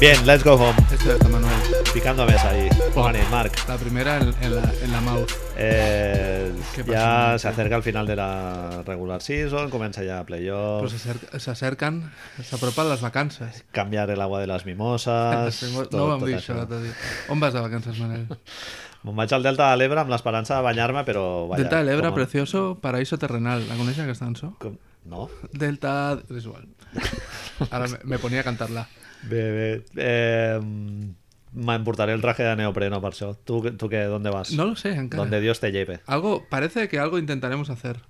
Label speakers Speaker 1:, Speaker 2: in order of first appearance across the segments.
Speaker 1: Bien, let's go home.
Speaker 2: Esto está, Manuel.
Speaker 1: Picando mesa ahí. Cojones, Mark.
Speaker 2: La primera en, en la, en la mouth.
Speaker 1: Eh,
Speaker 2: Qué
Speaker 1: ja
Speaker 2: passionat,
Speaker 1: s'acerca al final de la regular season, comença ja
Speaker 2: Però
Speaker 1: playoff,
Speaker 2: s'acer- s'acerquen, s'apropen les vacances.
Speaker 1: canviar el agua de les mimoses...
Speaker 2: Tot,
Speaker 1: Ah, tot-
Speaker 2: no vam
Speaker 1: tot
Speaker 2: dir això l'altre dia. On vas de vacances, Manel?
Speaker 1: Me'n vaig al Delta de l'Ebre amb l'esperança de banyar-me, però... Vaya,
Speaker 2: Delta de l'Ebre,
Speaker 1: com-
Speaker 2: precioso, paraíso terrenal. ¿La coneixes aquesta cançó?
Speaker 1: com- No?
Speaker 2: Delta... És igual. Ara me- me ponia a cantar-la.
Speaker 1: Bé, bé. Eh, M'emportaré el traje de neopreno per això. Tu, tu què, d'on vas?
Speaker 2: No lo sé, encara.
Speaker 1: Donde Dios te lleve.
Speaker 2: Algo, parece que algo intentaremos hacer,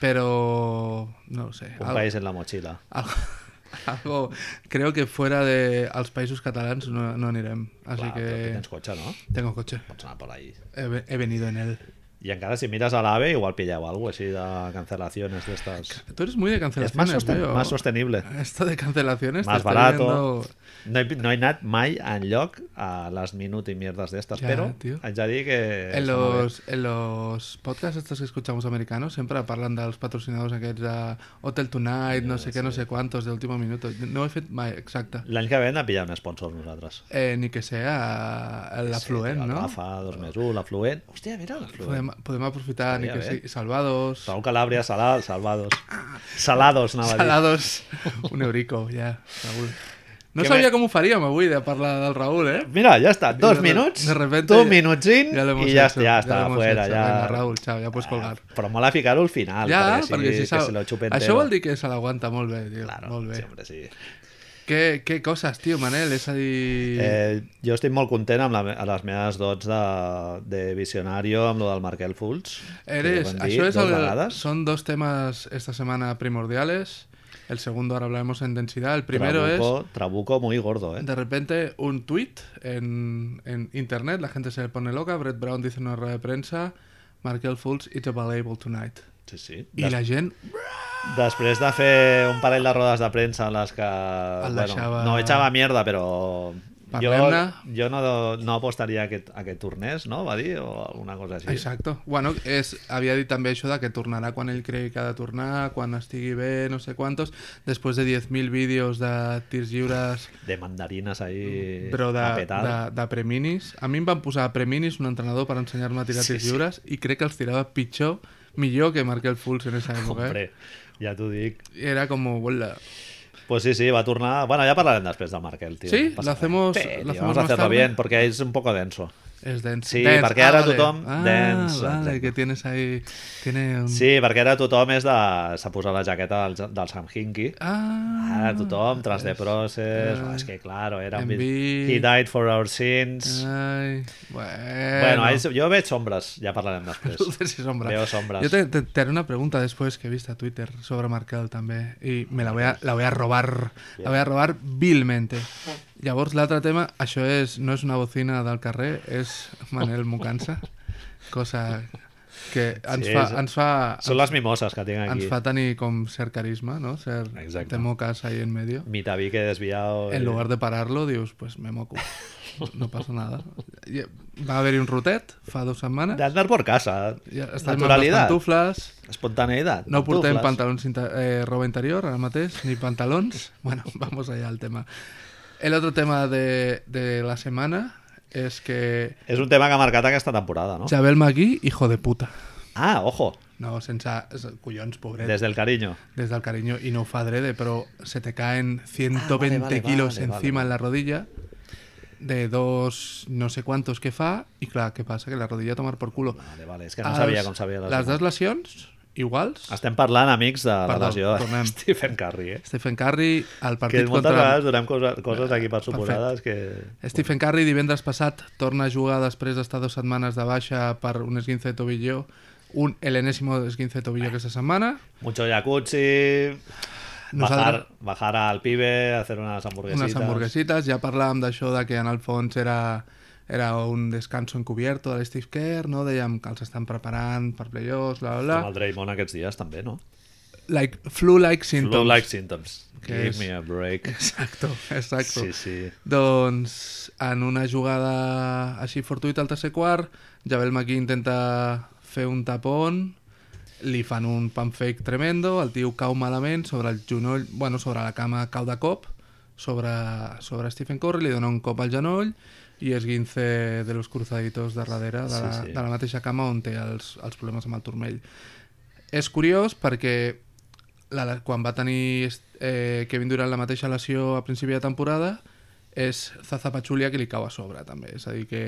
Speaker 2: pero no lo sé.
Speaker 1: Un
Speaker 2: Al-
Speaker 1: país en la mochila.
Speaker 2: al- Algo, creo que fuera de als países catalanes no, no anirem. Así
Speaker 1: Clar, però tu
Speaker 2: que
Speaker 1: tens cotxe, no?
Speaker 2: tengo coche.
Speaker 1: Pots anar per ahí.
Speaker 2: He, ve- he venido en él.
Speaker 1: I encara si mires a l'AVE igual pilleu alguna cosa així de cancelaciones d'estas.
Speaker 2: Tú eres muy de
Speaker 1: Es más,
Speaker 2: cancelaciones,
Speaker 1: sosten-
Speaker 2: veo.
Speaker 1: más sostenible.
Speaker 2: Esto de cancelaciones. te
Speaker 1: Más
Speaker 2: estoy
Speaker 1: barato.
Speaker 2: viendo-
Speaker 1: No he, no he anat mai enlloc a les minut i mierdes d'estes,
Speaker 2: Ja,
Speaker 1: però
Speaker 2: tio.
Speaker 1: haig de dir que... sona
Speaker 2: En
Speaker 1: bé.
Speaker 2: los, en los podcasts estos que escuchamos americanos siempre parlan de los patrocinados aquests de Hotel Tonight, no sé qué, no sé cuántos, de último minuto. No he fet mai exacta.
Speaker 1: L'any que ve hem de pillar un sponsor nosaltres.
Speaker 2: Eh, ni que sea el afluent,
Speaker 1: Sí,
Speaker 2: no?
Speaker 1: Rafa, dos més un, l'afluent. Hòstia, mira l'afluent.
Speaker 2: Podem, podem aprofitar, ni
Speaker 1: Estaria
Speaker 2: que
Speaker 1: bé.
Speaker 2: sigui Salvados,
Speaker 1: Raúl Calabria, Salad, Salvados. Salados, anava a dir.
Speaker 2: Salados, un eurico, ja, Raül. No
Speaker 1: Què
Speaker 2: sabia
Speaker 1: més?
Speaker 2: com ho faríem avui de parlar del Raül, eh?
Speaker 1: Mira, ja està, dos
Speaker 2: de re-
Speaker 1: minuts,
Speaker 2: de repente
Speaker 1: tu
Speaker 2: ya-
Speaker 1: minutzin
Speaker 2: lo hemos
Speaker 1: i ja,
Speaker 2: hecho,
Speaker 1: ja
Speaker 2: lo
Speaker 1: està,
Speaker 2: hemos
Speaker 1: fuera,
Speaker 2: hecho.
Speaker 1: ja...
Speaker 2: Venga, Raül, chao, ja pots colgar.
Speaker 1: Però mola ficar-ho al final,
Speaker 2: ja,
Speaker 1: perquè, si,
Speaker 2: perquè si,
Speaker 1: que
Speaker 2: s'ha-
Speaker 1: se lo chupen
Speaker 2: Això vol dir que se l'aguanta molt bé, tio,
Speaker 1: Claro,
Speaker 2: molt bé.
Speaker 1: sempre sí.
Speaker 2: Què, què coses, tio, Manel, és a dir...
Speaker 1: Eh, jo estic molt content amb la, me- a les meves dots de, de Visionario amb lo del Markel Fultz. que
Speaker 2: Eres,
Speaker 1: ho hem dit
Speaker 2: això es
Speaker 1: dues
Speaker 2: el-
Speaker 1: vegades.
Speaker 2: son dos temas esta semana primordiales. El segundo ahora hablaremos en densidad. El primero
Speaker 1: trabuco, Trabuco muy gordo, eh?
Speaker 2: es de repente un tweet en, en internet, la gente se pone loca. Brett Brown dice en una rueda de prensa: Markel Fultz, it's available tonight.
Speaker 1: Sí, sí.
Speaker 2: Y
Speaker 1: Des,
Speaker 2: la gent
Speaker 1: Després de fer un parell de rodes de premsa en les que...
Speaker 2: El deixava-
Speaker 1: No echava mierda, però... Jo,
Speaker 2: Parlem-ne.
Speaker 1: jo no, no apostaria a aquest, a aquest tornés, no? Va dir, o alguna cosa així.
Speaker 2: Exacte. Bueno, és, havia dit també això de que tornarà quan ell cregui que ha de tornar, quan estigui bé, no sé quantos, després de 10.000 vídeos de tirs lliures
Speaker 1: De mandarines ahí...
Speaker 2: però de,
Speaker 1: a petar.
Speaker 2: de, de preminis. A mi em van posar a preminis un entrenador per ensenyar-me a tirar
Speaker 1: Sí,
Speaker 2: sí, tirs
Speaker 1: sí.
Speaker 2: lliures i crec que els tirava pitjor, millor que Markel Fultz en esa època.
Speaker 1: Hombre,
Speaker 2: Eh?
Speaker 1: ja t'ho dic.
Speaker 2: Era como, hola.
Speaker 1: Pues sí, sí, va a turnar. Bueno, ya hablarán después de Markel, tío.
Speaker 2: ¿Sí?
Speaker 1: No pasa
Speaker 2: ¿Lo hacemos-
Speaker 1: nada.
Speaker 2: lo
Speaker 1: Sí, tío,
Speaker 2: hacemos
Speaker 1: vamos a
Speaker 2: más
Speaker 1: hacerlo
Speaker 2: tarde?
Speaker 1: bien, porque es un poco denso.
Speaker 2: És dance.
Speaker 1: Sí,
Speaker 2: dance.
Speaker 1: perquè ara
Speaker 2: vale.
Speaker 1: tothom-
Speaker 2: Ah,
Speaker 1: dance,
Speaker 2: vale,
Speaker 1: exacte.
Speaker 2: que tienes ahí... Tiene un...
Speaker 1: Sí, perquè ara tothom és de... s'ha posat la jaqueta del, del Sam Hinkie.
Speaker 2: Ah,
Speaker 1: Ara tothom, tras de process... Uh, és que, claro, era... Un...
Speaker 2: Embiid.
Speaker 1: He died for our sins...
Speaker 2: Ai, Ah, bueno.
Speaker 1: bueno, ahí, jo veig sombres, ja parlarem després.
Speaker 2: Luces y sombras.
Speaker 1: Veo sombras.
Speaker 2: Yo te, te- te haré una pregunta después que viste a Twitter sobre Markel también. Y me la voy a, la voy a robar. La voy a robar vilmente. Llavors, l'altre tema, això és, no és una bocina del carrer, és Manel Mucansa, cosa que ens,
Speaker 1: Sí,
Speaker 2: fa,
Speaker 1: és-
Speaker 2: ens, fa,
Speaker 1: Són les mimoses que tinc aquí.
Speaker 2: ens fa tenir com cert carisma, no? Cert,
Speaker 1: Exacte.
Speaker 2: te mocas ahí en medio.
Speaker 1: Mita vi que desviado...
Speaker 2: En lugar de pararlo, dius, pues me moco. No passa nada. I Va haver-hi un rotet fa dues setmanes.
Speaker 1: D'andar por casa.
Speaker 2: Ja estem amb les
Speaker 1: Naturalitat.
Speaker 2: pantufles.
Speaker 1: Espontaneïtat.
Speaker 2: No portem
Speaker 1: pantufles.
Speaker 2: pantalons inter- eh, roba interior ara mateix, ni pantalons. Bueno, vamos allá al tema. El otro tema de, de la semana es que
Speaker 1: És un tema que ha marcat aquesta temporada, no?
Speaker 2: Jabel Magui, hijo de puta.
Speaker 1: Ah, ojo,
Speaker 2: No, sense... és- Collons, pobret.
Speaker 1: des
Speaker 2: Des,
Speaker 1: del cariño.
Speaker 2: del cariño i no ho fa drede, però se te caen 120
Speaker 1: Ah, vale, vale,
Speaker 2: kilos
Speaker 1: vale,
Speaker 2: encima
Speaker 1: vale.
Speaker 2: en la rodilla de dos no sé cuántos que fa i clar, què passa? Que la rodilla a tomar por culo.
Speaker 1: Vale, vale, és que no sabia
Speaker 2: Els-
Speaker 1: com sabia les,
Speaker 2: Ah, doncs Les dues lesions, iguals,
Speaker 1: Estem parlant, amics, de la
Speaker 2: Perdó,
Speaker 1: lesió de
Speaker 2: tornem.
Speaker 1: Stephen Curry, eh?
Speaker 2: Stephen Curry al
Speaker 1: Que
Speaker 2: partit
Speaker 1: moltes
Speaker 2: contra...
Speaker 1: vegades donem cosa, coses aquí per suposades que...
Speaker 2: Stephen Curry divendres passat torna a jugar després d'estar dues setmanes de baixa per un esguince de tobillo, un l'enésimo esguince de tobillo aquesta setmana.
Speaker 1: Mucho jacuzzi, bajar,
Speaker 2: Nosaltres-
Speaker 1: bajar al pibe, hacer unas hamburguesitas...
Speaker 2: Unes hamburguesitas, ja parlàvem d'això de que en el fons era, era un descanso encubierto de l'Steve Kerr, no? dèiem que els estan preparant per playoffs, bla, bla,
Speaker 1: Com el Draymond aquests dies, també, no?
Speaker 2: bla. Like, Flu-like symptoms.
Speaker 1: Low like symptoms.
Speaker 2: Que
Speaker 1: Give
Speaker 2: és-
Speaker 1: me a break.
Speaker 2: Exacto, exacto.
Speaker 1: Sí, sí.
Speaker 2: Doncs en una jugada així fortuita al tercer quart, Jabel Maquí intenta fer un tapón, li fan un pump fake tremendo, el tio cau malament sobre el genoll, bueno, sobre la cama cau de cop, sobre, sobre Stephen Curry, li dona un cop al genoll i es guince de los cruzaditos de darrere de la,
Speaker 1: Sí, sí.
Speaker 2: de la mateixa cama on té els, els problemes amb el turmell. És curiós perquè la, la- quan va tenir eh, Kevin Durant la mateixa lesió a principi de temporada és Zaza Pachulia que li cau a sobre també, és a dir que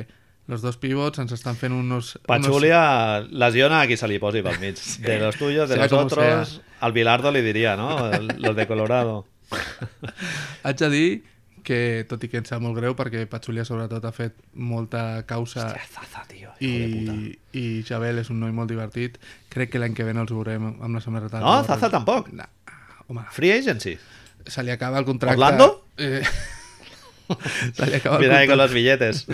Speaker 2: els dos pivots ens estan fent unos...
Speaker 1: Pachulia lesiona a qui se li posi pel mig. De los tuyos, de
Speaker 2: Sea
Speaker 1: los
Speaker 2: como
Speaker 1: otros...
Speaker 2: sea.
Speaker 1: Al Bilardo li diria, no? Los de Colorado.
Speaker 2: Unos... Haig de dir que, tot i que em sap molt greu, perquè Pachulia sobretot ha fet molta causa
Speaker 1: Zaza, tio.
Speaker 2: i, i Jabel és un noi molt divertit. Crec que l'any que ve no els veurem amb la samarreta. dels
Speaker 1: No,
Speaker 2: Warriors.
Speaker 1: Zaza tampoc.
Speaker 2: No, home,
Speaker 1: Free agency.
Speaker 2: se li acaba el contracte...
Speaker 1: Orlando?
Speaker 2: Eh... se li acaba el
Speaker 1: Mira ahí con
Speaker 2: contracte...
Speaker 1: los billetes.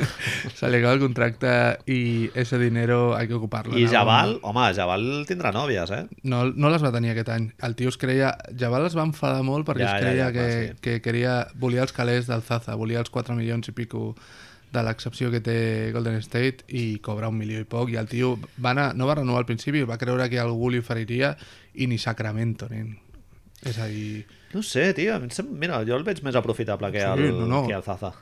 Speaker 2: Se li acaba el contracte i ese dinero hay que ocuparlo.
Speaker 1: I
Speaker 2: No,
Speaker 1: Jabal, home, Jabal tindrà nòvies, eh?
Speaker 2: No, no les va tenir aquest any. El tio es creia... Jabal es va enfadar molt perquè
Speaker 1: Ja,
Speaker 2: es
Speaker 1: ja,
Speaker 2: creia
Speaker 1: ja,
Speaker 2: que,
Speaker 1: clar, sí.
Speaker 2: que queria, volia els calés del Zaza, volia els 4 milions i pico de l'excepció que té Golden State i cobra un milió i poc i el tio va anar, no va renovar al principi va creure que algú li oferiria i ni Sacramento nen. és a dir
Speaker 1: No sé, tio. a mi em sem- Mira, jo el veig més aprofitable que
Speaker 2: Sí,
Speaker 1: el,
Speaker 2: no, no.
Speaker 1: Que el Zaza.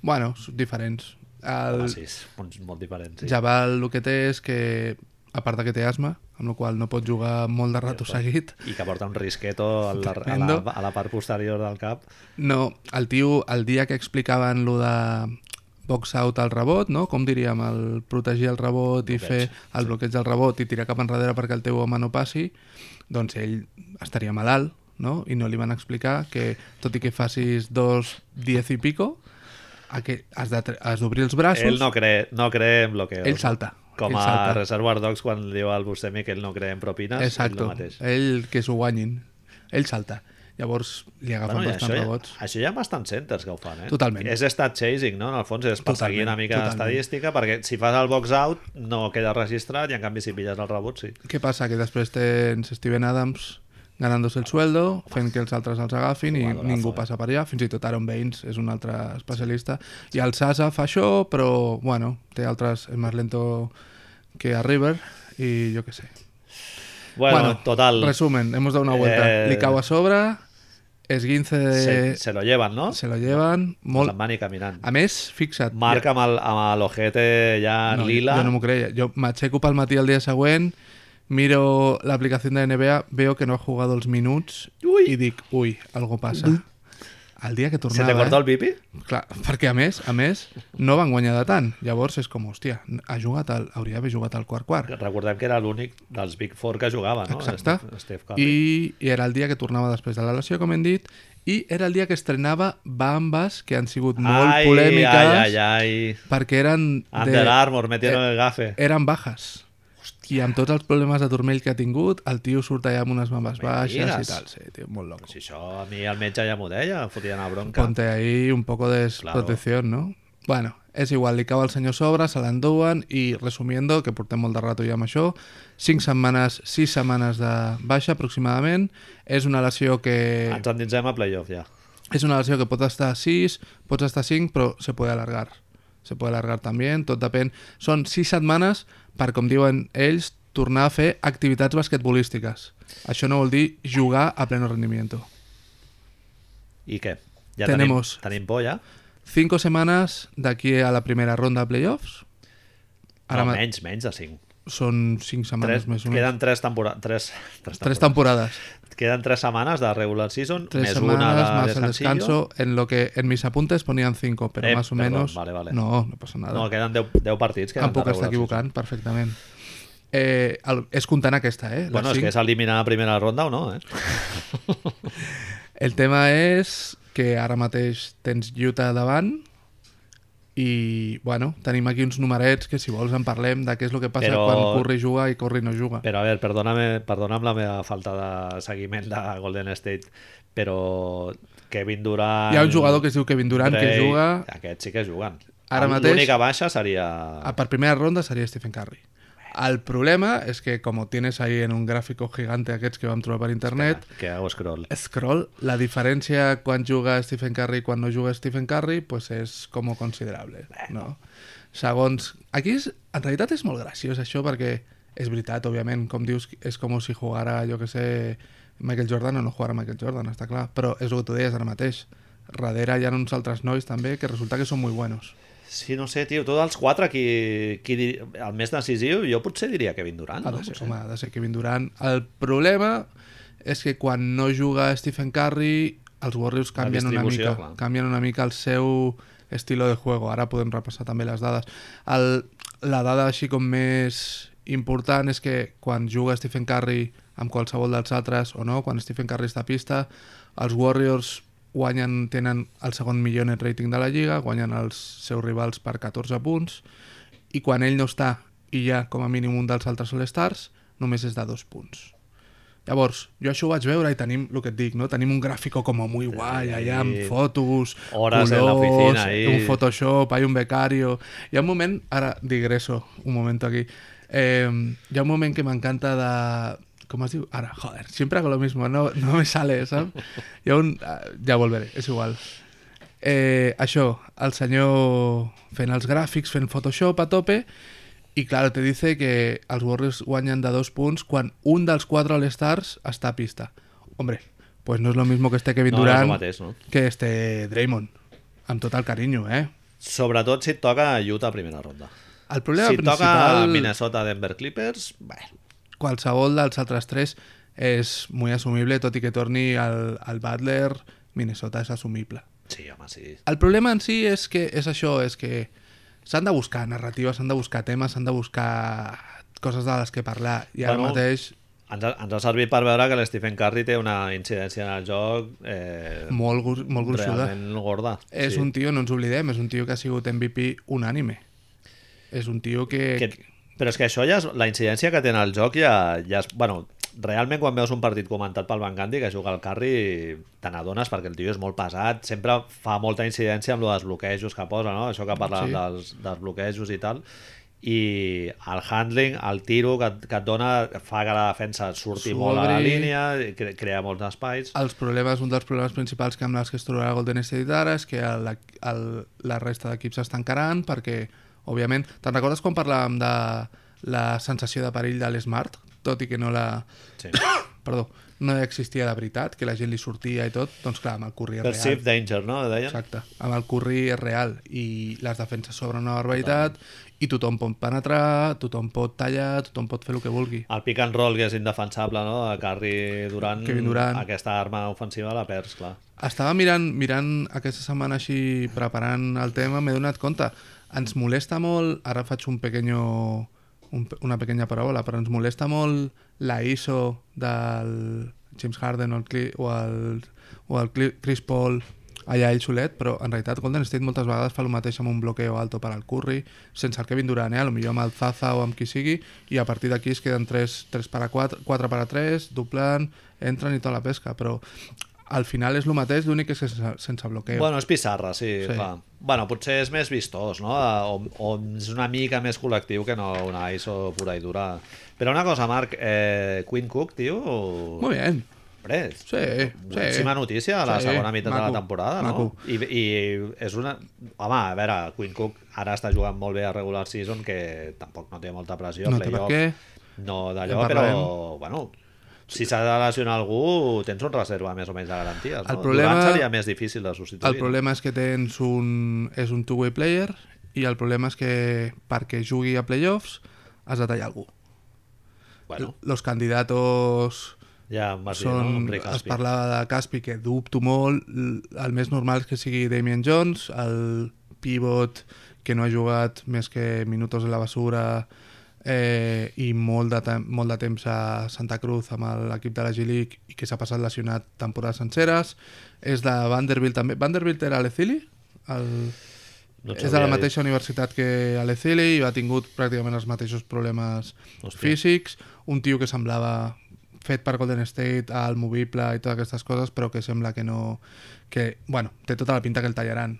Speaker 2: bueno, diferents el,
Speaker 1: Ah, sí, és molt, molt diferent. Sí.
Speaker 2: Ja va, el que té és que, a part de que té asma, amb la qual no pot jugar molt de rato seguit,
Speaker 1: I que porta un risqueto a la, a la,
Speaker 2: Tremendo.
Speaker 1: a la part posterior del cap.
Speaker 2: no, el tio, el dia que explicaven lo de box out al rebot, no? com diríem, el protegir el rebot i
Speaker 1: Bloqueig,
Speaker 2: fer el bloqueig del rebot i tirar cap enrere perquè el teu home no passi, doncs ell estaria malalt, no? i no li van explicar que, tot i que facis dos, diez i pico, a que has de tre- has d'obrir els braços,
Speaker 1: Ell no cree, no cree en bloqueos.
Speaker 2: ell salta.
Speaker 1: Com
Speaker 2: ell
Speaker 1: a
Speaker 2: salta.
Speaker 1: Reservoir Dogs, quan diu al Buscemi que ell no cree en propines, és el
Speaker 2: Exacto.
Speaker 1: mateix.
Speaker 2: Ell que s'ho guanyin. Ell salta. Llavors li agafen
Speaker 1: Bueno,
Speaker 2: bueno,
Speaker 1: i
Speaker 2: bastants
Speaker 1: això, ja,
Speaker 2: rebots.
Speaker 1: això hi ha bastants centers que ho fan, eh?
Speaker 2: Totalment.
Speaker 1: És stat chasing, no? En el fons és perseguir
Speaker 2: Totalment,
Speaker 1: una mica
Speaker 2: totalment.
Speaker 1: d'estadística, perquè si fas el box out no queda registrat i en canvi si pilles el rebot sí.
Speaker 2: Què passa? Que després tens Steven Adams ganant-se el sueldo, fent que els altres els agafin i
Speaker 1: Jugadorazo,
Speaker 2: ningú
Speaker 1: eh?
Speaker 2: passa per allà. Fins i tot Aaron Baines és un altre especialista. I el Sasa fa això, però, bueno, té altres... És més lento que a River i jo què sé.
Speaker 1: Bueno, total,
Speaker 2: Resumen, hemos dado una vuelta.
Speaker 1: Eh,
Speaker 2: Li cau a sobre, esguince de...
Speaker 1: se, se lo llevan, no?
Speaker 2: se lo llevan, molt...
Speaker 1: Se'n van i caminant.
Speaker 2: A més, fixa't...
Speaker 1: Marc amb el- amb l'ojete ja
Speaker 2: No,
Speaker 1: lila.
Speaker 2: Yo no me creía. Yo me acheco para el matí al día següent, miro la aplicación de NBA, veo que no ha jugado los minutos
Speaker 1: Ui.
Speaker 2: y dic, uy, algo pasa. Al día que
Speaker 1: ¿Se
Speaker 2: tornava...
Speaker 1: te cortó
Speaker 2: eh?
Speaker 1: el pipi?
Speaker 2: Clar, perquè a més, a més, no van guanyar de tant. Llavors és com, hòstia, ha jugat al, hauria d'haver jugat al quart-quart.
Speaker 1: Recordem que era l'únic dels Big Four que jugava, no?
Speaker 2: Exacte.
Speaker 1: Steph- Steph Curry.
Speaker 2: I, I era el dia que tornava després de la lesió, com hem dit, i era el dia que estrenava bambes que han sigut molt
Speaker 1: ai,
Speaker 2: polèmiques
Speaker 1: Ai, ai, ai.
Speaker 2: perquè eren
Speaker 1: Under Armour, metieron
Speaker 2: eh,
Speaker 1: el gafe.
Speaker 2: eren bajas. I amb tots els problemes de turmell que ha tingut, el tio surt allà amb unes mames
Speaker 1: Me
Speaker 2: baixes
Speaker 1: digues.
Speaker 2: i tal. Sí, tio, molt loco.
Speaker 1: Si això a mi el metge ja m'ho deia, em fotien a bronca.
Speaker 2: Ponte ahí un poco de protección, no? Bueno, és igual, li cau al senyor sobre, se l'enduen i, resumiendo, que portem molt de rato ja amb això, 5 setmanes, 6 setmanes de baixa aproximadament, és una lesió que...
Speaker 1: Ens endinsem a playoff ja.
Speaker 2: És una lesió que pot estar a 6, pots estar a 5, però se puede alargar. Se puede alargar també, tot depèn. Són 6 setmanes per, com diuen ells, tornar a fer activitats basquetbolístiques. Això no vol dir jugar a pleno rendimiento.
Speaker 1: I què? Ja
Speaker 2: Tenemos.
Speaker 1: Tenim, tenim por ja?
Speaker 2: 5 setmanes d'aquí a la primera ronda de playoffs.
Speaker 1: Ara no,
Speaker 2: ma-
Speaker 1: menys, menys de 5.
Speaker 2: Són 5 setmanes
Speaker 1: Tres,
Speaker 2: més o menys.
Speaker 1: queden 3 temporades. 3, 3
Speaker 2: 3 temporades.
Speaker 1: Queden 3 setmanes de regular season,
Speaker 2: 3
Speaker 1: més una de
Speaker 2: semanas más el
Speaker 1: descansillo.
Speaker 2: descanso. En lo que en mis apuntes ponían 5, pero
Speaker 1: Eh,
Speaker 2: más o
Speaker 1: perdón,
Speaker 2: menos.
Speaker 1: vale, vale.
Speaker 2: No, no pasa nada.
Speaker 1: No, queden 10, 10 partits. Queden
Speaker 2: Tampoc
Speaker 1: de
Speaker 2: està
Speaker 1: regular
Speaker 2: equivocant, perfectament. Eh, el, és comptant aquesta, eh?
Speaker 1: season.
Speaker 2: les
Speaker 1: Bueno, és
Speaker 2: cinc.
Speaker 1: que és eliminar la primera ronda o no, eh?
Speaker 2: El tema és que ara mateix tens Utah davant i, bueno, tenim aquí uns numerets que si vols en parlem de què és el que passa
Speaker 1: Però-
Speaker 2: quan Curry juga i Curry no juga.
Speaker 1: Però a veure, perdona'm, perdona'm la meva falta de seguiment de Golden State, però Kevin Durant...
Speaker 2: Hi ha un jugador que es diu Kevin Durant que
Speaker 1: Bray,
Speaker 2: juga...
Speaker 1: Aquests sí que juguen.
Speaker 2: Ara
Speaker 1: El-
Speaker 2: mateix-
Speaker 1: L'única baixa seria...
Speaker 2: Ah, per primera ronda seria Stephen Curry. El problema és que, com ho tienes ahí en un gràfico gigante aquests que vam trobar per internet,
Speaker 1: Que hago scroll.
Speaker 2: Scroll, la diferència quan juga Stephen Curry i quan no juga Stephen Curry pues és com considerable, no? Segons... Aquí és, en realitat és molt graciós això perquè és veritat, òbviament, com dius, és com si jugara, jo que sé, Michael Jordan o no jugara Michael Jordan, està clar, però és el que tu deies ara mateix. darrere hi ha uns altres nois també que resulta que són molt buenos.
Speaker 1: Sí, no sé, tio, tots els quatre, qui, qui dir... el més decisiu, jo potser diria Kevin Durant.
Speaker 2: Ha
Speaker 1: No?
Speaker 2: de ser,
Speaker 1: Potser.
Speaker 2: Ah, home, ha de ser Kevin Durant. El problema és que quan no juga Stephen Curry, els Warriors canvien una
Speaker 1: distribució,
Speaker 2: mica,
Speaker 1: clar.
Speaker 2: canvien una mica el seu estilo de juego. Ara podem repassar també les dades. El, la dada així com més important és que quan juga Stephen Curry amb qualsevol dels altres o no, quan Stephen Curry està a pista, els Warriors guanyen, tenen el segon millor net rating de la Lliga, guanyen els seus rivals per 14 punts, i quan ell no està i hi ha com a mínim un dels altres All-Stars, només és de dos punts. Llavors, jo això ho vaig veure i tenim, el que et dic, no? tenim un gràfico com muy guai, allà amb fotos,
Speaker 1: Hores en la
Speaker 2: colors,
Speaker 1: oficina, i-
Speaker 2: un Photoshop, hay un becario... Hi ha un moment, ara digreso un moment aquí, eh, hi ha un moment que m'encanta de... Com es diu? Ara, joder, sempre con lo mismo, no, no me sale, saps? Hi ha un... ah, Ja volveré, és igual. Eh, això, el senyor fent els gràfics, fent Photoshop a tope, i claro, te dice que els Warriors guanyen de dos punts quan un dels quatre All-Stars està a pista. Hombre, pues no és lo mismo que este Kevin
Speaker 1: No, no és
Speaker 2: Durant
Speaker 1: lo mateix, no?
Speaker 2: que este Draymond. Amb tot el carinyo, eh?
Speaker 1: Sobretot si et toca Utah a primera ronda.
Speaker 2: El problema
Speaker 1: Si et toca
Speaker 2: principal,
Speaker 1: Minnesota Denver Clippers, bé,
Speaker 2: qualsevol dels altres tres és molt assumible, tot i que torni al, al Butler, Minnesota és assumible.
Speaker 1: sí, home, sí.
Speaker 2: El problema en si és que és això, és que s'han de buscar narratives, s'han de buscar temes, s'han de buscar coses de les que parlar. I ara
Speaker 1: Bueno,
Speaker 2: bueno, mateix,
Speaker 1: Ens ha, ens ha servit per veure que l'Stephen Curry té una incidència en el joc eh,
Speaker 2: molt, gru- molt gruixuda.
Speaker 1: realment gorda.
Speaker 2: És un tio, no ens oblidem, és un tio que ha sigut MVP unànime. És un tio que...
Speaker 1: que, però és que això ja és, la incidència que té en el joc ja, ja és, bueno, realment quan veus un partit comentat pel Van Gandhi que juga al carri te n'adones perquè el tio és molt pesat sempre fa molta incidència amb lo dels bloquejos que posa no? això que parlàvem
Speaker 2: Sí.
Speaker 1: sí. dels, dels bloquejos i tal i el handling, el tiro que, et- que et dona fa que la defensa surti
Speaker 2: S'obri. Ah.
Speaker 1: molt a la línia, cre- crea molts espais
Speaker 2: els problemes, un dels problemes principals que amb les que es trobarà Golden State ara és que el, el, la resta d'equips es tancaran perquè, òbviament, te'n recordes quan parlàvem de la sensació de perill de l'Smart? Tot i que no la...
Speaker 1: sí.
Speaker 2: Perdó, no existia de veritat, que la gent li sortia i tot, doncs clar, amb el Curry és real.
Speaker 1: Perceived danger, no? Deien?
Speaker 2: Exacte, amb el Curry és real i les defenses s'obren una barbaritat i tothom pot penetrar, tothom pot tallar, tothom pot fer el que vulgui.
Speaker 1: El pick and roll que és indefensable, no? A Curry Durant,
Speaker 2: Kevin Durant.
Speaker 1: aquesta arma ofensiva la perds, clar.
Speaker 2: Estava mirant, mirant aquesta setmana així, preparant el tema, m'he donat compte. Ens molesta molt, ara faig un pequeño, un, pe- una pequeña parabola, però ens molesta molt la ISO del James Harden o el, Cli, o el, o el Cli, Chris Paul allà ell solet, però en realitat Golden State moltes vegades fa el mateix amb un bloqueo alto per al Curry, sense el Kevin Durant, eh? A lo millor amb el Zaza o amb qui sigui, i a partir d'aquí es queden 3, 3 per a 4, 4 per a 3, doblant, entren i tota la pesca, però al final és el mateix, l'únic és que sense, sense bloqueo.
Speaker 1: Bueno, és pissarra, sí,
Speaker 2: Sí.
Speaker 1: sí, clar. Bueno, potser és més vistós, no? O, o és una mica més col·lectiu que no una ISO pura i dura. Però una cosa, Marc, eh, Quinn Cook, tio...
Speaker 2: Molt bé.
Speaker 1: Pres.
Speaker 2: Sí, sí.
Speaker 1: Boníssima notícia a la
Speaker 2: Sí,
Speaker 1: segona meitat de
Speaker 2: maco,
Speaker 1: la temporada,
Speaker 2: maco.
Speaker 1: no? I, I és una... Home, a veure, Quinn Cook ara està jugant molt bé a regular season, que tampoc no té molta pressió.
Speaker 2: No té per
Speaker 1: playoff,
Speaker 2: què.
Speaker 1: No d'allò,
Speaker 2: En
Speaker 1: però,
Speaker 2: parlarem.
Speaker 1: bueno, si s'ha de lesionar algú, tens un reserva més o menys de garanties, no?
Speaker 2: El problema-
Speaker 1: Durant seria més difícil de substituir.
Speaker 2: El problema és que tens un, és un two-way player i el problema és que perquè jugui a playoffs has de tallar algú.
Speaker 1: Bueno,
Speaker 2: Los candidatos
Speaker 1: ja em vas dir, no?
Speaker 2: són...
Speaker 1: Amb Rick
Speaker 2: Es
Speaker 1: Aspi.
Speaker 2: parlava de Caspi, que dubto molt. L- El més normal és que sigui Damien Jones, el pivot que no ha jugat més que minutos en la basura eh, i molt de, tem- molt de temps a Santa Cruz amb l'equip de la G-League i que s'ha passat lesionat temporades senceres. És de Vanderbilt també. Vanderbilt era l'Ecili? El...
Speaker 1: No et
Speaker 2: és de
Speaker 1: sabria
Speaker 2: la
Speaker 1: dir.
Speaker 2: mateixa universitat que Alecili i ha tingut pràcticament els mateixos problemes
Speaker 1: Hòstia.
Speaker 2: físics. Un tio que semblava fet per Golden State, al movible i totes aquestes coses, però que sembla que no... que, bueno, té tota la pinta que el tallaran.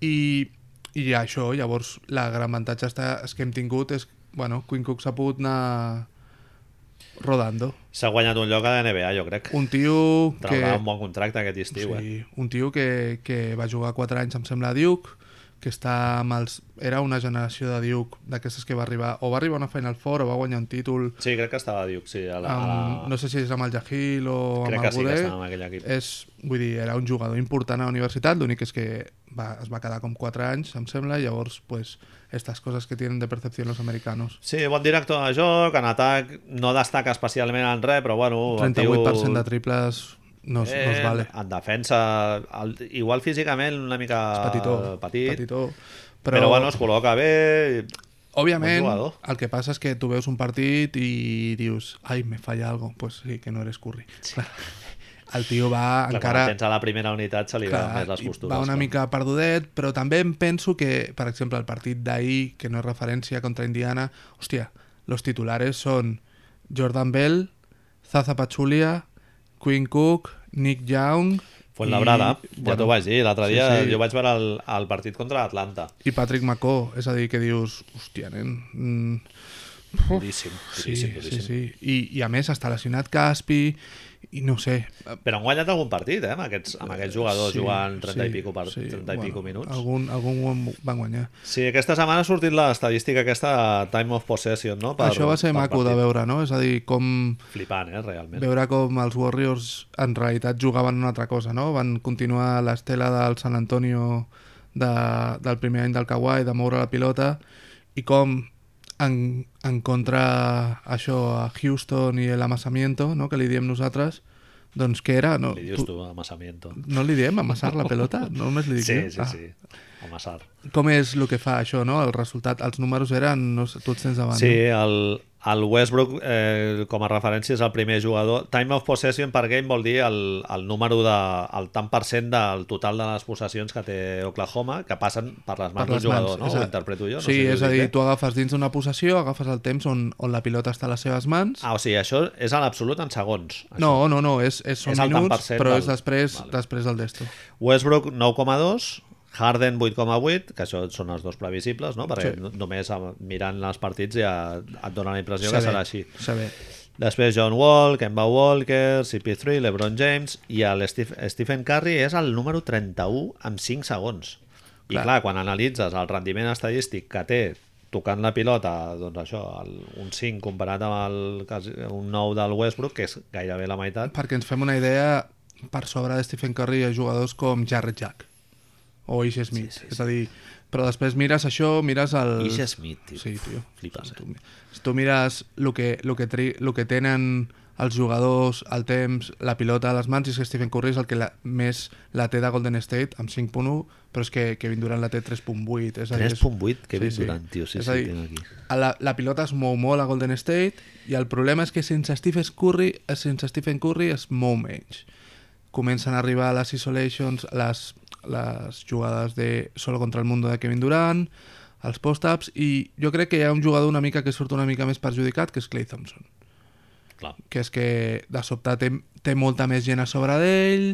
Speaker 2: I, i això, llavors, la gran avantatge està, és que hem tingut és, bueno, Quinn Cook s'ha pogut anar rodando.
Speaker 1: S'ha guanyat un lloc a la NBA, jo crec.
Speaker 2: Un tio que...
Speaker 1: Traurà un bon contracte aquest estiu, sí. eh?
Speaker 2: Sí, un tio que, que va jugar 4 anys, em sembla, a Duke, que està amb els... Era una generació de Duke, d'aquestes que va arribar... O va arribar a una Final Four o va guanyar un títol...
Speaker 1: Sí, crec que estava Duke, sí. A la, a
Speaker 2: Amb,
Speaker 1: la...
Speaker 2: no sé si és amb el Jahil o
Speaker 1: crec
Speaker 2: amb
Speaker 1: que
Speaker 2: el
Speaker 1: sí que
Speaker 2: Goudet.
Speaker 1: estava en aquell equip.
Speaker 2: és, vull dir, era un jugador important a la universitat, l'únic és que va, es va quedar com 4 anys, em sembla, i llavors, pues, estas coses que tienen de percepció los americanos.
Speaker 1: Sí, bon director de joc, en atac no destaca especialment en res, però bueno... el tio- eh, ah,
Speaker 2: 38% de triples no, es- no es vale.
Speaker 1: En defensa, el, igual físicament una mica
Speaker 2: És petitó.
Speaker 1: petit, petitó,
Speaker 2: petitó.
Speaker 1: però... però bueno, es col·loca bé...
Speaker 2: Òbviament,
Speaker 1: Bon jugador.
Speaker 2: el que passa és que tu veus un partit i dius ai, me falla algo, pues sí, que no eres Curry. Clar, El tio va
Speaker 1: Clar,
Speaker 2: encara...
Speaker 1: Quan tens a la primera unitat se li
Speaker 2: Clar,
Speaker 1: veuen més les
Speaker 2: i
Speaker 1: costures.
Speaker 2: va una
Speaker 1: clar.
Speaker 2: mica perdudet, però també em penso que, per exemple, el partit d'ahir, que no és referència contra Indiana, hòstia, los titulares són Jordan Bell, Zaza Pachulia, Quinn Cook, Nick Young...
Speaker 1: Fuenlabrada,
Speaker 2: i-
Speaker 1: ja t'ho vaig dir l'altre
Speaker 2: sí,
Speaker 1: dia,
Speaker 2: sí.
Speaker 1: jo vaig veure el, el partit contra l'Atlanta.
Speaker 2: I Patrick McCaw, és a dir, que dius, hòstia, nen... Mm,
Speaker 1: Duríssim,
Speaker 2: sí,
Speaker 1: duríssim,
Speaker 2: sí,
Speaker 1: duríssim.
Speaker 2: sí. I, I a més, està lesionat Caspi, i no ho sé...
Speaker 1: Però han guanyat algun partit, eh, amb aquests, amb aquests jugadors
Speaker 2: sí,
Speaker 1: jugant 30
Speaker 2: sí,
Speaker 1: i pico, per,
Speaker 2: sí,
Speaker 1: 30 i
Speaker 2: bueno,
Speaker 1: pico minuts.
Speaker 2: Algun, algun van guanyar.
Speaker 1: Sí, aquesta setmana ha sortit l'estadística aquesta time of possession, no?
Speaker 2: Per, Això va ser maco de
Speaker 1: partit.
Speaker 2: veure, no? És a dir, com
Speaker 1: Flipant, eh, realment.
Speaker 2: veure com els Warriors en realitat jugaven una altra cosa, no? Van continuar l'estela del San Antonio de, del primer any del Kawhi, de moure la pilota, i com en, en contra això a Houston i l'amassamiento, no? que li diem nosaltres, doncs què era? No,
Speaker 1: Li dius tu, amassamiento.
Speaker 2: no li diem amassar la pelota? No només li dic
Speaker 1: Sí,
Speaker 2: jo?
Speaker 1: sí, sí.
Speaker 2: Ah.
Speaker 1: Amassar.
Speaker 2: Com és el que fa això, no? El resultat, els números eren, no sé, tu els tens davant.
Speaker 1: Sí, el, el Westbrook, eh, com a referència, és el primer jugador. Time of possession per game vol dir el, el número de, el tant per cent del total de les possessions que té Oklahoma, que passen per les mans
Speaker 2: per les
Speaker 1: del jugador,
Speaker 2: mans.
Speaker 1: no?
Speaker 2: a-
Speaker 1: Ho interpreto jo. No
Speaker 2: Sí,
Speaker 1: sé si ho
Speaker 2: és a
Speaker 1: dic
Speaker 2: dir,
Speaker 1: bé.
Speaker 2: tu agafes dins d'una possessió, agafes el temps on, on la pilota està a les seves mans.
Speaker 1: Ah, o sigui, això és en absolut en segons. Això.
Speaker 2: no, no, no, és, és, són
Speaker 1: És el tant per
Speaker 2: minuts,
Speaker 1: cent
Speaker 2: però
Speaker 1: del-
Speaker 2: és després,
Speaker 1: Vale.
Speaker 2: després del desto.
Speaker 1: Westbrook 9,2 Harden 8,8, que això són els dos previsibles, no? perquè
Speaker 2: Sí.
Speaker 1: sí. només amb- mirant els partits ja et dona la impressió
Speaker 2: Saber,
Speaker 1: que serà així.
Speaker 2: saber.
Speaker 1: Després John Wall, Kemba Walker, CP3, LeBron James i el Steve, Stephen Curry és el número 31 amb 5 segons. I
Speaker 2: Clar.
Speaker 1: clar, quan analitzes el rendiment estadístic que té tocant la pilota, doncs això, el, un 5 comparat amb el, quasi- un 9 del Westbrook, que és gairebé la meitat,
Speaker 2: Perquè ens fem una idea per sobre de Stephen Curry a jugadors com Jarrett Jack o Ish Smith. Sí, sí, sí. És a dir, però després mires això, mires el...
Speaker 1: Ish Smith, Eh, tio.
Speaker 2: Sí, tio.
Speaker 1: Flipes, eh?
Speaker 2: Tu, si tu mires el que, lo que, tri, lo que tenen els jugadors, el temps, la pilota a les mans, i és que Stephen Curry és el que la, més la té de Golden State, amb 5.1, però és que Kevin Durant la té 3.8. és a dir, és-
Speaker 1: 3.8, Kevin
Speaker 2: Sí, sí.
Speaker 1: Durant, tio, sí,
Speaker 2: És
Speaker 1: sí,
Speaker 2: a dir,
Speaker 1: tinc aquí.
Speaker 2: a La, la pilota es mou molt a Golden State i el problema és que sense Stephen Curry, eh, sense Stephen Curry es mou menys. Comencen a arribar les isolations, les, les jugades de solo contra el mundo de Kevin Durant, els post-ups, i jo crec que hi ha un jugador una mica que surt una mica més perjudicat, que és Clay Thompson
Speaker 1: clar.
Speaker 2: que és que de sobte té, té molta més gent a sobre d'ell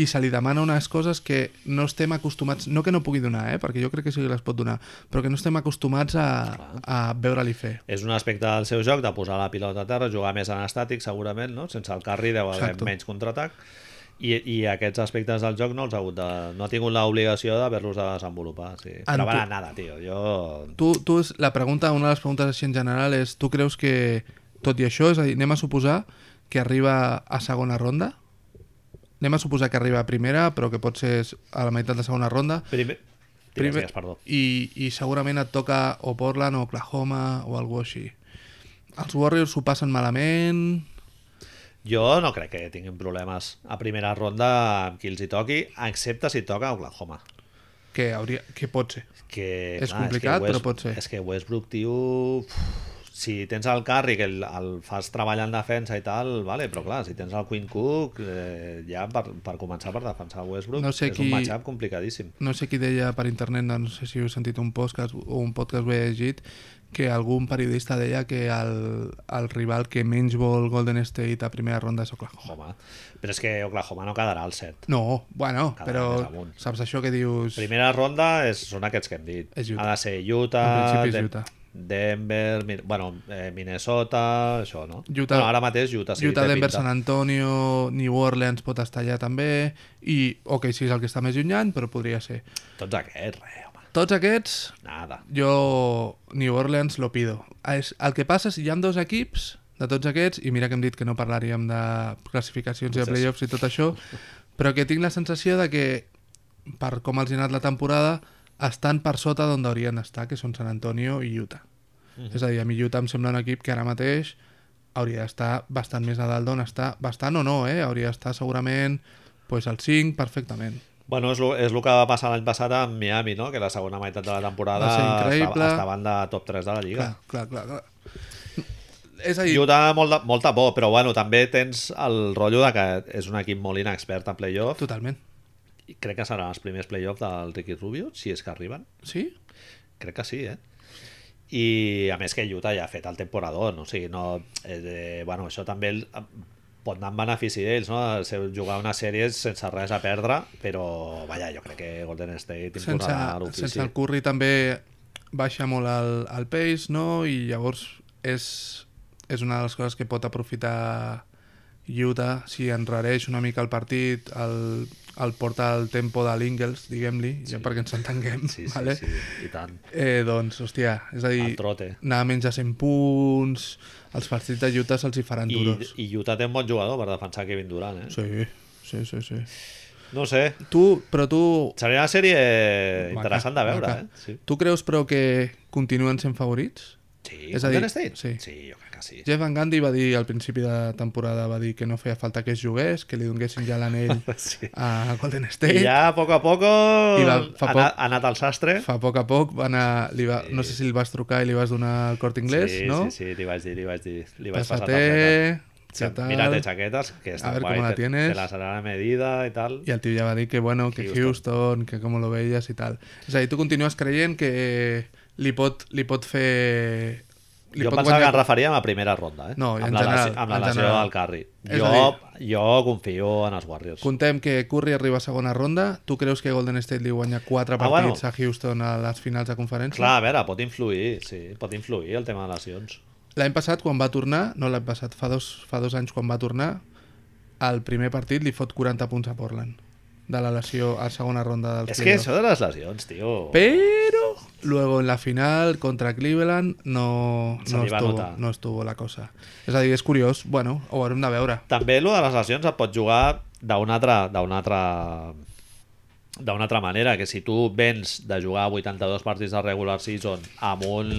Speaker 2: i se li demana unes coses que no estem acostumats, no que no pugui donar, eh? perquè jo crec que sí que les pot donar, però que no estem acostumats a, a veure-li fer.
Speaker 1: És un aspecte del seu joc, de posar la pilota a terra, jugar més en estàtic, segurament, no? sense el carri deu haver
Speaker 2: Exacto.
Speaker 1: menys contraatac, i, i aquests aspectes del joc no els ha hagut de, no ha tingut l'obligació d'haver-los de desenvolupar. Sí.
Speaker 2: En
Speaker 1: Però
Speaker 2: tu-
Speaker 1: bueno, nada, tio, jo...
Speaker 2: Tu, tu és, la pregunta, una de les preguntes així en general és, tu creus que, tot i això, és a dir, anem a suposar que arriba a segona ronda? Anem a suposar que arriba a primera, però que pot ser a la meitat de segona ronda.
Speaker 1: Primer... Digues,
Speaker 2: Primer-
Speaker 1: digues, perdó.
Speaker 2: I, I segurament et toca o Portland o Oklahoma o algú així. Els Warriors ho passen malament...
Speaker 1: Jo no crec que tinguin problemes a primera ronda amb qui els hi toqui, excepte si toca Oklahoma.
Speaker 2: Que, hauria, que pot ser.
Speaker 1: que,
Speaker 2: És complicat,
Speaker 1: que
Speaker 2: però pot ser.
Speaker 1: És que Westbrook, tio... uf, Si tens el Curry, que el, el fas treballar en defensa i tal, vale, però clar, si tens el Quinn Cook, eh, ja per, per començar per defensar Westbrook,
Speaker 2: No sé
Speaker 1: és
Speaker 2: qui-
Speaker 1: un matchup complicadíssim.
Speaker 2: No sé qui deia per internet, no sé si heu sentit un podcast o un podcast ho he llegit, que algun periodista deia que el, el rival que menys vol Golden State a primera ronda és Oklahoma.
Speaker 1: Oklahoma. Però és que Oklahoma no quedarà al set.
Speaker 2: No, bueno,
Speaker 1: Cada més
Speaker 2: però
Speaker 1: amunt.
Speaker 2: saps això que dius...
Speaker 1: Primera ronda és, són aquests que hem dit.
Speaker 2: És Utah.
Speaker 1: Ha de ser Utah,
Speaker 2: En principi és
Speaker 1: Den-
Speaker 2: Utah.
Speaker 1: Denver, Min- bueno, eh, Minnesota, això, no?
Speaker 2: Utah-
Speaker 1: Bueno, ara mateix Utah sí
Speaker 2: Utah,
Speaker 1: té
Speaker 2: Denver,
Speaker 1: pinta.
Speaker 2: San Antonio, New Orleans pot estar allà també, i OKC és el que està més llunyant, però podria ser.
Speaker 1: Tots aquests, res, home.
Speaker 2: Tots aquests,
Speaker 1: Nada.
Speaker 2: jo New Orleans lo pido. És, el que passa és que hi ha dos equips de tots aquests, i mira que hem dit que no parlaríem de classificacions i
Speaker 1: Potser
Speaker 2: de
Speaker 1: sí.
Speaker 2: playoffs i tot això, però que tinc la sensació de que, per com els ha anat la temporada, estan per sota d'on haurien d'estar, que són San Antonio i Utah. És a dir, a mi Utah em sembla un equip que ara mateix hauria d'estar bastant més a dalt d'on està, bastant o no, eh? hauria d'estar segurament pues, al 5 perfectament.
Speaker 1: Bueno, és, lo, és lo que va passar l'any passat a Miami, no? que la segona meitat de la temporada
Speaker 2: Va ser increïble.
Speaker 1: estava- estaven de top 3 de la Lliga.
Speaker 2: Clar, clar, clar, clar. És a dir,
Speaker 1: Utah molt de, molta por, però bueno, també tens el rotllo de que és un equip molt inexpert en playoff.
Speaker 2: totalment.
Speaker 1: I crec que seran els primers playoff del Ricky Rubio, si és que arriben.
Speaker 2: Sí?
Speaker 1: Crec que sí, eh? I a més que Utah ja ha fet el temporador, no? o sigui, no, eh, eh, bueno, això també el, pot anar en benefici d'ells, no? El seu- jugar una sèrie sense res a perdre, però vaja, jo crec que Golden State
Speaker 2: Sense,
Speaker 1: imposarà l'ofici.
Speaker 2: sense el Curry també baixa molt el, el pace, no? I llavors és, és una de les coses que pot aprofitar Utah si enrareix una mica el partit, el, el porta al tempo de l'Ingles, diguem-li, ja perquè ens entenguem,
Speaker 1: Sí, sí,
Speaker 2: vale?
Speaker 1: sí, i tant.
Speaker 2: Eh, doncs, hòstia, és a dir,
Speaker 1: El trote.
Speaker 2: anar menys de 100 punts, els partits de Utah se'ls hi faran
Speaker 1: I,
Speaker 2: duros.
Speaker 1: I Utah té un bon jugador per defensar Kevin Durant, eh?
Speaker 2: Sí, sí, sí, sí.
Speaker 1: No ho sé,
Speaker 2: Tu, però tu...
Speaker 1: Seria una sèrie interessant de
Speaker 2: Maca,
Speaker 1: veure,
Speaker 2: maca.
Speaker 1: eh? Sí.
Speaker 2: Tu creus, però, que continuen sent favorits?
Speaker 1: Sí,
Speaker 2: És a dir,
Speaker 1: Golden State?
Speaker 2: sí.
Speaker 1: sí, jo crec que sí.
Speaker 2: Jeff Van Gundy va dir al principi de temporada va dir que no feia falta que es jugués, que li donguessin ja l'anell
Speaker 1: sí.
Speaker 2: a Golden State.
Speaker 1: I ja, a poc a poc,
Speaker 2: I
Speaker 1: va,
Speaker 2: va- fa
Speaker 1: ha,
Speaker 2: poc-
Speaker 1: anat, ha anat al sastre.
Speaker 2: Fa poc a poc va anar, li va, no sé si el vas trucar i li vas donar el cort inglés,
Speaker 1: sí,
Speaker 2: no?
Speaker 1: Sí, sí, li vaig dir, li vaig dir. Li vaig passar targeta.
Speaker 2: Pásate,
Speaker 1: Sí,
Speaker 2: què tal?
Speaker 1: Mírate chaquetas, que está
Speaker 2: ver
Speaker 1: guay,
Speaker 2: cómo la
Speaker 1: te-
Speaker 2: tienes.
Speaker 1: Te las hará a medida y tal.
Speaker 2: I el tio ja va dir que bueno, que Houston, que com lo veies i tal. És a dir, tu continues creient que li pot, li pot fer... Li
Speaker 1: jo
Speaker 2: pot
Speaker 1: pensava que
Speaker 2: guanyar-
Speaker 1: em referíem a primera ronda, eh?
Speaker 2: No, i en
Speaker 1: amb, la,
Speaker 2: general,
Speaker 1: lesi- amb la
Speaker 2: en
Speaker 1: lesió
Speaker 2: general.
Speaker 1: del Curry.
Speaker 2: És
Speaker 1: Jo,
Speaker 2: a
Speaker 1: jo confio en els Warriors.
Speaker 2: Contem que Curry arriba a segona ronda. Tu creus que Golden State li guanya 4
Speaker 1: Ah,
Speaker 2: partits
Speaker 1: bueno.
Speaker 2: a Houston a les finals de conferència?
Speaker 1: Clar, a veure, pot influir, sí, pot influir el tema de lesions.
Speaker 2: L'any passat, quan va tornar, no l'any passat, fa dos, fa dos anys quan va tornar, al primer partit li fot 40 punts a Portland de la lesió a segona ronda dels
Speaker 1: És que
Speaker 2: playoffs.
Speaker 1: això de les lesions, tio...
Speaker 2: Pero luego en la final contra Cleveland no,
Speaker 1: Se
Speaker 2: no,
Speaker 1: li va
Speaker 2: estuvo,
Speaker 1: notar.
Speaker 2: no estuvo la cosa. És a dir, és curiós. Bueno, ho haurem de veure.
Speaker 1: També lo de les lesions et pot jugar d'una altra d'una altra d'una altra manera, que si tu vens de jugar 82 partits de regular season amb un,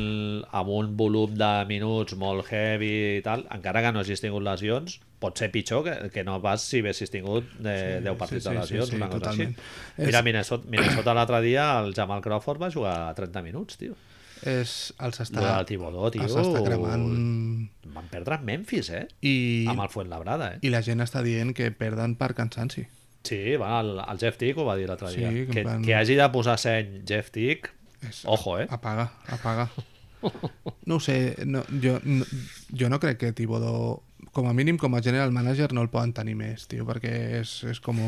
Speaker 1: amb un volum de minuts molt heavy i tal, encara que no hagis tingut lesions, pot ser pitjor que, que no pas si haguessis tingut de, sí, 10 partits
Speaker 2: sí,
Speaker 1: de
Speaker 2: sí,
Speaker 1: lesions,
Speaker 2: sí,
Speaker 1: una cosa
Speaker 2: totalment.
Speaker 1: així. Mira, Minnesota, Minnesota l'altre dia, el Jamal Crawford va jugar 30 minuts, tio.
Speaker 2: És, els
Speaker 1: Lo
Speaker 2: està,
Speaker 1: del Tibodó, tio.
Speaker 2: els Ah, està cremant
Speaker 1: Van perdre amb Memphis, eh?
Speaker 2: i,
Speaker 1: Amb el Fuenlabrada, eh?
Speaker 2: i la gent està dient que perden per cansanci.
Speaker 1: Sí, va, el, el Jeff Tick ho va dir l'altre
Speaker 2: Sí,
Speaker 1: dia.
Speaker 2: que en
Speaker 1: Que,
Speaker 2: plan-
Speaker 1: que hagi de posar seny Jeff Tick,
Speaker 2: És-
Speaker 1: ojo, eh?
Speaker 2: Apaga, apaga. No ho sé, no, jo, no, jo no crec que Tibodó, com a mínim com a general manager, no el poden tenir més, tio, perquè és, és com,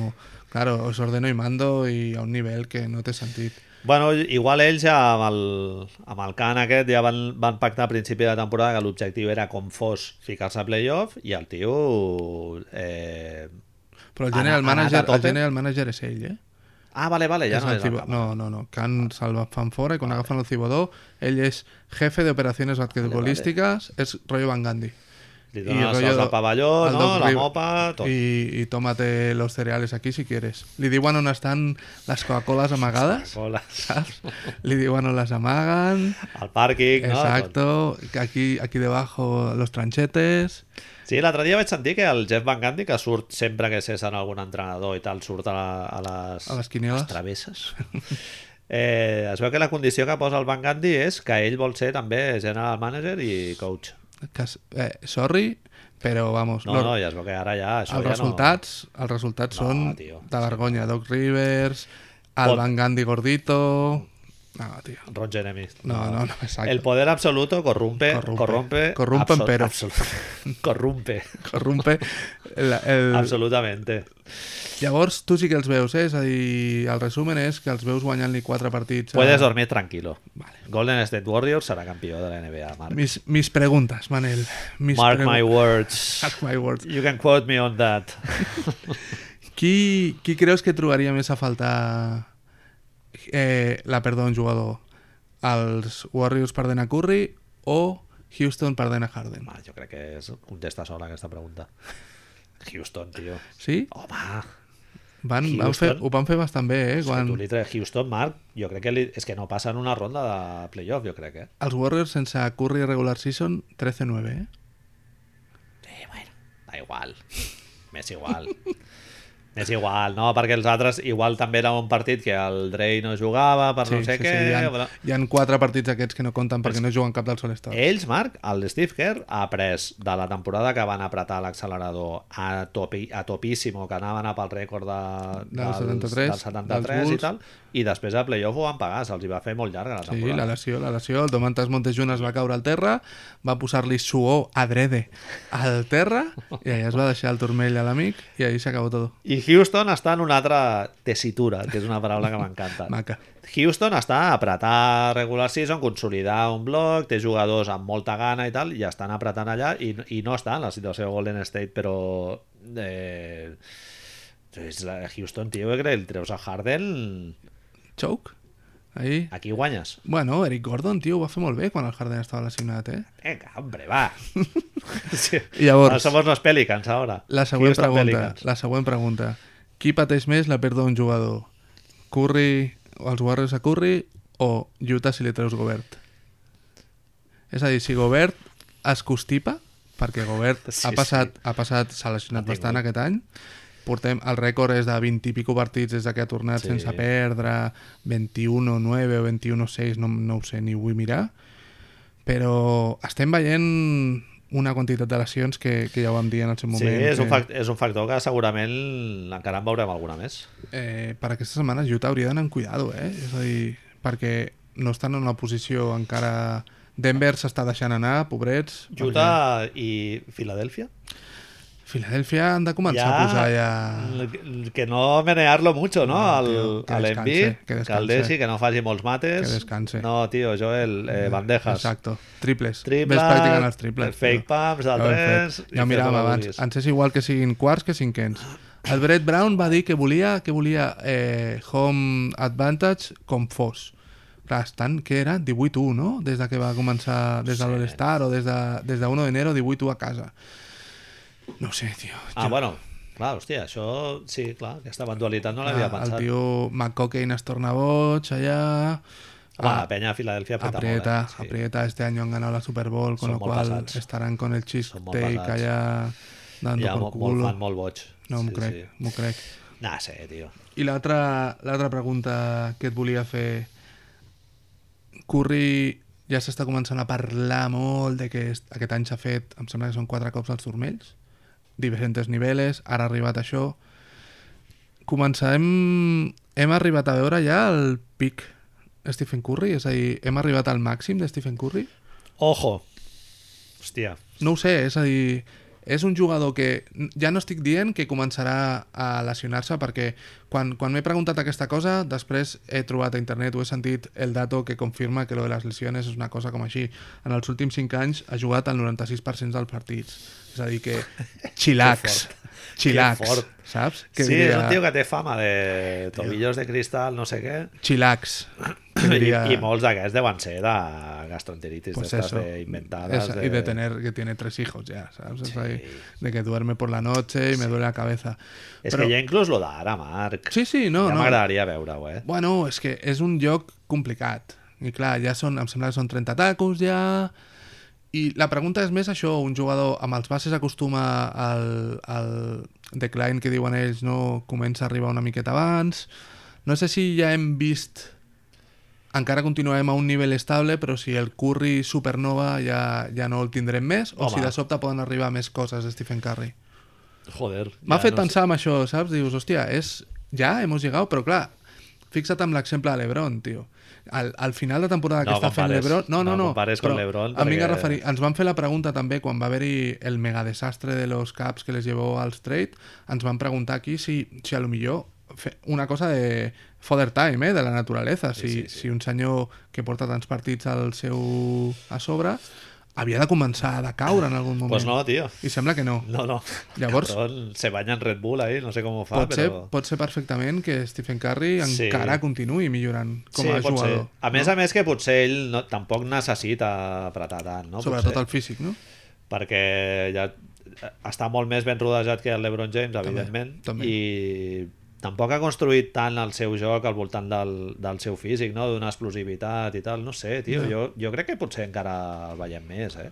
Speaker 2: claro, os ordeno y mando i a un nivell que no té sentit.
Speaker 1: Bueno, igual ells amb el, amb el Can aquest ja van, van pactar a principi de temporada que l'objectiu era com fos ficar-se a playoff i el tio... Eh...
Speaker 2: Però el
Speaker 1: Ha
Speaker 2: general,
Speaker 1: anat- ha anat a
Speaker 2: manager, el
Speaker 1: tope?
Speaker 2: general manager és ell, eh?
Speaker 1: Ah, vale, vale, ja
Speaker 2: És
Speaker 1: no és
Speaker 2: el
Speaker 1: el
Speaker 2: Thibodeau.
Speaker 1: Can.
Speaker 2: no, no, no. Can se'l va- fan fora i quan agafen el Cibodó, ell és jefe d'operacions basquetbolísticas, és rotllo Van Gandhi.
Speaker 1: Li donen els
Speaker 2: rotllo
Speaker 1: seus del pavelló,
Speaker 2: el
Speaker 1: no?
Speaker 2: Doc
Speaker 1: La
Speaker 2: Rivers.
Speaker 1: mopa, tot. I...
Speaker 2: I, i tómate los cereales aquí si quieres. Li diuen on estan les Coca-Coles amagades, saps? Li diuen on les amaguen,
Speaker 1: El pàrquing, no? Tot.
Speaker 2: exacto, que aquí, aquí debajo los tranchetes...
Speaker 1: Sí, l'altre dia vaig sentir que el Jeff Van Gundy, que surt sempre que cesen algun entrenador i tal, surt a, la, a les...
Speaker 2: A les quinieles.
Speaker 1: les travesses. Eh, es veu que la condició que posa el Van Gandhi és que ell vol ser també general manager i coach.
Speaker 2: Que, s- eh, sorry, però vamos,
Speaker 1: No,
Speaker 2: los-
Speaker 1: no, ja es veu que ara ja... Això
Speaker 2: els
Speaker 1: ja
Speaker 2: resultats, no... els resultats
Speaker 1: No,
Speaker 2: són
Speaker 1: tio.
Speaker 2: de vergonya. Doc Rivers, el
Speaker 1: Pot-
Speaker 2: Van Gandhi gordito... No, tio.
Speaker 1: No, Ron Jeremy.
Speaker 2: No, no, no, exacte.
Speaker 1: El poder absoluto corrompe...
Speaker 2: Corrompe.
Speaker 1: Corrompe...
Speaker 2: Corrompe
Speaker 1: absol-
Speaker 2: empero.
Speaker 1: absol- corrompe.
Speaker 2: Eh. Corrompe... El, el...
Speaker 1: Absolutamente.
Speaker 2: Llavors, tu sí que els veus, eh? És a dir, el resumen és que els veus guanyant-li quatre partits. a-
Speaker 1: Puedes dormir tranquilo. Golden State Warriors serà campió de la NBA, Marc.
Speaker 2: Mis, mis preguntes, Manel. Mis
Speaker 1: Mark
Speaker 2: pregu-
Speaker 1: my words.
Speaker 2: Mark my words.
Speaker 1: You can quote me on that.
Speaker 2: Qui, qui creus que trobaria més a faltar eh, la pèrdua d'un jugador. Els Warriors perden a Curry o Houston perdent a Harden.
Speaker 1: Home, jo crec que és contesta sola aquesta pregunta. Houston, tio.
Speaker 2: Sí?
Speaker 1: Home,
Speaker 2: Van, van
Speaker 1: Houston?
Speaker 2: fer, ho van fer bastant bé, eh?
Speaker 1: quan...
Speaker 2: Quan
Speaker 1: tu li treus Houston, Marc, jo crec que li... és que no passen una ronda de playoff, jo crec, eh?
Speaker 2: els Warriors sense Curry regular season, 13-9, eh?
Speaker 1: Sí, bueno, da igual. M'és igual. M'és igual, no? Perquè els altres igual també era un partit que el Drey no jugava per no sé què.
Speaker 2: Hi
Speaker 1: però-
Speaker 2: ha, hi ha quatre partits aquests que no compten perquè no juguen cap dels All-Stars.
Speaker 1: Ells, Marc, el Steve Kerr ha après de la temporada que van apretar l'accelerador a, topi, a topíssimo, que anaven a pel rècord de,
Speaker 2: Del 73,
Speaker 1: del 73
Speaker 2: dels
Speaker 1: i tal, i després a playoff ho van pagar, se'ls hi va fer molt llarga la
Speaker 2: Sí, la
Speaker 1: temporada.
Speaker 2: lesió, la lesió. El Domantas Montejun es va caure al terra, va posar-li suor adrede al terra i allà es va deixar el turmell a l'amic i ahí s'acabó tot.
Speaker 1: I Houston està en una altra tessitura, que és una paraula que m'encanta.
Speaker 2: Maca.
Speaker 1: Houston està a apretar regular season, consolidar un bloc, té jugadors amb molta gana i tal, i estan apretant allà, i, i no està en la situació de Golden State, però... Eh, és la Houston, tio, que el treus a Harden,
Speaker 2: Choke? Ahí.
Speaker 1: aquí guanyes.
Speaker 2: Bueno, Eric Gordon, tio, ho va fer molt bé quan el Harden estava lesionat, eh?
Speaker 1: Vinga, hombre, va. Sí.
Speaker 2: I llavors-
Speaker 1: No somos los Pelicans, ahora.
Speaker 2: La següent
Speaker 1: Houston
Speaker 2: pregunta,
Speaker 1: Pelicans.
Speaker 2: la següent pregunta. Qui pateix més la pèrdua d'un jugador? Curry, els Warriors a Curry o Utah si li treus Gobert? És a dir, si Gobert es constipa, perquè Gobert
Speaker 1: Sí,
Speaker 2: ha passat, ha passat s'ha lesionat
Speaker 1: Ha tingut.
Speaker 2: bastant aquest any, portem, el rècord és de 20 i pico partits des de que ha tornat
Speaker 1: Sí.
Speaker 2: sí. sense perdre, 21-9 o 21-6, no, no ho sé, ni ho vull mirar, però estem veient una quantitat de lesions que, que ja ho vam dir en el seu moment. eh?
Speaker 1: Sí, és
Speaker 2: que...
Speaker 1: un, fact, és un factor que segurament encara en veurem alguna més.
Speaker 2: Eh, per aquesta setmana Utah hauria d'anar amb cuidado, eh? És a dir, perquè no estan en una posició encara... Denver s'està deixant anar, pobrets.
Speaker 1: Utah i Filadèlfia?
Speaker 2: perquè Filadèlfia han de començar ja... a posar ja...
Speaker 1: l- Que no menear-lo mucho, ¿no?
Speaker 2: No,
Speaker 1: al
Speaker 2: tio, que
Speaker 1: al
Speaker 2: descanse,
Speaker 1: Embiid,
Speaker 2: que
Speaker 1: que,
Speaker 2: descanse.
Speaker 1: al Desi, que no faci molts mates.
Speaker 2: Que descanse.
Speaker 1: No, tío, Joel, eh, bandejas.
Speaker 2: Exacte, triples.
Speaker 1: Triples,
Speaker 2: Ves practicant els triples.
Speaker 1: fake pumps, del
Speaker 2: Ja ho hem
Speaker 1: tres,
Speaker 2: fet.
Speaker 1: i
Speaker 2: Ja
Speaker 1: fes el
Speaker 2: ho miràvem
Speaker 1: que
Speaker 2: abans.
Speaker 1: vulguis.
Speaker 2: Ens és igual que siguin quarts que cinquens. El Brett Brown va dir que volia que volia eh, home advantage com fos. Clar, estan, que era? 18-1, no? Des de que va començar, des de
Speaker 1: Sí.
Speaker 2: l'All-Star o des de, des de 1 d'enero, 18-1 a casa. No ho sé, tio.
Speaker 1: Ah, bueno, clar, hòstia, això... Sí, clar, aquesta eventualitat no l'havia
Speaker 2: el
Speaker 1: pensat.
Speaker 2: tio McCocaine es torna boig allà...
Speaker 1: Home,
Speaker 2: Ah,
Speaker 1: la penya a Filadèlfia apreta,
Speaker 2: aprieta,
Speaker 1: molt, eh? Sí.
Speaker 2: aprieta. Este año han ganado la Super Bowl, con
Speaker 1: Son
Speaker 2: lo
Speaker 1: molt
Speaker 2: cual
Speaker 1: pesats.
Speaker 2: estarán con el
Speaker 1: Son molt
Speaker 2: cheesecake
Speaker 1: pesats.
Speaker 2: allá dando
Speaker 1: Hi ha
Speaker 2: por
Speaker 1: molt, molt
Speaker 2: culo.
Speaker 1: fan molt boig.
Speaker 2: no m'ho
Speaker 1: Sí,
Speaker 2: crec,
Speaker 1: sí.
Speaker 2: m'ho crec.
Speaker 1: No sé, tio.
Speaker 2: I l'altra l'altra pregunta que et volia fer... Curry ja s'està començant a parlar molt de que est- aquest any s'ha fet, em sembla que són quatre cops els turmells, diferents nivells, ara ha arribat això... Començarem... Hem arribat a veure ja el pic Stephen Curry? És a dir, hem arribat al màxim de Stephen Curry?
Speaker 1: Ojo. Hòstia,
Speaker 2: No ho sé, és a dir, és un jugador que ja no estic dient que començarà a lesionar-se perquè quan, quan m'he preguntat aquesta cosa després he trobat a internet, ho he sentit el dato que confirma que lo de les lesiones és una cosa com així. En els últims 5 anys ha jugat el 96% dels partits. És a dir que chillax,
Speaker 1: Que
Speaker 2: chillax,
Speaker 1: fort.
Speaker 2: saps?
Speaker 1: sí, és un tio que té fama de tobillos de cristal, no sé què.
Speaker 2: Chillax. que diria-
Speaker 1: I, I molts d'aquests deuen ser de gastroenteritis
Speaker 2: Pues
Speaker 1: pues
Speaker 2: eso.
Speaker 1: de inventades. eh.
Speaker 2: Esa-
Speaker 1: de...
Speaker 2: Y de tener que tiene tres hijos ya, ¿sabes? Es ahí, de que duerme por la noche y me duele la cabeza.
Speaker 1: És
Speaker 2: Però-
Speaker 1: que ja inclús lo d'ara, Marc.
Speaker 2: Sí, sí, no,
Speaker 1: ja
Speaker 2: no.
Speaker 1: m'agradaria veure-ho, eh?
Speaker 2: Bueno, és que és un lloc complicat. I clar, ja són, em sembla que són 30 tacos ja... I la pregunta és més això, un jugador amb els bases acostuma al, al decline que diuen ells, no comença a arribar una miqueta abans. No sé si ja hem vist... Encara continuem a un nivell estable, però si el Curry supernova ja, ja no el tindrem més, o
Speaker 1: Home.
Speaker 2: si de sobte poden arribar més coses de Stephen Curry.
Speaker 1: Joder.
Speaker 2: M'ha
Speaker 1: ja
Speaker 2: fet
Speaker 1: no sé.
Speaker 2: pensar en això, saps? Dius, hòstia, és... ja hemos llegado, però clar, fixa't amb l'exemple de l'Ebron, tio. Al, al final de temporada que
Speaker 1: No
Speaker 2: està fent
Speaker 1: compares.
Speaker 2: l'Ebron... No, no,
Speaker 1: No
Speaker 2: no.
Speaker 1: compares con
Speaker 2: però
Speaker 1: LeBron
Speaker 2: A mi
Speaker 1: perquè-
Speaker 2: referir... Ens van fer la pregunta també quan va haver-hi el megadesastre de los caps que les llevó als trade. Ens van preguntar aquí si, si a lo millor fe- una cosa de father time, eh? de la naturaleza. Si,
Speaker 1: sí, sí.
Speaker 2: si un senyor que porta tants partits al seu... a sobre havia de començar a decaure en algun moment.
Speaker 1: Pues no, tio.
Speaker 2: I sembla que no.
Speaker 1: No, no.
Speaker 2: Llavors-
Speaker 1: Cabrón, se banya en Red Bull ahí, no sé com ho fa,
Speaker 2: pot, ser,
Speaker 1: però...
Speaker 2: pot ser perfectament que Stephen Curry
Speaker 1: Sí.
Speaker 2: encara continuï millorant com
Speaker 1: sí,
Speaker 2: a
Speaker 1: pot
Speaker 2: jugador.
Speaker 1: Ser. A més a més que potser ell no, tampoc necessita apretar tant, no?
Speaker 2: Sobretot
Speaker 1: potser,
Speaker 2: el físic, no?
Speaker 1: Perquè ja eh, està molt més ben rodejat que el LeBron James, evidentment,
Speaker 2: també.
Speaker 1: i tampoc ha construït tant el seu joc al voltant del, del seu físic, no? d'una explosivitat i tal, no sé, tio,
Speaker 2: Ja.
Speaker 1: jo, jo crec que potser encara el veiem més, eh?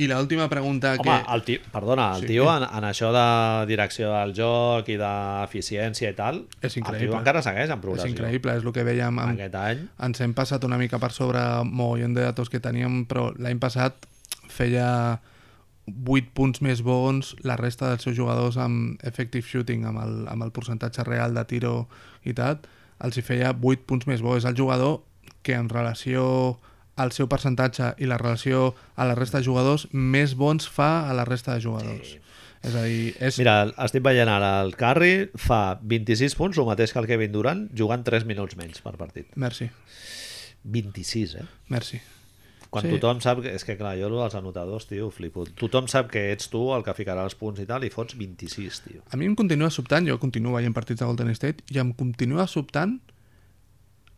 Speaker 2: I l'última pregunta
Speaker 1: Home,
Speaker 2: que...
Speaker 1: el tio, perdona, el
Speaker 2: Sí.
Speaker 1: tio en, en això de direcció del joc i d'eficiència i tal,
Speaker 2: És
Speaker 1: el
Speaker 2: increïble.
Speaker 1: tio encara segueix en
Speaker 2: És
Speaker 1: progressió.
Speaker 2: increïble, és el que vèiem amb,
Speaker 1: Aquest any,
Speaker 2: ens hem passat una mica per sobre mogollon de datos que teníem, però l'any passat feia 8 punts més bons la resta dels seus jugadors amb effective shooting, amb el, amb el percentatge real de tiro i tal, els hi feia 8 punts més bons. És el jugador que en relació al seu percentatge i la relació a la resta de jugadors més bons fa a la resta de jugadors. És a dir, és...
Speaker 1: Mira, estic veient ara el Curry fa 26 punts, el mateix que el Kevin Durant, jugant 3 minuts menys per partit.
Speaker 2: Merci,
Speaker 1: 26, eh?
Speaker 2: merci.
Speaker 1: Quan
Speaker 2: Sí.
Speaker 1: sí. tothom sap... Que, és que clar, jo lo dels anotadors, tio, flipo. Tothom sap que ets tu el que ficarà els punts i tal, i fots 26, tio.
Speaker 2: A mi em continua sobtant, jo continuo veient partits de Golden State, i em continua sobtant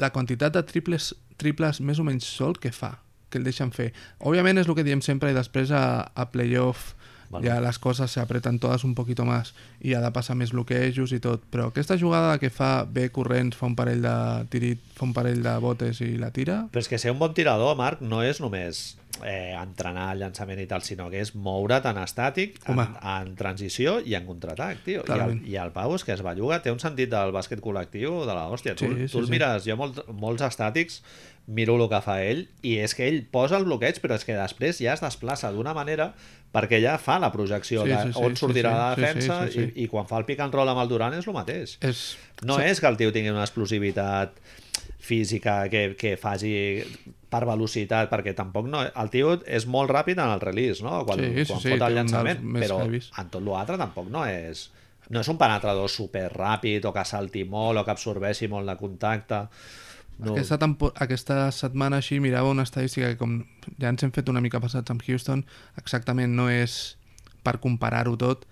Speaker 2: la quantitat de triples, triples més o menys sol que fa, que el deixen fer. Òbviament és el que diem sempre i després a, a playoff
Speaker 1: Vale.
Speaker 2: ja les coses s'apreten totes un poquito més i ha de passar més bloquejos i tot, però aquesta jugada que fa bé corrents, fa un parell de tirit, fa un parell de botes i la tira,
Speaker 1: Però és que ser un bon tirador, Marc, no és només eh, entrenar el llançament i tal, sinó que és moure't en estàtic, en,
Speaker 2: Home.
Speaker 1: en transició i en contraatac, tio. I el,
Speaker 2: Clarament.
Speaker 1: I el Pau és que es belluga, té un sentit del bàsquet col·lectiu de la hòstia.
Speaker 2: Sí,
Speaker 1: tu
Speaker 2: sí,
Speaker 1: tu el
Speaker 2: sí.
Speaker 1: mires, jo molt, molts estàtics miro el que fa ell i és que ell posa el bloqueig però és que després ja es desplaça d'una manera perquè ja fa la projecció
Speaker 2: Sí,
Speaker 1: sí, sí,
Speaker 2: sí, sí,
Speaker 1: on
Speaker 2: sí,
Speaker 1: sortirà
Speaker 2: sí,
Speaker 1: la
Speaker 2: sí, sí,
Speaker 1: defensa
Speaker 2: sí, sí.
Speaker 1: I, i quan fa el pick and roll amb el Durant és el mateix
Speaker 2: és...
Speaker 1: no és que el tio tingui una explosivitat física que, que faci per velocitat, perquè tampoc no... El tio és molt ràpid en el release, no? Quan,
Speaker 2: Sí, sí,
Speaker 1: quan
Speaker 2: sí,
Speaker 1: fot
Speaker 2: té un
Speaker 1: el
Speaker 2: dels
Speaker 1: llançament,
Speaker 2: més
Speaker 1: però
Speaker 2: heavies.
Speaker 1: en tot l'altre tampoc no és... No és un penetrador super ràpid o que salti molt o que absorbeixi molt de contacte. No,
Speaker 2: Aquesta, tempo, aquesta setmana així mirava una estadística que com ja ens hem fet una mica passats amb Houston, exactament no és per comparar-ho tot.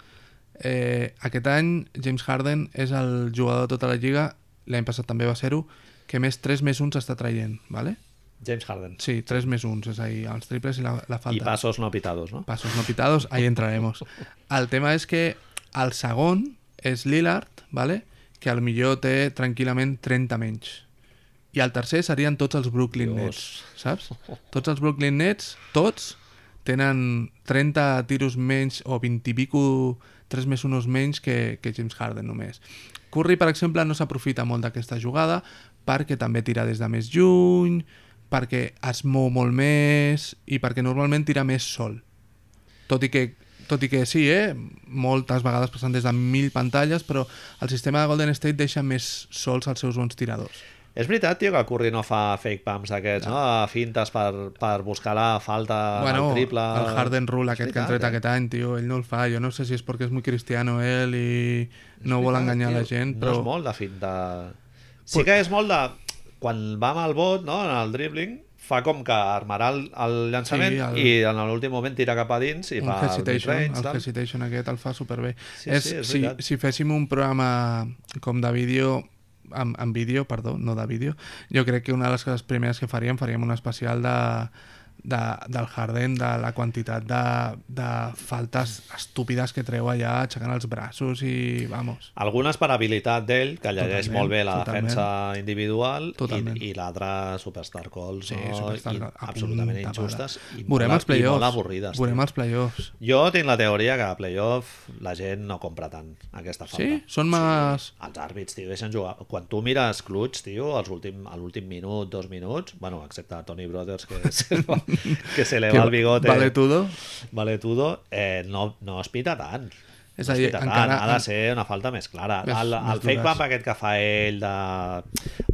Speaker 2: Eh, aquest any James Harden és el jugador de tota la lliga, l'any passat també va ser-ho, que més 3 més 1 està traient, ¿vale?
Speaker 1: James Harden.
Speaker 2: Sí, 3 més 1, és a dir, els triples i la, la falta.
Speaker 1: I passos no pitados, no?
Speaker 2: Pasos no pitados, ahí entraremos. El tema és que el segon és Lillard, ¿vale? que al millor té tranquil·lament 30 menys. I el tercer serien tots els Brooklyn Nets, saps? Tots els Brooklyn Nets, tots, tenen 30 tiros menys o 20 i pico, 3 més 1 menys que, que James Harden només. Curry, per exemple, no s'aprofita molt d'aquesta jugada perquè també tira des de més lluny, perquè es mou molt més i perquè normalment tira més sol. Tot i que, tot i que sí, eh? moltes vegades passen des de mil pantalles, però el sistema de Golden State deixa més sols els seus bons tiradors.
Speaker 1: És veritat, tio, que Curry no fa fake pumps d'aquests, no? Fintes per, per buscar la falta,
Speaker 2: bueno,
Speaker 1: el triple...
Speaker 2: el Harden Rule
Speaker 1: És
Speaker 2: aquest que han
Speaker 1: veritat, eh?
Speaker 2: tret aquest any, tio, ell no el fa. Jo no sé si és perquè és muy cristiano ell i no vol
Speaker 1: veritat,
Speaker 2: enganyar la
Speaker 1: Ah, tio.
Speaker 2: gent,
Speaker 1: No
Speaker 2: però...
Speaker 1: és molt de finta... Sí que és molt de... Quan va amb el bot, no?, en el dribbling, fa com que armarà el, el llançament
Speaker 2: Sí, el-
Speaker 1: sí, el... i en l'últim moment tira cap a dins i
Speaker 2: un
Speaker 1: fa el
Speaker 2: hesitation, el,
Speaker 1: midrange, tal.
Speaker 2: hesitation aquest el fa superbé.
Speaker 1: Sí,
Speaker 2: és,
Speaker 1: sí, és
Speaker 2: si,
Speaker 1: veritat.
Speaker 2: si féssim un programa com de vídeo, amb, amb vídeo, perdó, no de vídeo, jo crec que una de les coses primeres que faríem, faríem un especial de, de, del Harden, de la quantitat de, de faltes estúpides que treu allà aixecant els braços i, vamos,
Speaker 1: Algunes per habilitat d'ell, que llegeix
Speaker 2: Totalment,
Speaker 1: molt bé la
Speaker 2: totalment.
Speaker 1: defensa individual,
Speaker 2: Totalment.
Speaker 1: i, i l'altra Superstar Calls,
Speaker 2: sí,
Speaker 1: no?
Speaker 2: superstar,
Speaker 1: I,
Speaker 2: a punt
Speaker 1: absolutament
Speaker 2: de parar.
Speaker 1: injustes i
Speaker 2: Veurem els
Speaker 1: molt, i
Speaker 2: playoffs.
Speaker 1: molt avorrides. tio.
Speaker 2: Veurem els playoffs.
Speaker 1: Jo tinc la teoria que a playoff la gent no compra tant aquesta falta.
Speaker 2: Sí? Són més...
Speaker 1: els àrbits, tio, deixen jugar. Quan tu mires clutch, tio, als últim, a l'últim minut, dos minuts, bueno, excepte a Tony Brothers, que se, que se le va el bigote.
Speaker 2: Vale todo.
Speaker 1: Vale tudo, eh, no, no es pita tant.
Speaker 2: És
Speaker 1: no
Speaker 2: a
Speaker 1: es
Speaker 2: dir,
Speaker 1: pita
Speaker 2: encara-
Speaker 1: tant. Ha de ser una falta més clara.
Speaker 2: Més-
Speaker 1: el,
Speaker 2: més
Speaker 1: el fake
Speaker 2: dures.
Speaker 1: bump aquest que fa ell, de...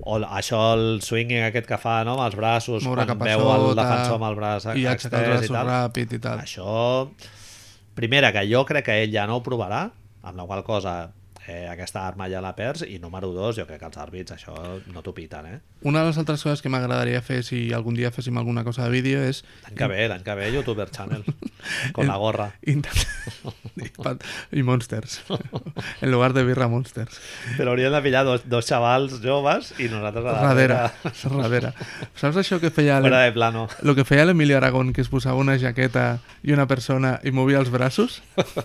Speaker 1: o el- això, el swinging aquest que fa no, amb els braços,
Speaker 2: Moure
Speaker 1: quan
Speaker 2: cap a
Speaker 1: veu el
Speaker 2: sota
Speaker 1: defensor amb el braç
Speaker 2: i aixecar els
Speaker 1: extès i
Speaker 2: braços
Speaker 1: tal.
Speaker 2: ràpid i tal.
Speaker 1: Això, primera, que jo crec que ell ja no ho provarà, amb la qual cosa eh, aquesta arma ja la perds i número dos, jo crec que els àrbits això no t'ho piten, eh?
Speaker 2: Una de les altres coses que m'agradaria fer si algun dia féssim alguna cosa de vídeo és
Speaker 1: L'any que ve, l'any que ve, YouTuber Channel, con la gorra.
Speaker 2: Intent- y, pat- y Monsters. en lugar de birra Monsters.
Speaker 1: Però hauríem de pillar dos, dos xavals joves i nosaltres a
Speaker 2: Radera. Radera. Saps això que feia
Speaker 1: Fora
Speaker 2: l'E-
Speaker 1: de plano.
Speaker 2: lo que feia l'Emilio Aragón, que es posava una jaqueta i una persona i movia els braços?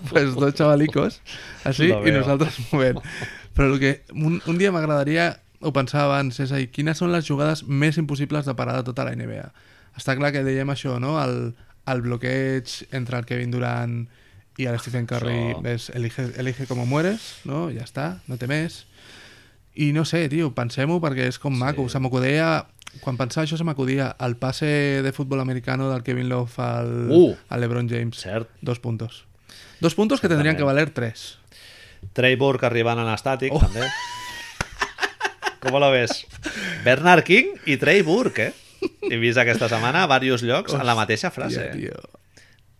Speaker 2: pues dos xavalicos, així,
Speaker 1: Lo
Speaker 2: i
Speaker 1: veo.
Speaker 2: nosaltres movent. Però el que un, un dia m'agradaria, ho pensava abans, és a dir, quines són les jugades més impossibles de parar de tota la NBA? Està clar que dèiem això, no? El, el bloqueig entre el Kevin Durant i el Stephen Curry,
Speaker 1: Això.
Speaker 2: ves, elige, elige como mueres, no? Ja està, no té més. I no sé, tio, pensem-ho perquè és com maco. Se m'acudia... Quan pensava això se m'acudia el passe de futbol americano del Kevin Love al,
Speaker 1: Uh!
Speaker 2: al LeBron James.
Speaker 1: Cert.
Speaker 2: Dos puntos. Dos puntos que tendrían que valer tres.
Speaker 1: Trey Burke arribant en estàtic, oh. també. Com lo ves? Bernard King i Trey Burke, eh? He vist aquesta setmana a diversos llocs en la mateixa frase.
Speaker 2: Hostia, tío.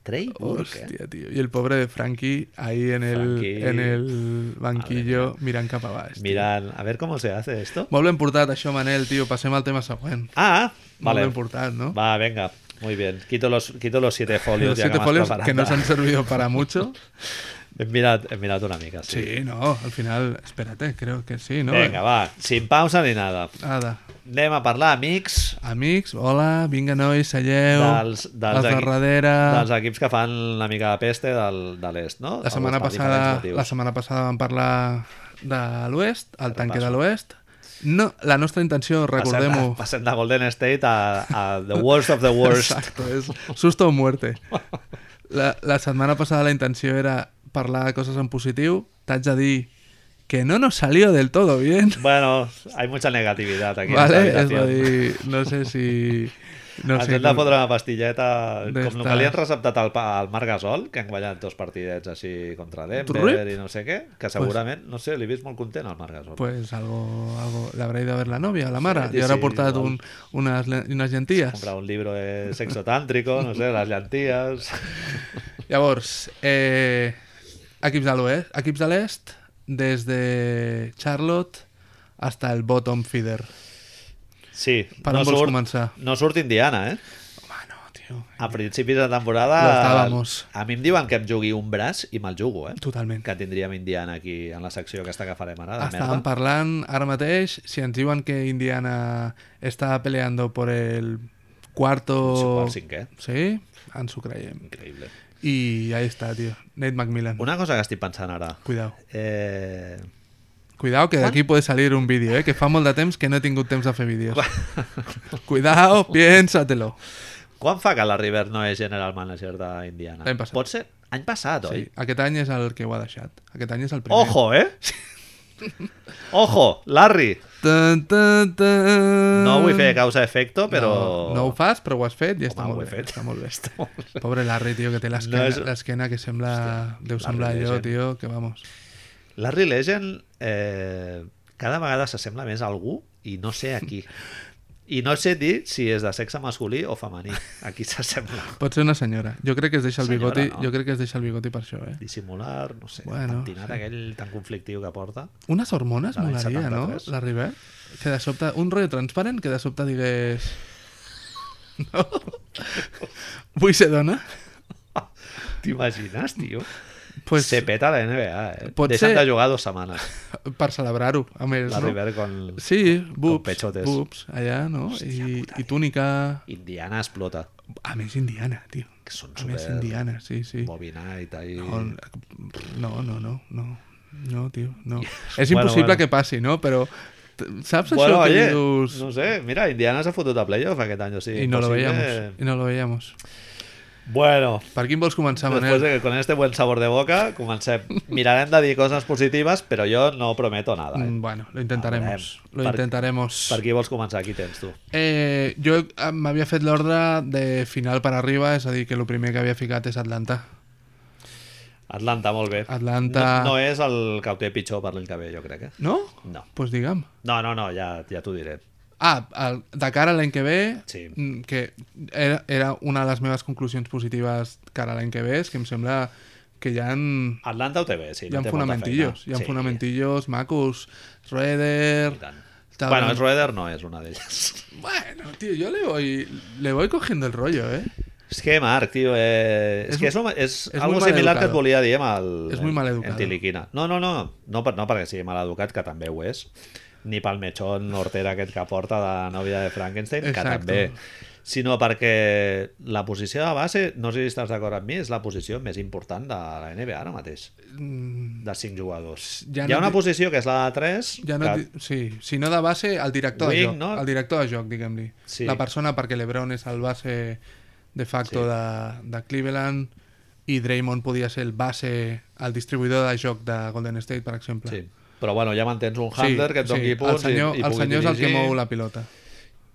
Speaker 1: Trey Burke, Ah, eh?
Speaker 2: Hostia, tío. Y el pobre de Frankie ahí en el,
Speaker 1: Frankie.
Speaker 2: en el banquillo mirant cap a baix. Mira.
Speaker 1: Mirant, a ver cómo se hace esto.
Speaker 2: Molt ben portat, això, Manel, tio. Passem al tema següent.
Speaker 1: Ah,
Speaker 2: Molt
Speaker 1: vale.
Speaker 2: ben portat, no?
Speaker 1: Va, venga. Muy bien. Quito los, quito los siete folios.
Speaker 2: Los
Speaker 1: ya
Speaker 2: siete
Speaker 1: que m'has
Speaker 2: folios
Speaker 1: preparat.
Speaker 2: que nos han servido para mucho.
Speaker 1: Hem mirat, hem mirat una mica, sí.
Speaker 2: Sí, no, al final, espérate, creo que sí, ¿no?
Speaker 1: Vinga, va. Sin pausa ni nada.
Speaker 2: Nada.
Speaker 1: Anem a parlar, amics,
Speaker 2: Amics, hola, vinga, nois, seieu,
Speaker 1: dels, dels,
Speaker 2: els de
Speaker 1: equi-
Speaker 2: darrere...
Speaker 1: dels equips que fan una mica de peste del, de l'est, no?
Speaker 2: La setmana,
Speaker 1: Els
Speaker 2: passada,
Speaker 1: administratius.
Speaker 2: la setmana passada vam parlar de l'Oest, el tanque
Speaker 1: Repasso.
Speaker 2: de l'Oest. No, la nostra intenció,
Speaker 1: Passem de-
Speaker 2: recordem-ho...
Speaker 1: Passem de Golden State a, a The Worst of the Worst.
Speaker 2: Exacto, és susto o muerte. La, la setmana passada la intenció era parlar de coses en positiu. T'haig de dir que no nos salió del todo bien.
Speaker 1: Bueno, hay mucha negatividad aquí. en
Speaker 2: Vale,
Speaker 1: esta
Speaker 2: és a
Speaker 1: habitación.
Speaker 2: dir, no sé si... No
Speaker 1: Ens
Speaker 2: sé,
Speaker 1: hem de
Speaker 2: com-
Speaker 1: fotre una pastilleta com el
Speaker 2: D'estes.
Speaker 1: que li han receptat al, pa- al Marc Gasol que han guanyat dos partidets així contra Denver
Speaker 2: Truip.
Speaker 1: i no sé què, que segurament no sé, l'he vist molt content al Marc Gasol
Speaker 2: Pues algo, algo le habrá ido a ver la novia, la Mara.
Speaker 1: Sí,
Speaker 2: y habrá
Speaker 1: sí,
Speaker 2: portado
Speaker 1: igual.
Speaker 2: un- unas, le- unas llentillas.
Speaker 1: comprar un llibre de sexo tàntrico, no sé, les llenties
Speaker 2: Llavors, eh, equips de l'oest, equips de l'est, des de Charlotte hasta el bottom feeder.
Speaker 1: sí,
Speaker 2: Per on vols començar?
Speaker 1: no surt Indiana, eh?
Speaker 2: Home, no, tio.
Speaker 1: A principis de temporada
Speaker 2: Lo estábamos.
Speaker 1: a mi em diuen que em jugui un braç i me'l jugo, eh?
Speaker 2: Totalment.
Speaker 1: que tindríem Indiana aquí en la secció aquesta que farem ara de
Speaker 2: Estàvem
Speaker 1: merda.
Speaker 2: parlant ara mateix, si ens diuen que Indiana està peleando por el
Speaker 1: O...
Speaker 2: cuarto...
Speaker 1: El cinquè.
Speaker 2: Sí, ens ho creiem.
Speaker 1: Increïble.
Speaker 2: I ahí està, tio. Nate McMillan.
Speaker 1: Una cosa que estic pensant ara.
Speaker 2: Cuidao.
Speaker 1: Eh...
Speaker 2: Cuidao, que d'aquí puede salir un vídeo, eh? Que fa molt de temps que no he tingut temps de fer vídeos. Cuidao, piénsatelo.
Speaker 1: Quan fa que la River no és general manager d'Indiana?
Speaker 2: L'any passat.
Speaker 1: Pot ser any passat, oi?
Speaker 2: Sí, aquest any és el que ho ha deixat. Aquest any és el primer.
Speaker 1: Ojo, eh? Ojo, Larry!
Speaker 2: Tan, tan, tan.
Speaker 1: No vull fer causa efecto, però...
Speaker 2: Mm, No, no ho fas, però ho has fet i està
Speaker 1: Home, ho
Speaker 2: molt
Speaker 1: he
Speaker 2: bé.
Speaker 1: fet.
Speaker 2: Està molt bé. Pobre Larry, tio, que té
Speaker 1: No
Speaker 2: l'esquena
Speaker 1: és-
Speaker 2: l'esquena que sembla... Deu
Speaker 1: Larry
Speaker 2: semblar allò,
Speaker 1: Legend.
Speaker 2: tio, que vamos.
Speaker 1: Larry Legend eh, cada vegada s'assembla més a algú i no sé aquí. I no sé dir si és de sexe masculí o femení. Aquí s'assembla.
Speaker 2: Pot ser una senyora. Jo crec que es deixa el
Speaker 1: Senyora,
Speaker 2: bigoti,
Speaker 1: no.
Speaker 2: jo crec que es deixa el bigoti per això, eh?
Speaker 1: Dissimular, no sé, bueno,
Speaker 2: Bueno,
Speaker 1: pentinat
Speaker 2: sí.
Speaker 1: aquell tan conflictiu que porta.
Speaker 2: Unes hormones
Speaker 1: De l'any
Speaker 2: molaria, no?
Speaker 1: 73.
Speaker 2: La River? Que de sobte... Un rotllo transparent que de sobte digués... No? Vull ser dona?
Speaker 1: T'imagines, tio? Pues,
Speaker 2: Pues,
Speaker 1: Se peta la NBA, eh?
Speaker 2: pot
Speaker 1: Deixen
Speaker 2: ser-
Speaker 1: de jugar dues setmanes.
Speaker 2: Per celebrar-ho, a més,
Speaker 1: La
Speaker 2: no?
Speaker 1: River con...
Speaker 2: Sí, boobs,
Speaker 1: pechotes.
Speaker 2: boobs, allà, no? I,
Speaker 1: eh.
Speaker 2: i túnica...
Speaker 1: Indiana explota.
Speaker 2: A més, indiana, tio.
Speaker 1: Que són
Speaker 2: A més,
Speaker 1: super...
Speaker 2: indiana, sí, sí.
Speaker 1: Bobby Knight ahí...
Speaker 2: No, no, no, no, no. No, tio, no. És
Speaker 1: Bueno,
Speaker 2: impossible
Speaker 1: bueno.
Speaker 2: que passi, no? Però t- saps
Speaker 1: Bueno,
Speaker 2: això que
Speaker 1: oye,
Speaker 2: dius...
Speaker 1: no sé, mira, Indiana s'ha fotut a playoff aquest any, o sigui...
Speaker 2: I no lo
Speaker 1: impossible.
Speaker 2: veíamos, i no lo veíamos.
Speaker 1: Bueno,
Speaker 2: Per quin vols començar,
Speaker 1: Después
Speaker 2: Manel?
Speaker 1: de que con este buen sabor de boca comencem. Mirarem de dir coses positives, però jo no prometo nada. Eh?
Speaker 2: Mm, Bueno, lo intentaremos.
Speaker 1: Veurem.
Speaker 2: Lo
Speaker 1: Per-
Speaker 2: intentaremos.
Speaker 1: Per qui vols començar? Qui tens tu?
Speaker 2: Eh, jo eh, m'havia fet l'ordre de final per arriba, és a dir, que el primer que havia ficat és Atlanta.
Speaker 1: Atlanta, molt bé.
Speaker 2: Atlanta-
Speaker 1: No, no és el que ho té pitjor per l'any que ve, jo crec. Eh?
Speaker 2: No?
Speaker 1: No.
Speaker 2: Doncs pues digue'm.
Speaker 1: No, no, no, ja, ja t'ho diré.
Speaker 2: Ah, el, de cara a l'any que ve,
Speaker 1: Sí.
Speaker 2: mm, que era, era una de les meves conclusions positives cara a l'any que ve, és que em sembla que ja han...
Speaker 1: Atlanta o TV, sí.
Speaker 2: Hi ha
Speaker 1: té molta
Speaker 2: fonamentillos, hi
Speaker 1: feina.
Speaker 2: ha
Speaker 1: Sí.
Speaker 2: fonamentillos macos. Rueder...
Speaker 1: I tant.
Speaker 2: tal-
Speaker 1: Bueno, es Roeder no es una de ellas.
Speaker 2: Bueno, tío, yo le voy, le voy cogiendo el rollo, ¿eh?
Speaker 1: Es que, Marc, tío, eh, es,
Speaker 2: Es
Speaker 1: que
Speaker 2: mu-
Speaker 1: és, un- és,
Speaker 2: és
Speaker 1: algo
Speaker 2: molt mal
Speaker 1: similar que et
Speaker 2: educado.
Speaker 1: volia dir amb el,
Speaker 2: És molt mal educado.
Speaker 1: en Tiliquina. No, no, no, no, per, no perquè sigui mal educat, que també ho és, ni pel metxon hortera aquest que porta de nòvia de Frankenstein, que
Speaker 2: Exacto.
Speaker 1: també sinó perquè la posició de base, no sé si estàs d'acord amb mi, és la posició més important de la NBA ara mateix,
Speaker 2: Mm,
Speaker 1: de cinc jugadors.
Speaker 2: Ja
Speaker 1: Hi ha
Speaker 2: no
Speaker 1: una
Speaker 2: di-
Speaker 1: posició que és la de 3,
Speaker 2: Ja no,
Speaker 1: que
Speaker 2: et di- sí, si no de base, al director
Speaker 1: Wing,
Speaker 2: de joc,
Speaker 1: no?
Speaker 2: al director de joc, diguem-li.
Speaker 1: Sí.
Speaker 2: La persona, perquè LeBron és el base de facto
Speaker 1: Sí.
Speaker 2: de, de Cleveland i Draymond podia ser el base, el distribuïdor de joc de Golden State, per exemple.
Speaker 1: sí. però bueno, ja mantens un handler que et doni
Speaker 2: el
Speaker 1: punts
Speaker 2: senyor,
Speaker 1: i, i
Speaker 2: el
Speaker 1: pugui
Speaker 2: senyor és el que
Speaker 1: dirigir.
Speaker 2: mou la pilota.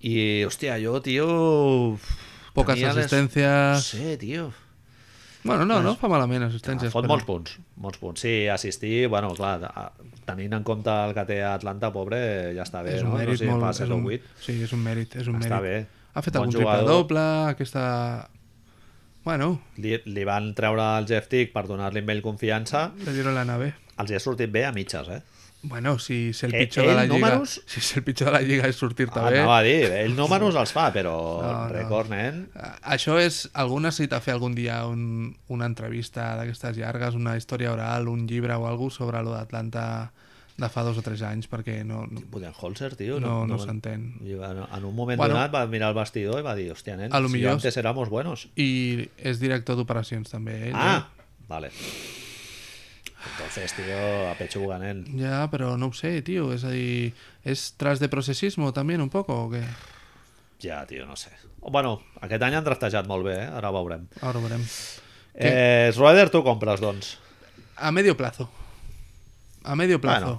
Speaker 1: I, hòstia, jo, tio...
Speaker 2: Poques
Speaker 1: tenia les- No
Speaker 2: assistències...
Speaker 1: sé, tio.
Speaker 2: Bueno, no, no fa malament assistències.
Speaker 1: Fot
Speaker 2: però-
Speaker 1: molts punts, molts punts. Sí, assistir, bueno, clar, a- tenint en compte el que té Atlanta, pobre, ja està bé,
Speaker 2: és un
Speaker 1: eh, no? no
Speaker 2: mèrit
Speaker 1: sé,
Speaker 2: molt...
Speaker 1: Fa 6
Speaker 2: és
Speaker 1: o
Speaker 2: un,
Speaker 1: 8,
Speaker 2: sí, és un mèrit, és un
Speaker 1: està
Speaker 2: mèrit.
Speaker 1: bé.
Speaker 2: Ha fet
Speaker 1: Bon
Speaker 2: algun
Speaker 1: jugador.
Speaker 2: triple doble, aquesta... Bueno,
Speaker 1: Li, li van treure el Jeff Tick per donar-li amb ell confiança.
Speaker 2: le dieron la nave.
Speaker 1: Els hi ha sortit bé a mitges, eh?
Speaker 2: Bueno, si és el
Speaker 1: Eh,
Speaker 2: pitjor
Speaker 1: ell,
Speaker 2: de la lliga...
Speaker 1: números?
Speaker 2: Si és el pitjor de la lliga és sortir-te
Speaker 1: Ah,
Speaker 2: bé...
Speaker 1: anava a dir, ell números els fa, però
Speaker 2: No,
Speaker 1: no,
Speaker 2: no.
Speaker 1: record, nen...
Speaker 2: A- Això és... Algú necessita fer algun dia un, una entrevista d'aquestes llargues, una història oral, un llibre o alguna sobre lo d'Atlanta de fa dos o tres anys, perquè no... no...
Speaker 1: Budenholzer, tio...
Speaker 2: No, no s'entén.
Speaker 1: I va- En un moment
Speaker 2: Bueno.
Speaker 1: donat va mirar el vestidor i va dir, hòstia, nen,
Speaker 2: A lo
Speaker 1: si
Speaker 2: millor-
Speaker 1: antes éramos buenos.
Speaker 2: I és director d'operacions, també, eh, ell.
Speaker 1: Ah, vale. Entonces, tío, apechugan él.
Speaker 2: eh? Ja, però no ho sé, tio. És a dir, és tras de processismo, també, un poc, o què?
Speaker 1: Ja, tio, no sé. Bueno, aquest any han draftejat molt bé, eh? ara ho veurem.
Speaker 2: Ara ho veurem.
Speaker 1: Eh, Schroeder, tu compres, doncs.
Speaker 2: A medio plazo. A medio plazo.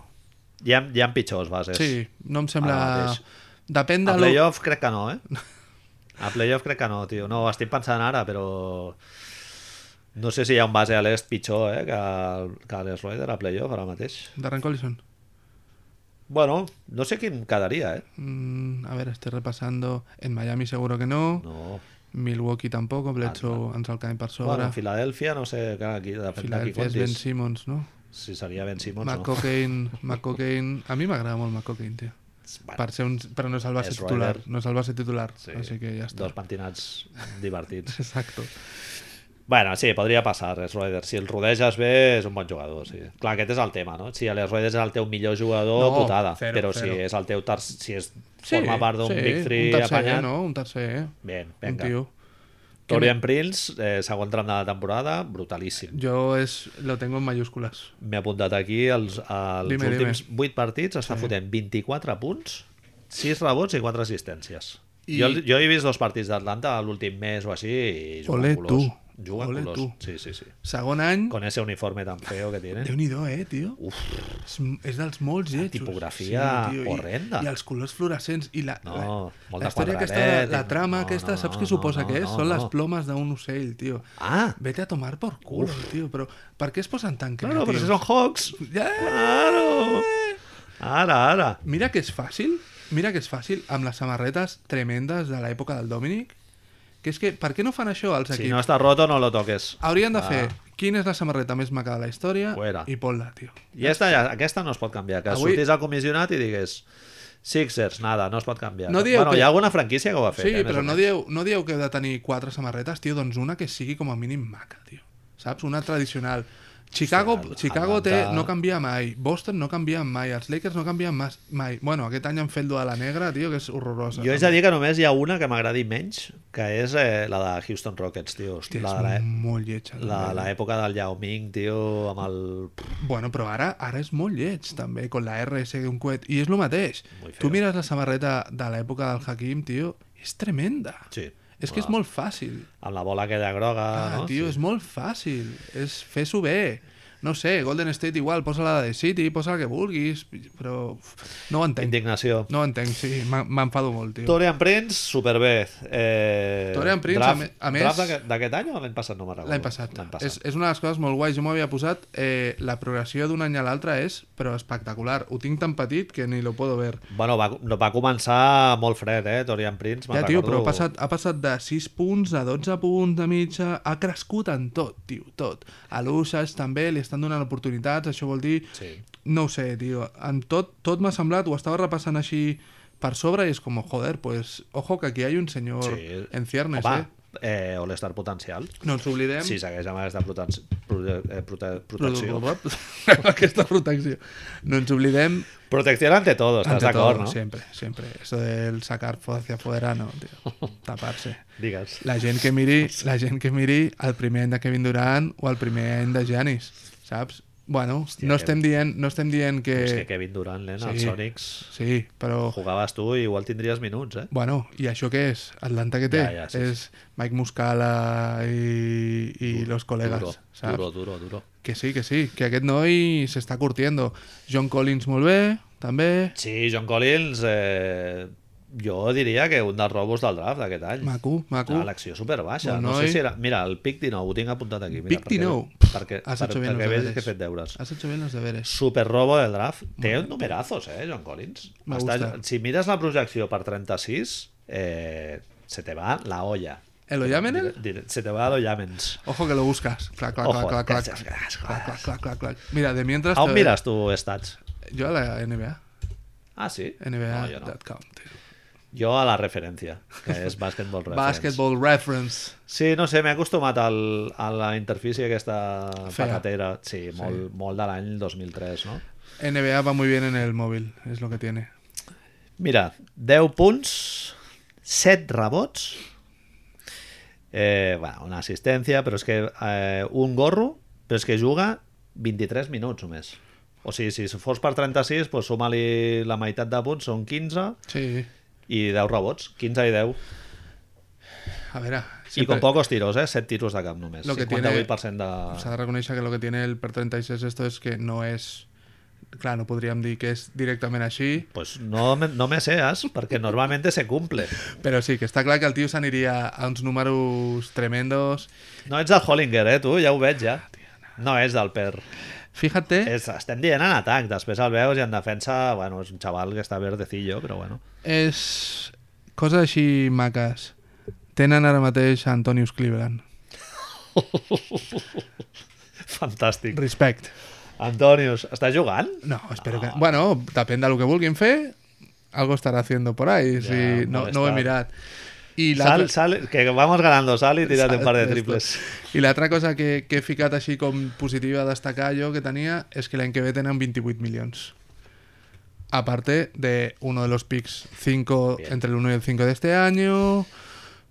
Speaker 1: Hi ha, hi ha pitjors bases.
Speaker 2: sí, no em
Speaker 1: pues, Ara
Speaker 2: sembla...
Speaker 1: mateix.
Speaker 2: Depèn de
Speaker 1: A
Speaker 2: lo-
Speaker 1: playoff crec que no, eh? A playoff crec que no, tio. No, estic pensant ara, però... No sé si hi ha un base a l'est pitjor eh, que, que l'Es Schroeder a playoff ara mateix.
Speaker 2: Darren Collison.
Speaker 1: Bueno, no sé quin quedaria, eh?
Speaker 2: Mm, a ver, estoy repasando. En Miami seguro que no.
Speaker 1: No.
Speaker 2: Milwaukee tampoco. Bledsoe ens el caen per
Speaker 1: Bueno,
Speaker 2: sobre.
Speaker 1: en Filadèlfia, no sé, clar, aquí, depèn de qui
Speaker 2: Filadelfia és Ben
Speaker 1: comptis.
Speaker 2: Simmons, no?
Speaker 1: Si seria Ben Simmons,
Speaker 2: Matt
Speaker 1: no.
Speaker 2: Cocaine, Matt Cocaine... A mi m'agrada molt Matt Cocaine, tio.
Speaker 1: Bueno,
Speaker 2: Per ser un... Però no és el base
Speaker 1: És
Speaker 2: titular.
Speaker 1: Ryder.
Speaker 2: No és el base titular.
Speaker 1: sí,
Speaker 2: Així que ja està.
Speaker 1: Dos pentinats divertits.
Speaker 2: Exacto.
Speaker 1: Bueno, sí, podria passar, Les Roeders. Si el rodeges bé, és un bon jugador. Sí. Clar, aquest és el tema, no? Si Les Roeders és el teu millor jugador,
Speaker 2: No,
Speaker 1: putada.
Speaker 2: zero,
Speaker 1: però
Speaker 2: zero.
Speaker 1: si és el teu terç... Si és,
Speaker 2: Sí,
Speaker 1: forma part d'un
Speaker 2: sí,
Speaker 1: Big Three
Speaker 2: un tercer,
Speaker 1: apanyat...
Speaker 2: no? Un tercer, eh?
Speaker 1: Bé,
Speaker 2: Un
Speaker 1: vinga.
Speaker 2: tio.
Speaker 1: Torian Prince, eh, segon tram de la temporada, brutalíssim.
Speaker 2: Yo es, lo tengo en mayúsculas.
Speaker 1: M'he apuntat aquí els, els
Speaker 2: Dime,
Speaker 1: últims 8 partits, està fotent 24 punts, 6 rebots i 4 assistències.
Speaker 2: I-
Speaker 1: Jo, jo he vist dos partits d'Atlanta l'últim mes o així i juguen
Speaker 2: Ole
Speaker 1: colors.
Speaker 2: tu.
Speaker 1: Juguen
Speaker 2: Ole
Speaker 1: colors.
Speaker 2: tu.
Speaker 1: Sí, sí, sí.
Speaker 2: Segon any...
Speaker 1: Con ese uniforme tan feo que tienen.
Speaker 2: Déu-n'hi-do, eh, tio?
Speaker 1: Uf.
Speaker 2: És, és dels molts lletjos.
Speaker 1: tipografia
Speaker 2: tio,
Speaker 1: horrenda.
Speaker 2: I, I els colors fluorescents. I la,
Speaker 1: No,
Speaker 2: la,
Speaker 1: molt de
Speaker 2: la història aquesta, la,
Speaker 1: quadradet,
Speaker 2: la trama
Speaker 1: no,
Speaker 2: aquesta,
Speaker 1: no,
Speaker 2: saps
Speaker 1: no,
Speaker 2: què suposa
Speaker 1: no,
Speaker 2: que és?
Speaker 1: no,
Speaker 2: Són
Speaker 1: no.
Speaker 2: les plomes d'un ocell, tio.
Speaker 1: Ah,
Speaker 2: Vete a tomar por culo, tio. Però per què es posen tan
Speaker 1: claro,
Speaker 2: creatius?
Speaker 1: pero si son Hawks.
Speaker 2: Ja,
Speaker 1: Claro. Ara, ara.
Speaker 2: Mira que és fàcil, mira que és fàcil, amb les samarretes tremendes de l'època del Dominic, que és que, per què no fan això els equips?
Speaker 1: Si no está roto, no lo toques.
Speaker 2: Haurien de
Speaker 1: Ah.
Speaker 2: fer quina és la samarreta més maca de la història
Speaker 1: Fuera.
Speaker 2: i pon-la, tio.
Speaker 1: I esta, ja, aquesta no es pot canviar. Que
Speaker 2: Avui-
Speaker 1: sortís al comissionat i digués Sixers, nada, no es pot canviar.
Speaker 2: No dieu
Speaker 1: bueno,
Speaker 2: que-
Speaker 1: hi ha alguna franquícia que ho va fer.
Speaker 2: Sí,
Speaker 1: eh, més
Speaker 2: però
Speaker 1: o
Speaker 2: no
Speaker 1: menys.
Speaker 2: dieu, no dieu que heu de tenir quatre samarretes, tio, doncs una que sigui com a mínim maca, tio. Saps? Una tradicional. Chicago,
Speaker 1: Hòstia,
Speaker 2: Chicago té,
Speaker 1: Atlanta-
Speaker 2: no canvia mai, Boston no canvia mai, els Lakers no canvien mas- mai. Bueno, aquest any han fet lo de la negra, tio, que és horrorosa.
Speaker 1: Jo haig de dir que només hi ha una que m'agradi menys, que és eh, la de Houston Rockets, tio.
Speaker 2: Hòstia,
Speaker 1: la,
Speaker 2: és
Speaker 1: de la,
Speaker 2: molt lletja.
Speaker 1: la,
Speaker 2: també.
Speaker 1: la època del Yao Ming, tio, amb el...
Speaker 2: Bueno, però ara ara és molt lleig, també, con la RS d'un coet. I és el mateix.
Speaker 1: Muy feo.
Speaker 2: Tu mires la samarreta de l'època del Hakim, tio, és tremenda.
Speaker 1: Sí.
Speaker 2: És que és molt fàcil.
Speaker 1: Amb la bola aquella groga,
Speaker 2: Ah,
Speaker 1: no?
Speaker 2: tio,
Speaker 1: Sí.
Speaker 2: és molt fàcil. És fer-s'ho bé. No sé, Golden State igual, posa la de City, posa la que vulguis, però uf, no ho entenc.
Speaker 1: Indignació.
Speaker 2: No ho entenc, sí, m'en- m'enfado molt, tio.
Speaker 1: Torian Prince, superbé. Eh,
Speaker 2: Torian Prince, a me- a més-
Speaker 1: Draft d'aquest- d'aquest any o l'any passat? No me'n recordo.
Speaker 2: L'any passat.
Speaker 1: L'any
Speaker 2: És, és una de les coses molt guais. Jo m'ho havia posat. Eh, la progressió d'un any a l'altre és, però espectacular. Ho tinc tan petit que ni lo puedo ver.
Speaker 1: Bueno, va, no, va començar molt fred, eh, Torian Prince. me'n
Speaker 2: Ja, tio,
Speaker 1: recordo.
Speaker 2: però ha passat, ha passat de 6 punts a 12 punts de mitja. Ha crescut en tot, tio, tot. A l'Usage també li estan donant oportunitats. Això vol dir...
Speaker 1: Sí.
Speaker 2: No ho sé, tio. En tot, tot m'ha semblat, ho estava repassant així per sobre i és com, joder, pues, ojo que aquí hay un senyor
Speaker 1: Sí.
Speaker 2: en ciernes,
Speaker 1: Home,
Speaker 2: eh?
Speaker 1: eh? eh All-Star potencial.
Speaker 2: No ens oblidem.
Speaker 1: Si segueix amb aquesta prote prote eh, prote protecció.
Speaker 2: Aquesta protecció. No ens oblidem
Speaker 1: Protección ante todo, estàs
Speaker 2: Ante
Speaker 1: d'acord,
Speaker 2: todo,
Speaker 1: no?
Speaker 2: Siempre, siempre. Eso del sacar hacia afuera, no, tío. Taparse.
Speaker 1: Digues.
Speaker 2: La gent que miri, la gent que miri el primer any de Kevin Durant o el primer any de Giannis, saps? Bueno, no estem dient, no estem dient que...
Speaker 1: És que Kevin Durant, nen, sí. els
Speaker 2: Eh, Sí.
Speaker 1: Sonics...
Speaker 2: Sí, però...
Speaker 1: Jugaves tu i igual tindries minuts, eh?
Speaker 2: Bueno, i això què és? Atlanta que té?
Speaker 1: Ja, ja, sí,
Speaker 2: és Mike Muscala i, i los colegas,
Speaker 1: Duro,
Speaker 2: saps?
Speaker 1: duro, duro, duro.
Speaker 2: Que sí, que sí, que aquest noi s'està curtiendo. John Collins molt bé, també.
Speaker 1: Sí, John Collins, eh, jo diria que un dels robos del draft d'aquest any.
Speaker 2: Maco, maco.
Speaker 1: Ah, L'acció superbaixa.
Speaker 2: Bon
Speaker 1: no
Speaker 2: noi.
Speaker 1: sé si era... Mira, el pic 19, ho tinc apuntat aquí. Mira,
Speaker 2: Pic 19.
Speaker 1: Perquè,
Speaker 2: Has
Speaker 1: perquè, perquè,
Speaker 2: hecho
Speaker 1: perquè
Speaker 2: bien los
Speaker 1: veus
Speaker 2: deberes.
Speaker 1: que he fet deures.
Speaker 2: Has hecho bien los deberes.
Speaker 1: Superrobo del draft. Té numerazos, eh, John Collins.
Speaker 2: Me gusta.
Speaker 1: si mires la projecció per 36, eh, se te va la olla.
Speaker 2: ¿El Oyamen?
Speaker 1: Dire- dire- Se te va lo llamens.
Speaker 2: Ojo que lo buscas. Clac, clac,
Speaker 1: Ojo,
Speaker 2: clac, clac, clac.
Speaker 1: gracias, gracias, Ah,
Speaker 2: Clac, clac, clac, clac, clac. Mira, de mientras.
Speaker 1: Aún
Speaker 2: te-
Speaker 1: miras tu stats.
Speaker 2: Yo a la NBA.
Speaker 1: Ah, sí? No, jo, no.
Speaker 2: NBA.com. tío.
Speaker 1: jo a la referència, que és Basketball Reference.
Speaker 2: Basketball Reference.
Speaker 1: Sí, no sé, m'he acostumat al, a la interfície aquesta
Speaker 2: Fea.
Speaker 1: pacatera. Sí, molt, molt de l'any 2003, no?
Speaker 2: NBA va muy bien en el móvil, es lo que tiene.
Speaker 1: Mira, 10 punts, 7 rebots, eh, bueno, una assistència, però és que eh, un gorro, però és que juga 23 minuts només. O sigui, si fos per 36, doncs suma-li la meitat de punts, són 15
Speaker 2: Sí.
Speaker 1: i 10 rebots. 15 i 10.
Speaker 2: A ver, ah,
Speaker 1: I con pocos tiros, eh? 7 tiros de camp només.
Speaker 2: Lo que
Speaker 1: 58%
Speaker 2: s'ha
Speaker 1: de...
Speaker 2: de reconèixer que el que tiene el per 36 esto es que no és... Clar, no podríem dir que és directament així,
Speaker 1: Pues no, me- no me seas, perquè normalmente se cumple.
Speaker 2: però sí, que està clar que el tio s'aniria a uns números tremendos.
Speaker 1: No ets del Hollinger, eh, tu? Ja ho veig, ja. No és del Per.
Speaker 2: Fíjate...
Speaker 1: És, estem dient en atac, després el veus i en defensa, bueno, és un xaval que està verdecillo, però bueno.
Speaker 2: És... Coses així maques. Tenen ara mateix a Antonius Cleveland.
Speaker 1: Fantàstic.
Speaker 2: Respect.
Speaker 1: Antonius, està jugant?
Speaker 2: No, espero que... Bueno, depèn del que vulguin fer, algo estarà haciendo por ahí.
Speaker 1: Ja,
Speaker 2: si... no, no ho
Speaker 1: molestar.
Speaker 2: he mirat. I
Speaker 1: Sal,
Speaker 2: l'altra-
Speaker 1: sal, que vamos ganando, sal i tira't un par de
Speaker 2: Exacte,
Speaker 1: triples.
Speaker 2: esto. I l'altra cosa que, que he ficat així com positiva a destacar jo que tenia és que l'any que ve tenen 28 milions. Aparte de uno de los picks 5
Speaker 1: Bien.
Speaker 2: entre el 1 y el 5 de este año.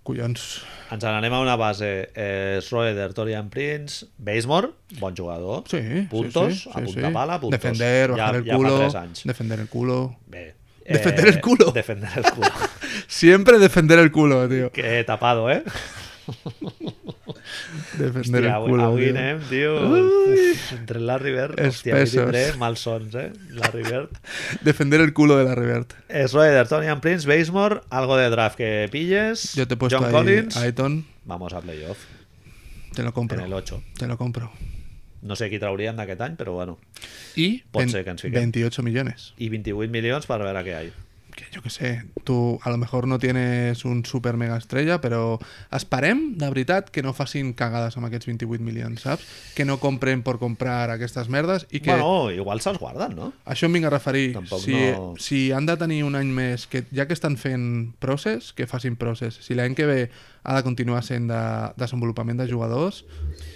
Speaker 2: Collons.
Speaker 1: Ens n'anem a una base. Eh, Schroeder, Torian Prince, Basemore, bon jugador.
Speaker 2: Sí,
Speaker 1: puntos,
Speaker 2: sí, sí,
Speaker 1: a
Speaker 2: sí,
Speaker 1: punta
Speaker 2: sí.
Speaker 1: pala, puntos.
Speaker 2: Defender, bajar
Speaker 1: ja,
Speaker 2: el
Speaker 1: Ja fa
Speaker 2: culo.
Speaker 1: 3 anys.
Speaker 2: defender el culo.
Speaker 1: Bé. eh,
Speaker 2: Defender el culo.
Speaker 1: Defender el culo.
Speaker 2: Siempre defender el culo, tío.
Speaker 1: que he tapado, eh?
Speaker 2: Defender
Speaker 1: Hòstia,
Speaker 2: el
Speaker 1: avui,
Speaker 2: culo.
Speaker 1: avui
Speaker 2: tío.
Speaker 1: anem, tio. Uf, entre Larry Bird, hòstia, avui
Speaker 2: Espessos.
Speaker 1: tindré malsons, eh? Larry Bird.
Speaker 2: Defender el culo de la Revert.
Speaker 1: Schroeder, Tonian Prince, Basemore, algo de draft que pilles.
Speaker 2: Yo te he puesto
Speaker 1: John
Speaker 2: ahí
Speaker 1: Collins.
Speaker 2: a Aiton.
Speaker 1: Vamos a playoff,
Speaker 2: Te lo compro.
Speaker 1: en el 8.
Speaker 2: Te lo compro.
Speaker 1: No sé qui traurien d'aquest any, però bueno.
Speaker 2: Y
Speaker 1: Pot
Speaker 2: ven-
Speaker 1: ser que ens fiquem.
Speaker 2: 28 millones.
Speaker 1: I 28 milions per veure què hi ha.
Speaker 2: Que yo qué sé, tú a lo mejor no tienes un super mega estrella, pero esperem, de veritat, que no facin cagades amb aquests 28 milions, saps? Que no compren por comprar aquestes merdes i que...
Speaker 1: Bueno, igual se'ls guarden, no?
Speaker 2: Això em vinc a referir.
Speaker 1: Tampoc
Speaker 2: si,
Speaker 1: no-
Speaker 2: si han de tenir un any més, que ja que estan fent process, que facin process. Si l'any que ve ha de continuar sent de desenvolupament de jugadors,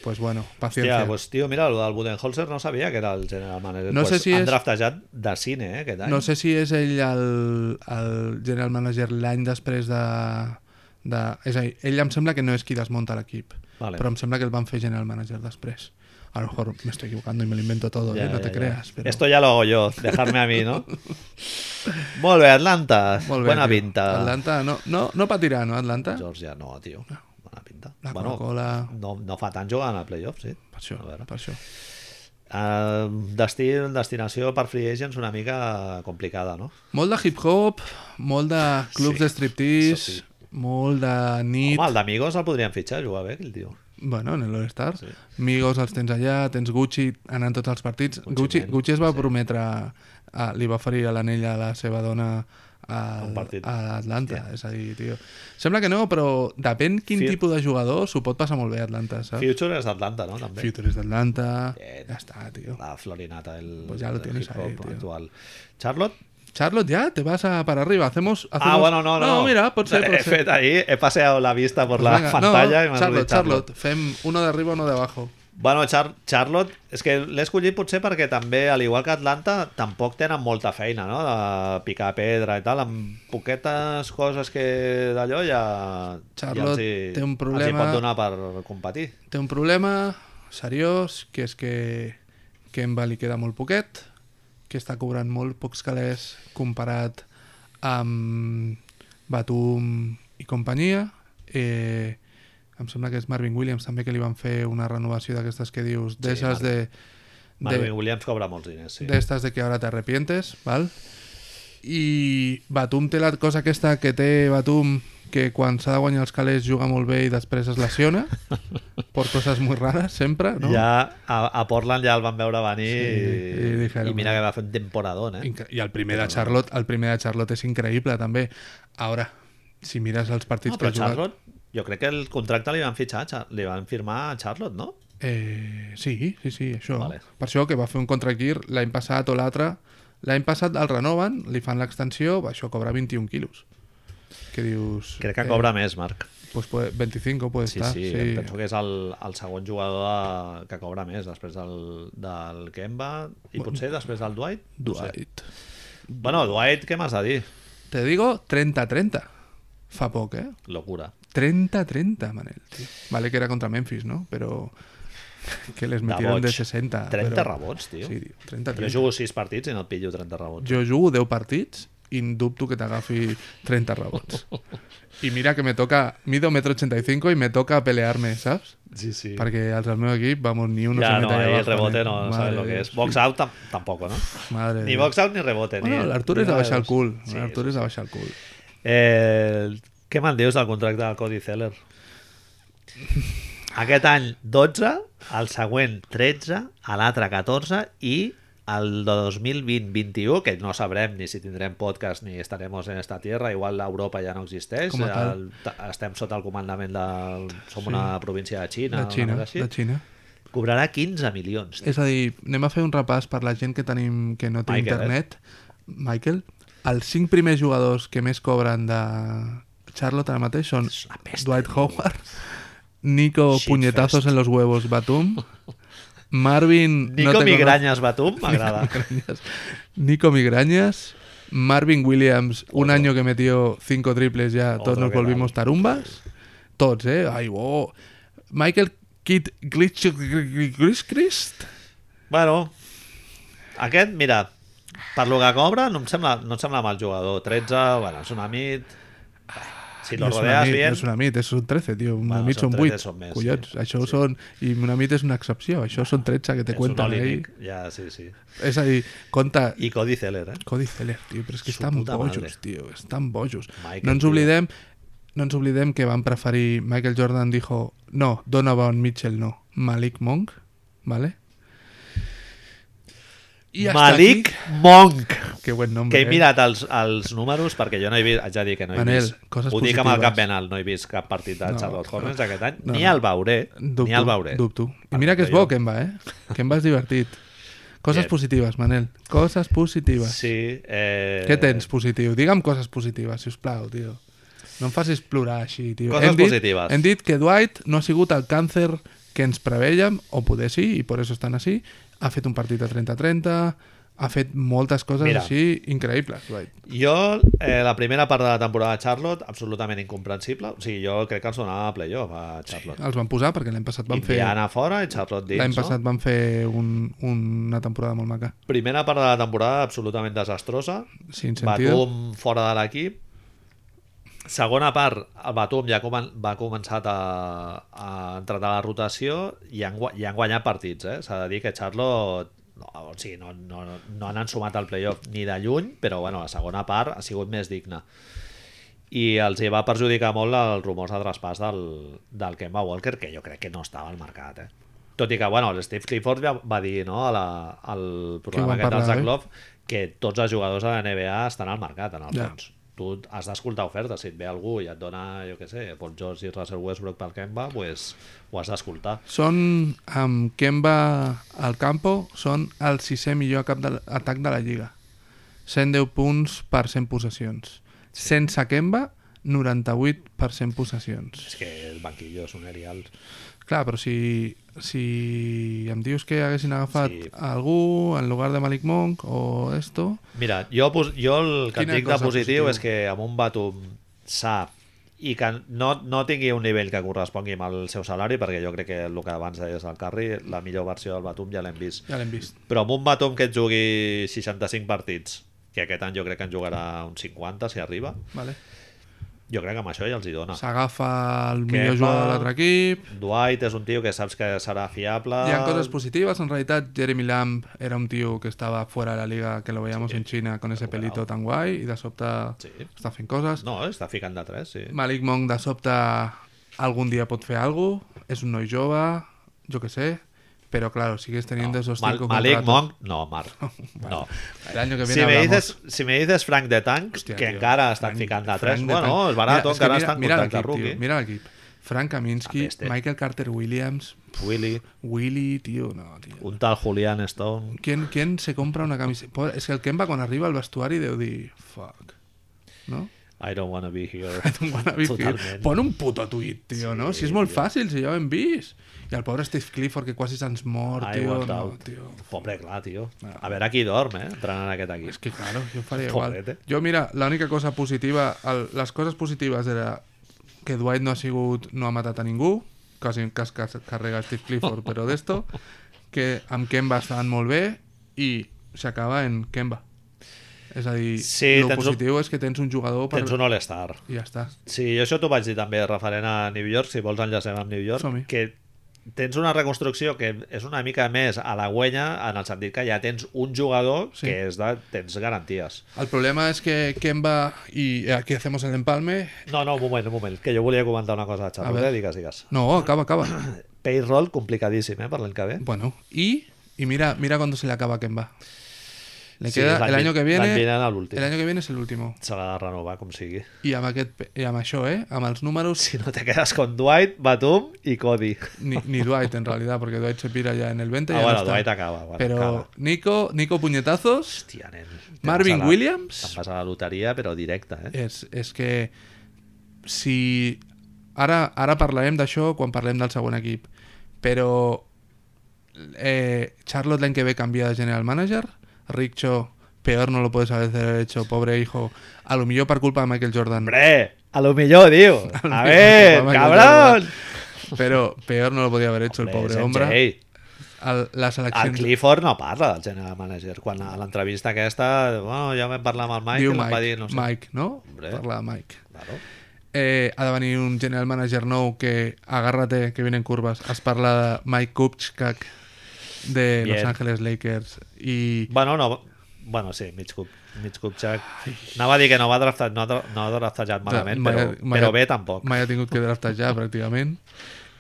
Speaker 2: pues bueno, paciència.
Speaker 1: Hòstia, pues, tio, mira, el del Budenholzer no sabia que era el general manager.
Speaker 2: No
Speaker 1: pues,
Speaker 2: sé si
Speaker 1: han
Speaker 2: és-
Speaker 1: draftejat de cine, eh, aquest any.
Speaker 2: No sé si és ell el, el general manager l'any després de... de... És a dir, ell em sembla que no és qui desmunta l'equip,
Speaker 1: Vale.
Speaker 2: però em sembla que el van fer general manager després. A lo mejor me estoy equivocando y me lo invento todo,
Speaker 1: Ja,
Speaker 2: eh? no
Speaker 1: ja,
Speaker 2: te
Speaker 1: ja.
Speaker 2: creas. Pero...
Speaker 1: Esto ya lo hago yo, dejarme a mí, ¿no? Molt bé, Atlanta.
Speaker 2: Molt bé,
Speaker 1: Buena
Speaker 2: tio.
Speaker 1: pinta.
Speaker 2: Atlanta, no, no, no patirà, no, Atlanta?
Speaker 1: Georgia, no, tio. Bona pinta.
Speaker 2: La
Speaker 1: bueno,
Speaker 2: Coca-Cola...
Speaker 1: no, no fa tant jugant a playoffs, sí.
Speaker 2: Per això,
Speaker 1: A veure.
Speaker 2: per això.
Speaker 1: Uh, destil, destinació per free agents una mica complicada, no?
Speaker 2: Molt de hip-hop, molt de clubs
Speaker 1: Sí,
Speaker 2: de striptease,
Speaker 1: això
Speaker 2: molt de nit...
Speaker 1: Home, el d'Amigos el podríem fitxar, jugar bé, aquell tio.
Speaker 2: Bueno, en l'All-Star. Migos els tens allà, tens Gucci anant tots els partits. Gucci,
Speaker 1: Man,
Speaker 2: Gucci es va prometre, a, li va oferir a l'anell a la seva dona a,
Speaker 1: Un partit.
Speaker 2: a l'Atlanta. És a dir, tio... Sembla que no, però depèn quin
Speaker 1: Fi-
Speaker 2: tipus de jugador s'ho pot passar molt bé a Atlanta, saps?
Speaker 1: Future és d'Atlanta, no? També.
Speaker 2: Ah. Future és d'Atlanta...
Speaker 1: Bien.
Speaker 2: Ja està, tio.
Speaker 1: La florinata, el,
Speaker 2: Pues ya lo
Speaker 1: el
Speaker 2: tienes
Speaker 1: hip
Speaker 2: ahí,
Speaker 1: hop
Speaker 2: tío.
Speaker 1: actual. Charlotte?
Speaker 2: Charlotte, ya, te vas a para arriba. Hacemos... hacemos...
Speaker 1: Ah, bueno, no, no.
Speaker 2: No, mira, pot ser, pot
Speaker 1: He
Speaker 2: ser.
Speaker 1: fet ahí, he paseado la vista por
Speaker 2: Pues
Speaker 1: la
Speaker 2: venga,
Speaker 1: pantalla
Speaker 2: no,
Speaker 1: i m'has dit
Speaker 2: Charlotte, Charlotte, fem uno de arriba, uno de abajo.
Speaker 1: Bueno, Char Charlotte, és que l'he escollit potser perquè també, al igual que Atlanta, tampoc tenen molta feina, no? De picar pedra i tal, amb poquetes coses que d'allò ja... ja
Speaker 2: Charlotte
Speaker 1: els hi,
Speaker 2: té un
Speaker 1: Els hi
Speaker 2: problema.
Speaker 1: pot donar per competir.
Speaker 2: Té un problema seriós, que és que Kemba li queda molt poquet, que està cobrant molt pocs calés comparat amb Batum i companyia. Eh, em sembla que és Marvin Williams també que li van fer una renovació d'aquestes que dius,
Speaker 1: Mar-
Speaker 2: d'esses de...
Speaker 1: Marvin Williams cobra molts diners, sí.
Speaker 2: de estas de que ahora te arrepientes, ¿vale? I Batum té la cosa aquesta que té Batum que quan s'ha de guanyar els calés juga molt bé i després es lesiona per coses molt rares, sempre, no?
Speaker 1: Ja a, a Portland ja el van veure venir
Speaker 2: Sí, i
Speaker 1: i,
Speaker 2: dijeron,
Speaker 1: i mira que va fer un temporadón, eh?
Speaker 2: Incre- I el primer de Charlotte, el primer de Charlotte és increïble, també. Ara, si mires els partits
Speaker 1: No, però
Speaker 2: que ha jugat...
Speaker 1: Charlotte, jo crec que el contracte li van fitxar, a Char- li van firmar a Charlotte, no?
Speaker 2: Eh, sí, sí, sí, això.
Speaker 1: Vale.
Speaker 2: Per això que va fer un contractir l'any passat o l'altre. L'any passat el renoven, li fan l'extensió, va, això cobra 21 quilos. Que dius...
Speaker 1: Crec que
Speaker 2: eh,
Speaker 1: cobra més, Marc.
Speaker 2: Pues puede- 25 puede
Speaker 1: Sí,
Speaker 2: estar.
Speaker 1: sí, sí, penso que és el, el segon jugador de, que cobra més, després del, del Kemba i potser després del Dwight. no sé.
Speaker 2: Dwight.
Speaker 1: Bueno, Dwight, què m'has de dir?
Speaker 2: Te digo 30-30. Fa poc, eh?
Speaker 1: Locura.
Speaker 2: 30-30, Manel. tio. Vale que era contra Memphis, ¿no? Pero que les metieron de,
Speaker 1: boig.
Speaker 2: 60.
Speaker 1: 30
Speaker 2: però-
Speaker 1: rebots, tio.
Speaker 2: Sí, tio. 30
Speaker 1: Jo jugo 6 partits i no et pillo 30 rebots.
Speaker 2: Jo jugo 10 partits i dubto que t'agafi 30 rebots. I mira que me toca... Mido 1,85 m i me toca pelear-me, saps?
Speaker 1: Sí, sí.
Speaker 2: Perquè els del meu equip, vamos, ni uno
Speaker 1: ja,
Speaker 2: se
Speaker 1: no,
Speaker 2: mete allà
Speaker 1: ahí el
Speaker 2: abajo,
Speaker 1: rebote
Speaker 2: nen.
Speaker 1: no, no
Speaker 2: Madre
Speaker 1: sabes lo que
Speaker 2: de
Speaker 1: és.
Speaker 2: Dios.
Speaker 1: Box out tam tampoco, no?
Speaker 2: Madre de
Speaker 1: Ni
Speaker 2: Dios.
Speaker 1: box out ni rebote.
Speaker 2: Bueno,
Speaker 1: ni-
Speaker 2: l'Artur és
Speaker 1: ni
Speaker 2: de
Speaker 1: nada
Speaker 2: baixar el
Speaker 1: dos.
Speaker 2: cul.
Speaker 1: Sí,
Speaker 2: L'Artur
Speaker 1: sí,
Speaker 2: és de baixar el cul.
Speaker 1: Eh, què me'n dius del contracte del Cody Zeller? Aquest any 12, el següent 13, a l'altre 14 i el 2020-21, que no sabrem ni si tindrem podcast ni estaremos en esta tierra, igual l'Europa ja no existeix,
Speaker 2: Com a tal.
Speaker 1: el, ta- estem sota el comandament del... Som una província de Xina,
Speaker 2: De
Speaker 1: una
Speaker 2: Xina,
Speaker 1: cosa així.
Speaker 2: de Xina.
Speaker 1: Cobrarà 15 milions.
Speaker 2: És a dir, anem a fer un repàs per la gent que tenim que no
Speaker 1: Michael,
Speaker 2: té
Speaker 1: eh?
Speaker 2: internet. Michael, els cinc primers jugadors que més cobren de Charlotte ara mateix són
Speaker 1: És una pesta,
Speaker 2: Dwight Howard, Nico
Speaker 1: Shitfest.
Speaker 2: Puñetazos en los huevos Batum, Marvin...
Speaker 1: Nico
Speaker 2: te
Speaker 1: Migrañas Batum, m'agrada.
Speaker 2: conozco, Migrañas, Nico Migrañas, Marvin Williams, un
Speaker 1: Otro.
Speaker 2: año que metió cinco triples ya, todos
Speaker 1: Otro
Speaker 2: nos
Speaker 1: que
Speaker 2: volvimos tarumbas. Todos, ¿eh? Ay, wow. Michael Kidd Glitch... Glitch... Christ?
Speaker 1: Bueno, aquest, mira, per lo que cobra, no em sembla, no em sembla mal jugador. 13, bueno, és una mit... Si lo
Speaker 2: no
Speaker 1: rodeas
Speaker 2: és una mit,
Speaker 1: bien...
Speaker 2: No és una mit, és un 13, tio. Una
Speaker 1: Bueno,
Speaker 2: mit
Speaker 1: són
Speaker 2: són
Speaker 1: 13
Speaker 2: 8.
Speaker 1: són més,
Speaker 2: Collons,
Speaker 1: sí.
Speaker 2: això són... I una mit és una excepció. Això són 13 que te
Speaker 1: és un
Speaker 2: cuentan
Speaker 1: Oli
Speaker 2: ahí.
Speaker 1: Nick, Ja, sí, sí.
Speaker 2: És a dir, compta...
Speaker 1: I Cody Zeller, eh?
Speaker 2: Cody Zeller, tio, però és que
Speaker 1: Su
Speaker 2: estan
Speaker 1: puta madre.
Speaker 2: bojos, tio, estan bojos.
Speaker 1: Michael,
Speaker 2: no ens
Speaker 1: tio.
Speaker 2: oblidem no ens oblidem que van preferir Michael Jordan dijo, no, Donovan Mitchell no, Malik Monk, ¿vale? I hasta
Speaker 1: Malik
Speaker 2: Aquí,
Speaker 1: Monk!
Speaker 2: que buen nombre.
Speaker 1: Que he
Speaker 2: eh?
Speaker 1: mirat els, els números perquè jo no he vist, haig de dir que no he
Speaker 2: Manel,
Speaker 1: vist.
Speaker 2: coses
Speaker 1: Ho dic amb el
Speaker 2: positives.
Speaker 1: cap ben alt, no he vist cap partit de
Speaker 2: No,
Speaker 1: Charlotte Hornets aquest any,
Speaker 2: no,
Speaker 1: ni
Speaker 2: no.
Speaker 1: el veuré,
Speaker 2: Dubto,
Speaker 1: ni el veuré.
Speaker 2: Dubto. I mira que és bo Kemba, eh? Kemba és divertit. Coses
Speaker 1: Bien.
Speaker 2: positives, Manel. Coses positives.
Speaker 1: Sí, eh...
Speaker 2: Què tens positiu? Digue'm coses positives, si us plau, tio. No em facis plorar així, tio.
Speaker 1: Coses
Speaker 2: hem dit,
Speaker 1: positives.
Speaker 2: Hem dit que Dwight no ha sigut el càncer que ens prevèiem, o poder sí, i per això estan així. Ha fet un partit de 30-30, ha fet moltes coses
Speaker 1: Mira.
Speaker 2: així increïbles, Dwight.
Speaker 1: Jo, eh, la primera part de la temporada de Charlotte, absolutament incomprensible. O sigui, jo crec que els donava playoff a Charlotte.
Speaker 2: Els van posar perquè l'any passat van fer...
Speaker 1: Indiana fora i Charlotte dins,
Speaker 2: L'any passat
Speaker 1: no?
Speaker 2: van fer un, una temporada molt maca.
Speaker 1: Primera part de la temporada absolutament desastrosa.
Speaker 2: Sin sentido.
Speaker 1: Batum fora de l'equip. Segona part, el Batum ja comen va començar a, a entrar a la rotació i han, gua- i han guanyat partits, eh? S'ha de dir que Charlotte no, o sigui, no, no, no han ensumat el playoff ni de lluny, però bueno, la segona part ha sigut més digna. I els hi va perjudicar molt els rumors de traspàs del, del Kemba Walker, que jo crec que no estava al mercat, eh? Tot i que, bueno, l'Steve Clifford va, va dir no, a la, al programa
Speaker 2: vam
Speaker 1: aquest del
Speaker 2: parlar, eh?
Speaker 1: Zach Love que tots els jugadors de la NBA estan al mercat, en el
Speaker 2: Ja.
Speaker 1: fons. Tu has d'escoltar ofertes. Si et ve algú i et dona, jo què sé, Paul George i Russell Westbrook pel Kemba, pues, ho has d'escoltar.
Speaker 2: Són, amb Kemba al campo, són el sisè millor cap de, atac de la Lliga. 110 punts per 100 possessions. Sense Kemba, 98 per 100 possessions.
Speaker 1: És que el banquillo és un erial.
Speaker 2: Clar, però si, si em dius que haguessin agafat
Speaker 1: Sí.
Speaker 2: sí. algú en lugar de Malik Monk o esto...
Speaker 1: Mira, jo, pos- jo el que et
Speaker 2: Quina
Speaker 1: dic de
Speaker 2: cosa
Speaker 1: positiu,
Speaker 2: positiva?
Speaker 1: és que amb un Batum sa i que no, no tingui un nivell que correspongui amb el seu salari, perquè jo crec que el que abans deies al carrer, la millor versió del Batum ja l'hem vist.
Speaker 2: Ja l'hem vist.
Speaker 1: Però amb un Batum que et jugui 65 partits, que aquest any jo crec que en jugarà uns 50, si arriba,
Speaker 2: Vale.
Speaker 1: jo crec que amb això ja els hi dona.
Speaker 2: S'agafa el
Speaker 1: Ah. Kemba.
Speaker 2: millor jugador de l'altre equip...
Speaker 1: Dwight és un tio que saps que serà fiable.
Speaker 2: Hi ha cosas positivas, en realidad Jeremy Lamb era un tío que estaba fuera de la liga, que lo veíamos en China con ese
Speaker 1: recuperado.
Speaker 2: pelito tan guay, y de sobte
Speaker 1: Sí.
Speaker 2: està fent coses.
Speaker 1: No, està ficant de 3, sí.
Speaker 2: Malik Monk de sobte algun dia pot fer algo es un noi jove, jo que sé, pero claro, sigues teniendo esos
Speaker 1: Mal,
Speaker 2: cinco
Speaker 1: Malik
Speaker 2: contratos.
Speaker 1: Monk, no, Marc. No.
Speaker 2: El año que viene
Speaker 1: Si me,
Speaker 2: hablamos.
Speaker 1: dices, si me dices Frank de Tank,
Speaker 2: Hòstia,
Speaker 1: que
Speaker 2: tio,
Speaker 1: encara estan
Speaker 2: Frank-
Speaker 1: ficant de
Speaker 2: Frank
Speaker 1: 3,
Speaker 2: de
Speaker 1: bueno,
Speaker 2: Frank.
Speaker 1: es barato,
Speaker 2: Mira, és que
Speaker 1: encara
Speaker 2: mira-
Speaker 1: estan
Speaker 2: mira
Speaker 1: contracte
Speaker 2: l'equip, tio,
Speaker 1: rookie.
Speaker 2: Mira l'equip. Frank Kaminsky,
Speaker 1: A peste.
Speaker 2: Michael Carter Williams,
Speaker 1: Willy,
Speaker 2: Willy, tío, no, tío.
Speaker 1: un tal Julian Stone...
Speaker 2: ¿Quién, quién se compra una camiseta? Pobre, Es que el Kemba cuando arriba al vestuario de Odi. Fuck. ¿No?
Speaker 1: I don't wanna be here.
Speaker 2: Don't wanna be here.
Speaker 1: Totalment.
Speaker 2: Pon un puto tuit, tio, no? Si és molt fàcil, si ja ho hem vist. I el pobre Steve Clifford, que quasi se'ns mor,
Speaker 1: I
Speaker 2: tio.
Speaker 1: want
Speaker 2: No,
Speaker 1: out.
Speaker 2: tio.
Speaker 1: Pobre, clar, tio. A veure qui dorm, eh? Entrant en aquest equip.
Speaker 2: És que, claro, jo faria
Speaker 1: Joder,
Speaker 2: igual.
Speaker 1: eh?
Speaker 2: Jo, mira, l'única cosa positiva... El, les coses positives era que Dwight no ha sigut... No ha matat a ningú, quasi que es cas- carrega Steve Clifford, però d'esto, que amb Kemba estaven molt bé i s'acaba en Kemba. És a dir,
Speaker 1: Sí,
Speaker 2: el
Speaker 1: tens un-
Speaker 2: positiu és que tens un jugador per...
Speaker 1: Tens un all-star.
Speaker 2: I ja està.
Speaker 1: Sí, jo això t'ho vaig dir també referent a New York, si vols enllacem amb New York,
Speaker 2: Som-hi.
Speaker 1: que tens una reconstrucció que és una mica més a la guenya en el sentit que ja tens un jugador sí.
Speaker 2: Sí.
Speaker 1: que és de, tens garanties.
Speaker 2: El problema es que Kemba y aquí hacemos el empalme.
Speaker 1: No, no, un moment, un moment, que jo volia comentar una cosa,
Speaker 2: A
Speaker 1: Xarlo,
Speaker 2: veure.
Speaker 1: eh? digues, digues.
Speaker 2: No, acaba, acaba.
Speaker 1: Payroll complicadíssim, eh, per l'any que ve.
Speaker 2: Bueno, y, y mira, mira cuándo se le acaba a Kemba. Le
Speaker 1: Sí,
Speaker 2: queda
Speaker 1: l'any
Speaker 2: el
Speaker 1: vi-
Speaker 2: año que viene.
Speaker 1: l'any vinent a l'últim.
Speaker 2: El año que viene es el último.
Speaker 1: S'ha de renovar com sigui.
Speaker 2: Y amb, aquest, pe- i amb això, eh? Amb els números,
Speaker 1: Si no te quedes con Dwight, Batum i Cody.
Speaker 2: ni, ni Dwight, en realidad, porque Dwight se pira ya en el 20 y
Speaker 1: Ah,
Speaker 2: ya no
Speaker 1: bueno,
Speaker 2: está.
Speaker 1: Dwight acaba. Bueno,
Speaker 2: Pero
Speaker 1: acaba.
Speaker 2: Nico, Nico Puñetazos
Speaker 1: Hòstia, nen. Te'n
Speaker 2: Marvin
Speaker 1: vas a la-
Speaker 2: Williams?
Speaker 1: Te'n vas a la loteria, però directa, eh?
Speaker 2: és, és que si... Ara, ara parlarem d'això quan parlem del següent equip, però eh, Charlotte l'any que ve canvia de general manager, Rick Cho, peor no lo puedes haber hecho, pobre hijo, a lo millor per culpa de Michael Jordan.
Speaker 1: Hombre, a lo millor, diu. A ver,
Speaker 2: Michael
Speaker 1: cabrón.
Speaker 2: Jordan. Pero peor no lo podía haber hecho el
Speaker 1: Hombre,
Speaker 2: pobre
Speaker 1: és en
Speaker 2: hombre.
Speaker 1: Jay.
Speaker 2: El, la
Speaker 1: El
Speaker 2: selección
Speaker 1: Clifford no parla del general manager. Quan a l'entrevista aquesta, bueno, ja vam parlar amb el Mike,
Speaker 2: diu
Speaker 1: i em va dir,
Speaker 2: Mike,
Speaker 1: no sé.
Speaker 2: Mike, no?
Speaker 1: Hombre.
Speaker 2: Parla de Mike.
Speaker 1: Claro.
Speaker 2: Eh, ha de venir un general manager nou que, agárrate, que vienen curvas. Has parla de Mike Kupchak de
Speaker 1: Bien.
Speaker 2: Los Angeles Lakers i
Speaker 1: Bueno, no, bueno, sí, mig cup, mig cup xac. Anava a dir que no va draftar, no, ha dra- no ha draftejat malament,
Speaker 2: mai-
Speaker 1: però,
Speaker 2: mai-
Speaker 1: però bé tampoc.
Speaker 2: mai ha tingut que draftejar pràcticament.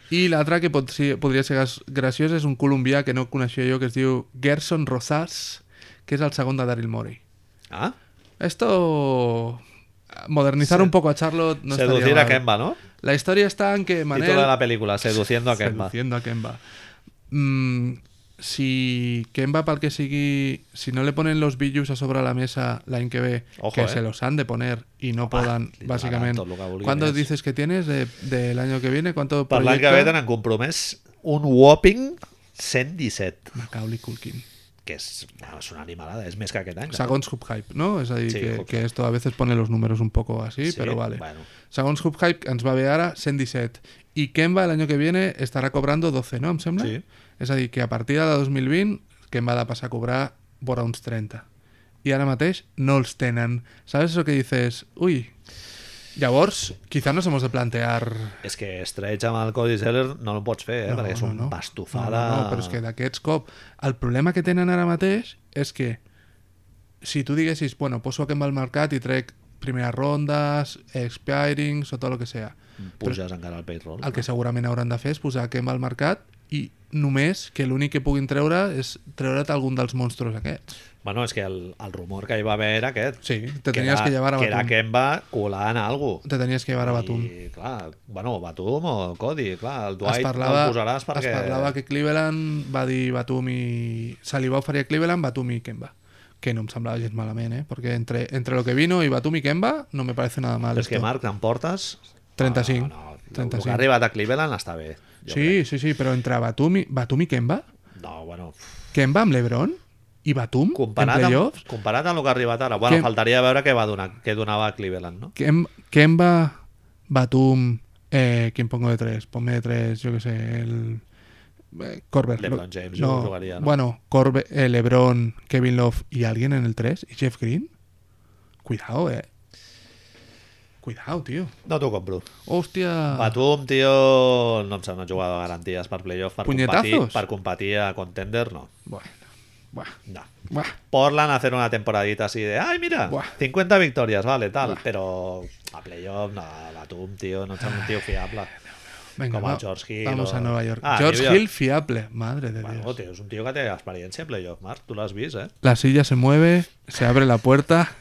Speaker 2: I l'altre que pot, ser- podria ser gas- graciós és un colombià que no coneixia jo que es diu Gerson Rosas, que és el segon de Daryl Morey.
Speaker 1: Ah?
Speaker 2: Esto... Modernizar un poco a Charlotte no
Speaker 1: Seducir
Speaker 2: estaría
Speaker 1: a
Speaker 2: mal.
Speaker 1: Kemba, ¿no?
Speaker 2: La historia está en que Manel...
Speaker 1: Título de la película, Seduciendo a Kemba.
Speaker 2: Seduciendo a Kemba. Mm, si Kemba, para el que sigue, si no le ponen los billus a sobre la mesa la que ve,
Speaker 1: Ojo,
Speaker 2: que
Speaker 1: eh.
Speaker 2: se los han de poner y no puedan,
Speaker 1: li
Speaker 2: básicamente.
Speaker 1: darán tot lo que vulguin
Speaker 2: ¿Cuándo
Speaker 1: ells.
Speaker 2: dices que tienes de- del año que viene? ¿Cuánto
Speaker 1: Per l'any que ve
Speaker 2: proyecta?
Speaker 1: tenen compromès un whopping 117,
Speaker 2: Macaulay Culkin.
Speaker 1: que és, bueno, és una animalada, és més que aquest any.
Speaker 2: Segons Hubhype, ¿no? Es ahí
Speaker 1: Sí,
Speaker 2: que,
Speaker 1: Hub
Speaker 2: que
Speaker 1: Hype.
Speaker 2: esto a veces pone los números un poco así,
Speaker 1: Sí,
Speaker 2: pero vale.
Speaker 1: bueno.
Speaker 2: Segons Hubhype ens va bé ara 117 i Kemba el año que viene estarà cobrando 12, no, em sembla?
Speaker 1: Sí.
Speaker 2: És a dir, que a partir de 2020 Kemba ha de passar a cobrar vora uns 30. I ara mateix no els tenen. Sabes eso que dices? Ui, Llavors, quizá nos hemos de plantear...
Speaker 1: És que Stretch amb el Cody Seller no ho pots fer, eh?
Speaker 2: No,
Speaker 1: No, perquè és
Speaker 2: no,
Speaker 1: un
Speaker 2: no.
Speaker 1: pastufada...
Speaker 2: No, no, no, però és que d'aquests cop... El problema que tenen ara mateix és que si tu diguessis, bueno, poso aquest al mercat i trec primeres rondes, expirings o tot el que sea,
Speaker 1: Puges encara al payroll.
Speaker 2: el que segurament hauran de fer és posar aquest al mercat i només que l'únic que puguin treure és treure't algun dels monstros aquests.
Speaker 1: Bueno, és que el, el rumor que hi va haver era aquest.
Speaker 2: Sí, te tenies
Speaker 1: era,
Speaker 2: que llevar a
Speaker 1: Que era
Speaker 2: Batum.
Speaker 1: Kemba colant a algú.
Speaker 2: Te tenies que llevar a Batum.
Speaker 1: I, clar, bueno, Batum o Cody, clar, el
Speaker 2: es
Speaker 1: Dwight
Speaker 2: parlava,
Speaker 1: el posaràs perquè...
Speaker 2: es parlava que Cleveland va dir Batum i... se li va oferir a Cleveland Batum i Kemba que no em semblava gens malament, eh? Perquè entre, entre lo que vino i Batum i Kemba no me parece nada mal.
Speaker 1: Però és que
Speaker 2: esto.
Speaker 1: Marc, te'n portes...
Speaker 2: 35,
Speaker 1: No, no, no.
Speaker 2: 35.
Speaker 1: El que ha arribat a Cleveland està bé. jo
Speaker 2: sí, sí, sí, però entre Batum i, Batum i Kemba,
Speaker 1: crec. No, bueno...
Speaker 2: Kemba amb LeBron i Batum
Speaker 1: Comparat
Speaker 2: en
Speaker 1: amb,
Speaker 2: playoffs,
Speaker 1: comparat amb el que ha arribat ara. Bueno,
Speaker 2: Què-
Speaker 1: faltaria veure què va donar, què donava a Cleveland, no?
Speaker 2: Kem, Kemba, Batum, eh, ¿quién pongo de tres? Ponme de tres, yo qué sé, el... eh, Corbett.
Speaker 1: LeBron
Speaker 2: lo-
Speaker 1: James, yo jugaría, ¿no?
Speaker 2: Bueno, Corbe, eh, LeBron, Kevin Love y alguien en el 3. ¿Y Jeff Green? Cuidado, eh. Cuidado, tío.
Speaker 1: No t'ho compro.
Speaker 2: Hostia.
Speaker 1: Batum, tio, no em sembla un jugador de garanties per playoff. Per competir,
Speaker 2: Punyetazos?
Speaker 1: per competir a contender, no.
Speaker 2: Bueno, buah,
Speaker 1: No.
Speaker 2: buah.
Speaker 1: Portland a hacer una temporadita así de, ay, mira,
Speaker 2: Buah.
Speaker 1: 50 victorias, vale, tal, pero a playoff, no, Batum, tío, no echamos un tío fiable.
Speaker 2: Venga,
Speaker 1: Como a
Speaker 2: va-
Speaker 1: George Hill
Speaker 2: Vamos
Speaker 1: o-
Speaker 2: a Nueva York.
Speaker 1: Ah,
Speaker 2: George
Speaker 1: New York.
Speaker 2: Hill fiable, madre de
Speaker 1: Bueno,
Speaker 2: Dios.
Speaker 1: tío, es un tío que tiene experiencia en playoff, Marc, tú lo has visto, ¿eh?
Speaker 2: La silla se mueve, se abre la puerta.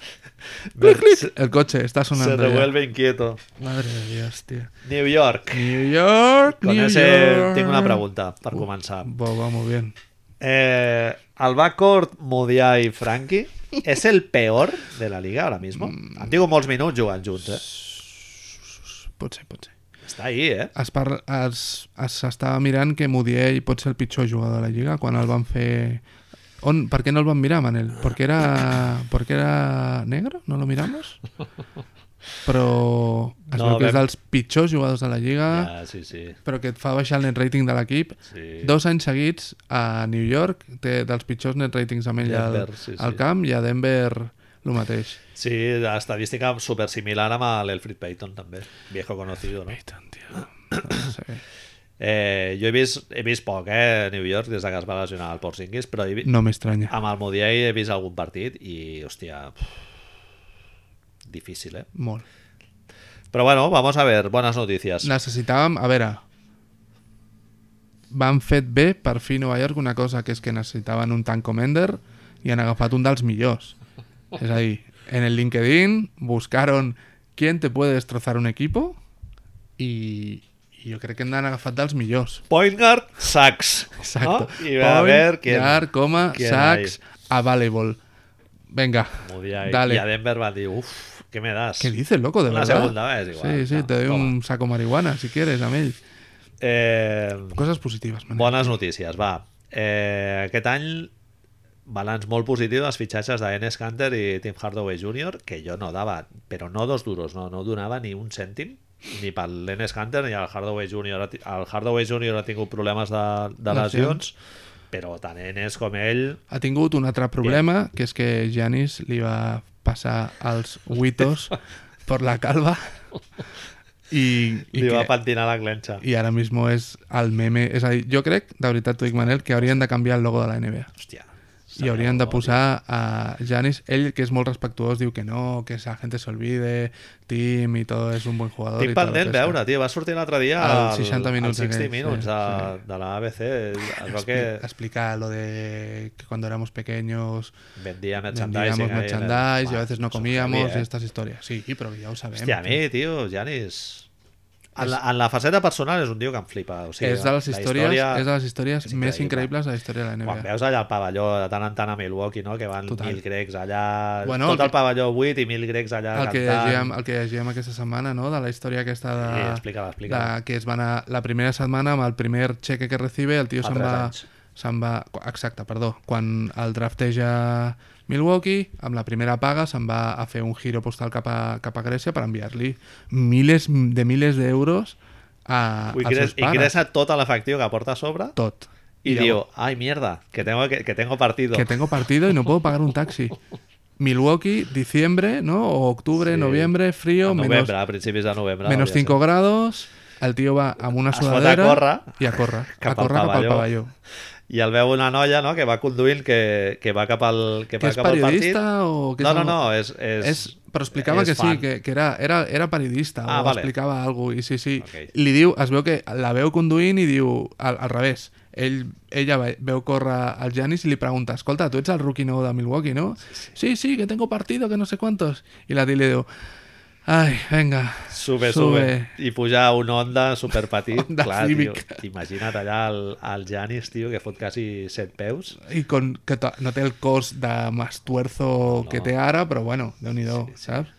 Speaker 1: Ver-
Speaker 2: Clic, clic. El coche está sonando.
Speaker 1: Se
Speaker 2: ya.
Speaker 1: revuelve inquieto.
Speaker 2: Madre de Dios, tío.
Speaker 1: New York.
Speaker 2: New York,
Speaker 1: Con
Speaker 2: New
Speaker 1: ese
Speaker 2: York.
Speaker 1: tinc una pregunta per començar.
Speaker 2: Bo, va, muy bien.
Speaker 1: Eh, el backcourt Mudiay i Frankie és el peor de la liga ahora mismo.
Speaker 2: Mm.
Speaker 1: Han tingut molts minuts jugant junts, eh?
Speaker 2: Pot ser, pot ser.
Speaker 1: Està ahí, eh?
Speaker 2: Es, par... es... es estava mirant que Mudiay pot ser el pitjor jugador de la Lliga quan el van fer... On? Per què no el van mirar, Manel? Perquè era, perquè era negro? No lo miramos? Però
Speaker 1: No,
Speaker 2: es no, veu que és
Speaker 1: vam-
Speaker 2: dels pitjors jugadors de la Lliga,
Speaker 1: Ja, sí, sí.
Speaker 2: però que et fa baixar el net rating de l'equip.
Speaker 1: sí.
Speaker 2: Dos anys seguits a New York té dels pitjors net ratings a menys al,
Speaker 1: Denver, sí, sí.
Speaker 2: al camp i a Denver el mateix.
Speaker 1: Sí, l'estadística super similar amb l'Elfrid Payton també, viejo conocido, no?
Speaker 2: Peyton, tio. Sí.
Speaker 1: Eh, jo he vist, he vist poc, eh, a New York, des de que es va lesionar el Porzingis, però he vist,
Speaker 2: No m'estranya.
Speaker 1: amb el Modiai he vist algun partit i, hòstia, pff, difícil, eh?
Speaker 2: Molt.
Speaker 1: Però bueno, vamos a ver, bones notícies.
Speaker 2: Necessitàvem, a veure, van fet bé per fi a Nova York una cosa, que és que necessitaven un tank commander i han agafat un dels millors. És a dir, en el LinkedIn buscaron quién te puede destrozar un equipo i, i jo crec que n'han agafat dels millors.
Speaker 1: Point guard, Sachs.
Speaker 2: Exacto.
Speaker 1: No? I va a ver quién...
Speaker 2: Yar, coma,
Speaker 1: quién
Speaker 2: Sachs, available. Venga,
Speaker 1: Modiai.
Speaker 2: dale.
Speaker 1: I a Denver va dir, uf, què me das?
Speaker 2: ¿Qué dices, loco? De
Speaker 1: Una
Speaker 2: verdad.
Speaker 1: segunda vez, igual.
Speaker 2: Sí, sí,
Speaker 1: No,
Speaker 2: te doy
Speaker 1: toma.
Speaker 2: un saco marihuana si quieres, Amel.
Speaker 1: Eh,
Speaker 2: Cosas positivas, man.
Speaker 1: Bones notícies, va. Eh, aquest any, balanç molt positiu dels fitxatges de Enes Kanter i Tim Hardaway Jr., que jo no dava, però no dos duros, no, no donava ni un cèntim, ni per l'Enes Kanter ni el Hardaway Jr. Ha ti- El Hardaway Jr. ha tingut problemes de, de
Speaker 2: Lesions.
Speaker 1: lesions, però tant Enes com ell...
Speaker 2: Ha tingut un altre problema, que és que Janis li va passar els huitos per la calva i, i,
Speaker 1: Li va
Speaker 2: que-
Speaker 1: pentinar la clenxa.
Speaker 2: i ara mismo és el meme. És a dir, jo crec, de veritat t'ho dic, Manel, que haurien de canviar el logo de la NBA.
Speaker 1: Hòstia.
Speaker 2: I haurien de posar a Janis, ell que és molt respectuós, diu que no, que la gente se olvide, Tim i tot, és un bon jugador. i
Speaker 1: Tinc
Speaker 2: tal,
Speaker 1: pendent
Speaker 2: resta.
Speaker 1: veure, tio, va sortir l'altre dia
Speaker 2: Al 60 minuts
Speaker 1: al 60
Speaker 2: aquell,
Speaker 1: minuts
Speaker 2: sí,
Speaker 1: de, de la ABC. Es veu que
Speaker 2: Expli- Explicar lo de que cuando éramos pequeños
Speaker 1: vendia merchandising.
Speaker 2: vendíamos
Speaker 1: ahí en el-
Speaker 2: merchandise y a
Speaker 1: Buah,
Speaker 2: veces no
Speaker 1: això és
Speaker 2: comíamos
Speaker 1: heavy, eh?
Speaker 2: estas historias. Sí, però ja ho sabem.
Speaker 1: Hòstia, a mi, tio, Janis... En la, en la faceta personal és un tio que em flipa. O sigui,
Speaker 2: és de les
Speaker 1: la
Speaker 2: històries,
Speaker 1: història-
Speaker 2: és de les històries
Speaker 1: és
Speaker 2: més
Speaker 1: increïble.
Speaker 2: increïbles de la història de la
Speaker 1: Quan
Speaker 2: NBA.
Speaker 1: veus allà el pavelló de tant en tant a Milwaukee, no? que van
Speaker 2: Total.
Speaker 1: mil grecs allà...
Speaker 2: Bueno,
Speaker 1: tot
Speaker 2: el
Speaker 1: el,
Speaker 2: que-
Speaker 1: pavelló buit i mil grecs allà
Speaker 2: El que,
Speaker 1: cantant.
Speaker 2: llegíem, el que llegíem aquesta setmana, no?, de la història aquesta de...
Speaker 1: Sí, explica-la, explica-la.
Speaker 2: de- que es van a, la primera setmana amb el primer cheque que recibe, el tio
Speaker 1: Fa
Speaker 2: se'n
Speaker 1: tres
Speaker 2: va...
Speaker 1: anys.
Speaker 2: Se'n va... Exacte, perdó. Quan el drafteja Milwaukee, amb la primera paga se'n va a fer un giro postal cap a, cap a Grècia per enviar-li miles de miles d'euros a,
Speaker 1: Ho
Speaker 2: als
Speaker 1: ingres,
Speaker 2: seus pares.
Speaker 1: ingressa tot l'efectiu que porta a sobre
Speaker 2: Tot.
Speaker 1: i,
Speaker 2: llavors-
Speaker 1: diu, ai, mierda, que tengo, que, que tengo partido.
Speaker 2: que tengo partido y no puedo pagar un taxi. Milwaukee, diciembre, ¿no? O octubre,
Speaker 1: Sí.
Speaker 2: noviembre, frío,
Speaker 1: A novembre,
Speaker 2: menos,
Speaker 1: a principis de novembre.
Speaker 2: menos
Speaker 1: hauria
Speaker 2: 5
Speaker 1: de ser.
Speaker 2: grados. El tío va amb una
Speaker 1: Es fot a
Speaker 2: sudadera
Speaker 1: córrer.
Speaker 2: i a córrer.
Speaker 1: Cap
Speaker 2: a
Speaker 1: al
Speaker 2: córrer cap al
Speaker 1: pavelló.
Speaker 2: pavelló.
Speaker 1: I el veu una noia no, que va conduint, que, que va cap al, que
Speaker 2: Que
Speaker 1: va
Speaker 2: és
Speaker 1: cap al partit.
Speaker 2: periodista o que
Speaker 1: No,
Speaker 2: és
Speaker 1: no,
Speaker 2: algo-
Speaker 1: no, és... és,
Speaker 2: És, però explicava
Speaker 1: és
Speaker 2: que sí,
Speaker 1: fan.
Speaker 2: que, que era, era, era periodista
Speaker 1: Ah,
Speaker 2: o
Speaker 1: vale.
Speaker 2: explicava alguna cosa. I sí, sí.
Speaker 1: Ok.
Speaker 2: Li diu, es veu que la veu conduint i diu, al, al revés, ell, ella ve- veu córrer al Janis i li pregunta, escolta, tu ets el rookie nou de Milwaukee, no? Sí, sí, que tengo partido, que no sé cuántos. I la tia li diu, ai, venga,
Speaker 1: Sube, sube, I pujar un Honda superpetit.
Speaker 2: Honda
Speaker 1: clar,
Speaker 2: Civic.
Speaker 1: tio. T'imagina't allà el, el Janis, tio, que fot quasi set peus.
Speaker 2: I con, que to- no té el cos de mastuerzo que té ara, però bueno, déu-n'hi-do, saps?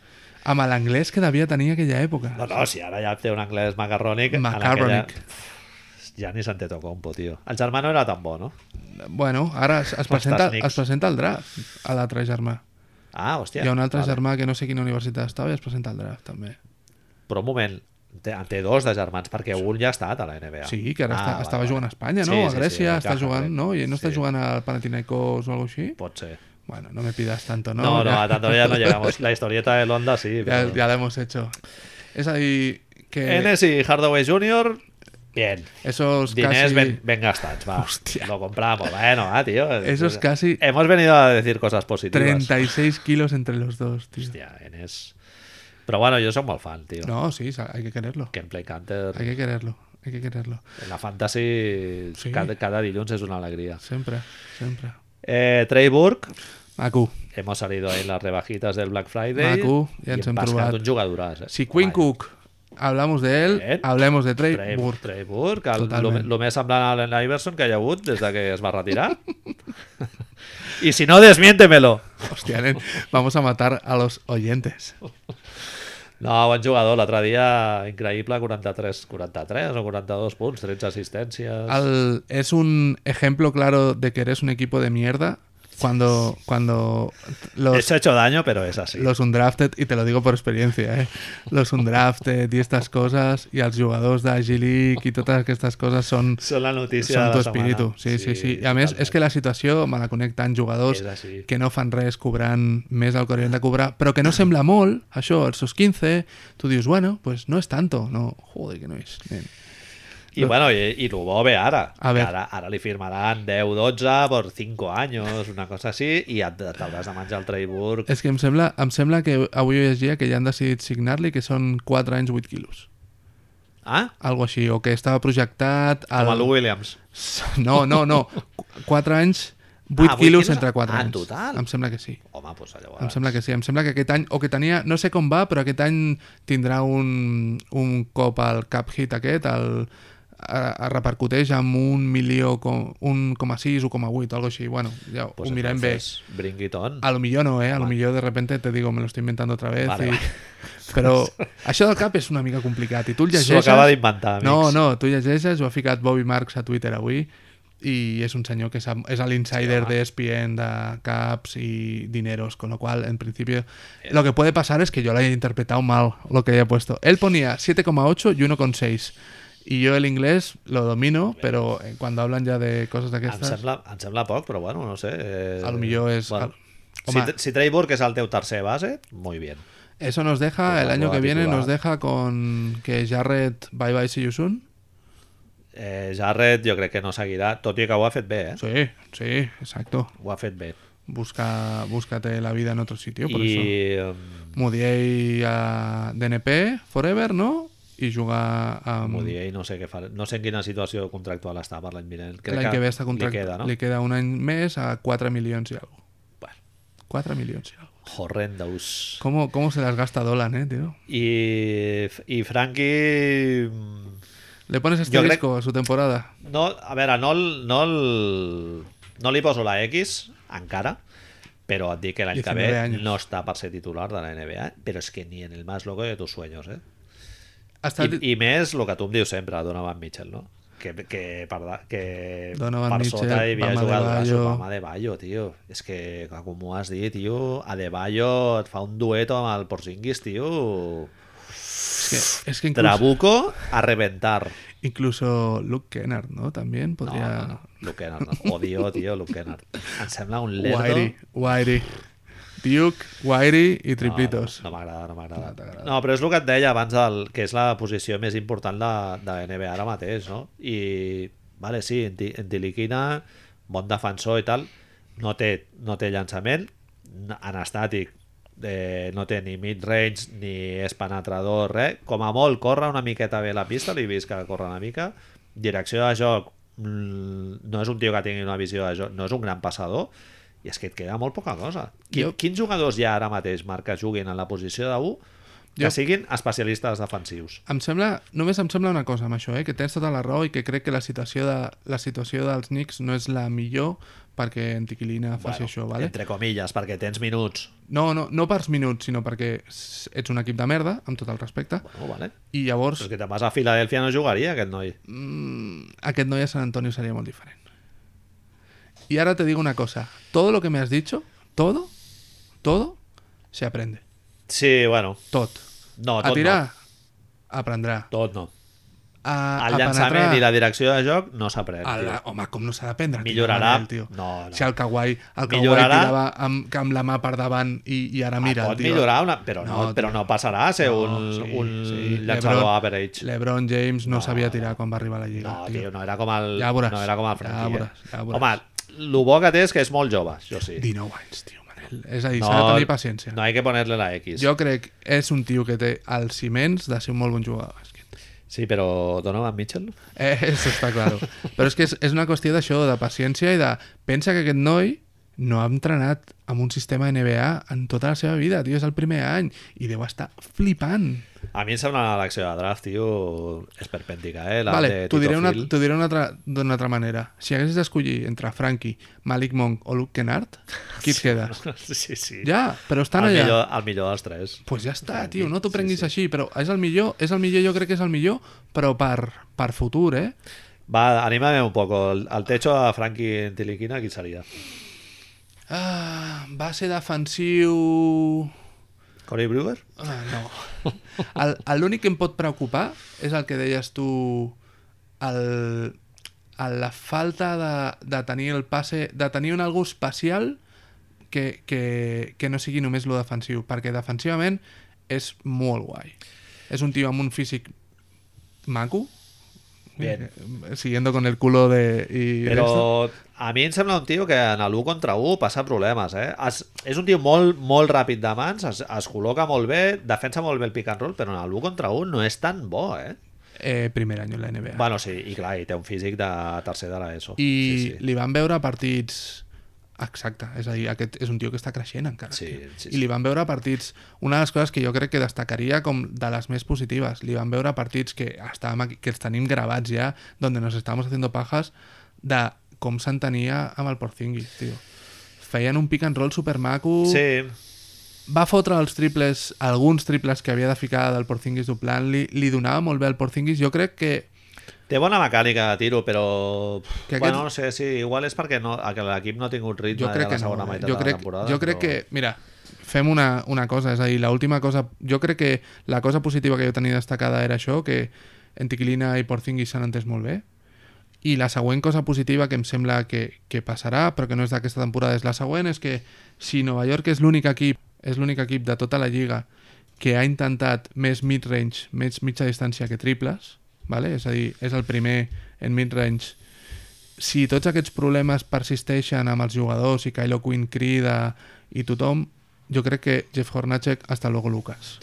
Speaker 2: Amb l'anglès que devia tenir aquella època.
Speaker 1: No, no, si ara ja té un anglès macarrònic. en
Speaker 2: Macarrònic.
Speaker 1: Aquella... Giannis Antetokounmpo, tio. El germà no era tan bo, no?
Speaker 2: Bueno, ara es, es, presenta,
Speaker 1: Knicks.
Speaker 2: es presenta al draft a l'altre germà.
Speaker 1: Ah, hòstia.
Speaker 2: Hi ha un altre germà que no sé quina universitat estava i es presenta al draft, també.
Speaker 1: Però un moment, té, en té dos de germans, perquè un ja ha estat a la NBA.
Speaker 2: Sí, que ara
Speaker 1: Ah,
Speaker 2: està,
Speaker 1: vale,
Speaker 2: estava
Speaker 1: vale.
Speaker 2: jugant a Espanya, no?
Speaker 1: Sí,
Speaker 2: a
Speaker 1: sí,
Speaker 2: Grècia
Speaker 1: sí, a
Speaker 2: està
Speaker 1: Caja,
Speaker 2: jugant,
Speaker 1: crec.
Speaker 2: no? I ell no està
Speaker 1: Sí.
Speaker 2: jugant al Panathinaikos o alguna cosa així.
Speaker 1: Pot ser.
Speaker 2: Bueno, no me pidas tanto, ¿no?
Speaker 1: No, no,
Speaker 2: ja,
Speaker 1: a tanto ya no llegamos. La historieta de Honda sí.
Speaker 2: ja,
Speaker 1: Pero...
Speaker 2: ja l'hemos hecho. És a dir, que
Speaker 1: Enes y Hardaway Jr., bien.
Speaker 2: esos
Speaker 1: Diners
Speaker 2: Pues casi...
Speaker 1: ben, ben gastados, va.
Speaker 2: Hostia.
Speaker 1: Lo compramos, bueno, ah, tío.
Speaker 2: Esos casi-
Speaker 1: Hemos venido a decir cosas positivas.
Speaker 2: 36 kilos entre los dos, tío.
Speaker 1: Hostia, Enes. Pero bueno, yo soy muy fan, tío.
Speaker 2: No, sí, sa- hay que quererlo.
Speaker 1: Gameplay Canter,
Speaker 2: Hay que quererlo, hay que quererlo.
Speaker 1: en la fantasy,
Speaker 2: Sí.
Speaker 1: cada, cada dilluns es una alegría.
Speaker 2: Sempre, sempre.
Speaker 1: Eh, Trey Burke,
Speaker 2: Maco.
Speaker 1: hemos salido ahí en las rebajitas del Black Friday.
Speaker 2: Maco, ja
Speaker 1: i
Speaker 2: ens
Speaker 1: hem
Speaker 2: hem
Speaker 1: pescat
Speaker 2: trobat.
Speaker 1: un jugadoraç, eh?
Speaker 2: Si Quinn
Speaker 1: Vaja.
Speaker 2: Cook hablamos de él,
Speaker 1: Bien.
Speaker 2: hablemos de Trey,
Speaker 1: Trey
Speaker 2: Burke.
Speaker 1: Trey Burke, el, lo,
Speaker 2: Totalment.
Speaker 1: lo més semblant a Allen Iverson que hi ha hagut des de que es va retirar. I si no, desmiéntemelo.
Speaker 2: Hostia, nen, vamos a matar a los oyentes.
Speaker 1: No, bon jugador. L'altre dia, increïble, 43, 43 o 42 punts, 13 assistències.
Speaker 2: Al- es un ejemplo claro de que eres un equipo de mierda cuando, cuando los,
Speaker 1: Eso ha hecho daño, pero es así.
Speaker 2: los undrafted, y te lo digo por experiencia, eh, los undrafted y estas cosas, y los jugadores de Agilic y todas estas cosas son...
Speaker 1: Són la notícia
Speaker 2: Són
Speaker 1: de
Speaker 2: tu
Speaker 1: la setmana.
Speaker 2: espíritu, sí, sí, sí. I a més,
Speaker 1: totalment.
Speaker 2: és que la situació me la connecten jugadors
Speaker 1: És així.
Speaker 2: que no fan res cobrant més del que haurien de cobrar, però que no sembla molt, això, els seus 15, tu dius, bueno, pues no és tanto, no, joder, que no és, nen.
Speaker 1: I, bueno, i, i lo bo ve ara.
Speaker 2: A ver.
Speaker 1: Que ara. Ara li firmaran 10, 12 por 5 anys, una cosa així, i et- t'hauràs de menjar el Trey Burke.
Speaker 2: És que em sembla, em sembla que avui ho llegia que ja han decidit signar-li que són 4 anys 8 quilos.
Speaker 1: Ah?
Speaker 2: Algo així, o que estava projectat...
Speaker 1: Com a E. Lou Williams.
Speaker 2: No, no, no. 4 anys, 8
Speaker 1: Ah,
Speaker 2: ah,
Speaker 1: vuit
Speaker 2: quilos
Speaker 1: quilos?
Speaker 2: entre 4
Speaker 1: Ah, en
Speaker 2: anys.
Speaker 1: total?
Speaker 2: Em sembla que sí.
Speaker 1: Home, doncs llavors...
Speaker 2: Em sembla que sí, em sembla que aquest any, o que tenia, no sé com va, però aquest any tindrà un, un cop al cap hit aquest, el, a, a repercuteix amb un milió, com, un coma sis, un coma vuit, algo així, bueno, ja pues ho mirem bé.
Speaker 1: entonces, Bring it on.
Speaker 2: A lo millor no, eh? A lo millor de repente te digo, me lo estoy inventando otra vez.
Speaker 1: Vale,
Speaker 2: i...
Speaker 1: vale.
Speaker 2: Però això del cap és una mica complicat i tu el
Speaker 1: S'ho
Speaker 2: llegeixes...
Speaker 1: acaba d'inventar, amics.
Speaker 2: No, no, tu llegeixes, ho ha ficat Bobby Marks a Twitter avui i és un senyor que sap, és l'insider de ESPN de caps i dineros, con lo cual, en principio,
Speaker 1: Eh.
Speaker 2: lo que puede pasar es que yo lo haya interpretado mal lo que haya puesto. Él ponía 7,8 y 1,6. Y yo el inglés lo domino, pero eh, cuando hablan ya de cosas de
Speaker 1: Em
Speaker 2: aquestas,
Speaker 1: sembla, em sembla poc, però bueno, no sé. Eh...
Speaker 2: a lo millor és...
Speaker 1: Bueno.
Speaker 2: Home,
Speaker 1: si, si Trey Burke és el teu tercer base, muy bien.
Speaker 2: Eso nos deja,
Speaker 1: Pues
Speaker 2: el
Speaker 1: la
Speaker 2: año
Speaker 1: nueva
Speaker 2: que viene
Speaker 1: titular.
Speaker 2: nos deja con que Jarred bye bye see you soon.
Speaker 1: Eh, Jarret jo crec que no seguirà, tot i que ho ha fet bé, eh? Sí.
Speaker 2: Sí, sí, exacto.
Speaker 1: Ho ha fet bé.
Speaker 2: Busca, búscate la vida en otro sitio, por eso.
Speaker 1: I
Speaker 2: Mudiei a DNP Forever, ¿no? Y jugar a...
Speaker 1: Mudiei no sé què farà. No sé en quina situació contractual està per l'any vinent. Crec
Speaker 2: L'any que ve està contract...
Speaker 1: Li queda, no?
Speaker 2: li queda un any més a 4 milions i algo.
Speaker 1: Bueno,
Speaker 2: 4 milions i algo.
Speaker 1: horrendous.
Speaker 2: ¿Cómo, cómo se las gasta Dolan, eh, tío?
Speaker 1: I, I Frankie... mm,
Speaker 2: Le pones este
Speaker 1: crec-
Speaker 2: disco a su temporada.
Speaker 1: No, a veure, no, el- no, el, no li poso la X encara, però et dic que l'any que ve
Speaker 2: 19 años.
Speaker 1: no està per ser titular de la NBA, però és que ni en el más loco de tus sueños, eh?
Speaker 2: Hasta el-
Speaker 1: I, I més el que tu em dius sempre, Donovan Mitchell, no? Que, que, per, da- que
Speaker 2: Donovan
Speaker 1: per
Speaker 2: Mitchell,
Speaker 1: sota hi havia
Speaker 2: Bam
Speaker 1: jugadors
Speaker 2: Adebayo.
Speaker 1: com Adebayo, tio. És que, com ho has dit, tio, Adebayo et fa un dueto amb el Porzingis, tio.
Speaker 2: es que, es que incluso,
Speaker 1: Trabuco a reventar.
Speaker 2: incluso Luke Kennard, ¿no? También podría...
Speaker 1: Luke Kennard. no. Odio, tio, Luke Kennard. Em sembla un lerdo.
Speaker 2: Whitey, Whitey. Duke, Wairi i Triplitos.
Speaker 1: No, no m'agrada, no
Speaker 2: No
Speaker 1: m'agrada.
Speaker 2: t'agrada.
Speaker 1: No, però és el que et deia abans, del, que és la posició més important de, de NBA ara mateix, no? I, vale, sí, en, Ti- en Tiliquina, bon defensor i tal, no té, no té llançament, n- en estàtic, eh, no té ni mid-range ni és penetrador, res. Com a molt, corre una miqueta bé la pista, l'he vist que corre una mica. Direcció de joc, mm, no és un tio que tingui una visió de joc, no és un gran passador, i és que et queda molt poca cosa. Qui,
Speaker 2: Jo-
Speaker 1: Quins jugadors hi ha ara mateix, Marc, que juguin en la posició de 1 que
Speaker 2: Jo-
Speaker 1: siguin especialistes defensius?
Speaker 2: Em sembla, només em sembla una cosa amb això, eh? que tens tota la raó i que crec que la situació, de, la situació dels Knicks no és la millor perquè Antiquilina faci això, vale?
Speaker 1: Entre comilles, perquè tens minuts.
Speaker 2: No, no, no pels minuts, sinó perquè s- ets un equip de merda, amb tot el respecte,
Speaker 1: Bueno, vale.
Speaker 2: i
Speaker 1: Però
Speaker 2: llavors
Speaker 1: és que te'n vas a Filadèlfia no jugaria, aquest noi.
Speaker 2: aquest noi a San Antonio sería muy diferente. Y ahora te digo una cosa. Todo lo que me has dicho, todo, todo, se aprende.
Speaker 1: Sí, bueno,
Speaker 2: Tot.
Speaker 1: no,
Speaker 2: a
Speaker 1: tot
Speaker 2: tirar,
Speaker 1: no.
Speaker 2: aprendrà.
Speaker 1: Tot no.
Speaker 2: A,
Speaker 1: El
Speaker 2: a
Speaker 1: llançament
Speaker 2: penetrar,
Speaker 1: i la direcció de joc no s'aprèn.
Speaker 2: a la...
Speaker 1: tio.
Speaker 2: Home, com no s'ha d'aprendre? tio,
Speaker 1: Millorarà.
Speaker 2: Manel, tio.
Speaker 1: No, no.
Speaker 2: Si el Kawhi, el Kawhi
Speaker 1: Millorarà. Ah,
Speaker 2: tirava amb, que amb la mà per davant i, i ara mira...
Speaker 1: pot
Speaker 2: tio.
Speaker 1: millorar, una... però, no,
Speaker 2: No,
Speaker 1: però
Speaker 2: tio.
Speaker 1: no passarà a ser
Speaker 2: No,
Speaker 1: un,
Speaker 2: sí,
Speaker 1: un
Speaker 2: sí.
Speaker 1: llançador
Speaker 2: LeBron-
Speaker 1: average.
Speaker 2: LeBron James no, sabia tirar quan va arribar a la Lliga.
Speaker 1: No, tio, no era com el,
Speaker 2: Ja veuràs,
Speaker 1: no era com el
Speaker 2: ja
Speaker 1: Frankie. eh?
Speaker 2: veuràs, ja veuràs.
Speaker 1: Home, el bo que té és que és molt jove, això sí.
Speaker 2: 19 anys, tio, Manel. És a dir, s'ha de tenir paciència.
Speaker 1: No hay que ponerle la X.
Speaker 2: Jo crec que és un tio que té els ciments de ser un molt bon jugador de bàsquet.
Speaker 1: Sí, però Donovan Mitchell...
Speaker 2: Eh, això està clar. Però és que és, és una qüestió d'això, de paciència i de... Pensa que aquest noi no ha entrenat amb un sistema NBA en tota la seva vida, tio, és el primer any i deu estar flipant.
Speaker 1: A mi em sembla una elecció de draft, tio, esperpèntica, eh? La de
Speaker 2: vale, t'ho
Speaker 1: Tito
Speaker 2: diré, una,
Speaker 1: Phil.
Speaker 2: t'ho diré una altra- d'una altra manera. Si haguessis d'escollir entre Frankie, Malik Monk o Luke Kennard, qui et quedes?
Speaker 1: Sí, sí.
Speaker 2: Ja, però estan
Speaker 1: el
Speaker 2: allà.
Speaker 1: Millor, el millor dels tres.
Speaker 2: pues ja està, tio, no t'ho prenguis sí, sí. així, però és el millor, és el millor, jo crec que és el millor, però per, per futur, eh?
Speaker 1: Va, anímame un poco. El, el techo a Frankie en Tiliquina, qui seria?
Speaker 2: Ah, va ser defensiu...
Speaker 1: Corey Brewer?
Speaker 2: Ah, no. El- el- L'únic que em pot preocupar és el que deies tu, el, el, la falta de, de tenir el passe, de tenir un algú especial que, que, que no sigui només lo defensiu, perquè defensivament és molt guai. És un tio amb un físic maco,
Speaker 1: Bien.
Speaker 2: Eh, siguiendo con el culo de... Y de esto.
Speaker 1: Però a mi em sembla un tio que en l'1 contra 1 passa problemes, eh? Es, és un tio molt, molt ràpid de mans, es, es col·loca molt bé, defensa molt bé el pick and roll, però en l'1 contra 1 no és tan bo, eh?
Speaker 2: Eh, primer any en la NBA.
Speaker 1: Bueno, sí, i clar, i té un físic de tercer de l'ESO.
Speaker 2: I
Speaker 1: sí, sí.
Speaker 2: li van veure partits... Exacte, és a dir, aquest és un tio que està creixent encara.
Speaker 1: Sí,
Speaker 2: tio.
Speaker 1: sí,
Speaker 2: I li van veure partits... Una de les coses que jo crec que destacaria com de les més positives, li van veure partits que, estàvem aquí, que els tenim gravats ja, on nos estamos haciendo pajas, de com s'entenia amb el Porzingis, tio. Feien un pick and roll supermaco...
Speaker 1: Sí,
Speaker 2: Va fotre els triples, alguns triples que havia de ficar del Porzingis doblant, li, li donava molt bé al Porzingis. Jo crec que
Speaker 1: té bona mecànica de tiro, però... Que
Speaker 2: Que aquest-
Speaker 1: bueno, no sé, sí, igual és perquè no, que l'equip no ha tingut ritme
Speaker 2: jo crec
Speaker 1: de
Speaker 2: que
Speaker 1: la segona
Speaker 2: no, eh?
Speaker 1: meitat
Speaker 2: jo
Speaker 1: de
Speaker 2: crec,
Speaker 1: la temporada.
Speaker 2: jo crec
Speaker 1: però...
Speaker 2: que, mira, fem una, una cosa, és a dir, l'última cosa, jo crec que la cosa positiva que jo tenia destacada era això, que Antiquilina i Porzingis s'han entès molt bé, i la següent cosa positiva que em sembla que, que passarà, però que no és d'aquesta temporada, és la següent, és que si Nova York és l'únic equip, és l'únic equip de tota la lliga que ha intentat més mid-range, més mitja distància que triples, vale? és a dir, és el primer en mid-range si tots aquests problemes persisteixen amb els jugadors i Kylo Quinn crida i tothom, jo crec que Jeff Hornacek hasta luego Lucas.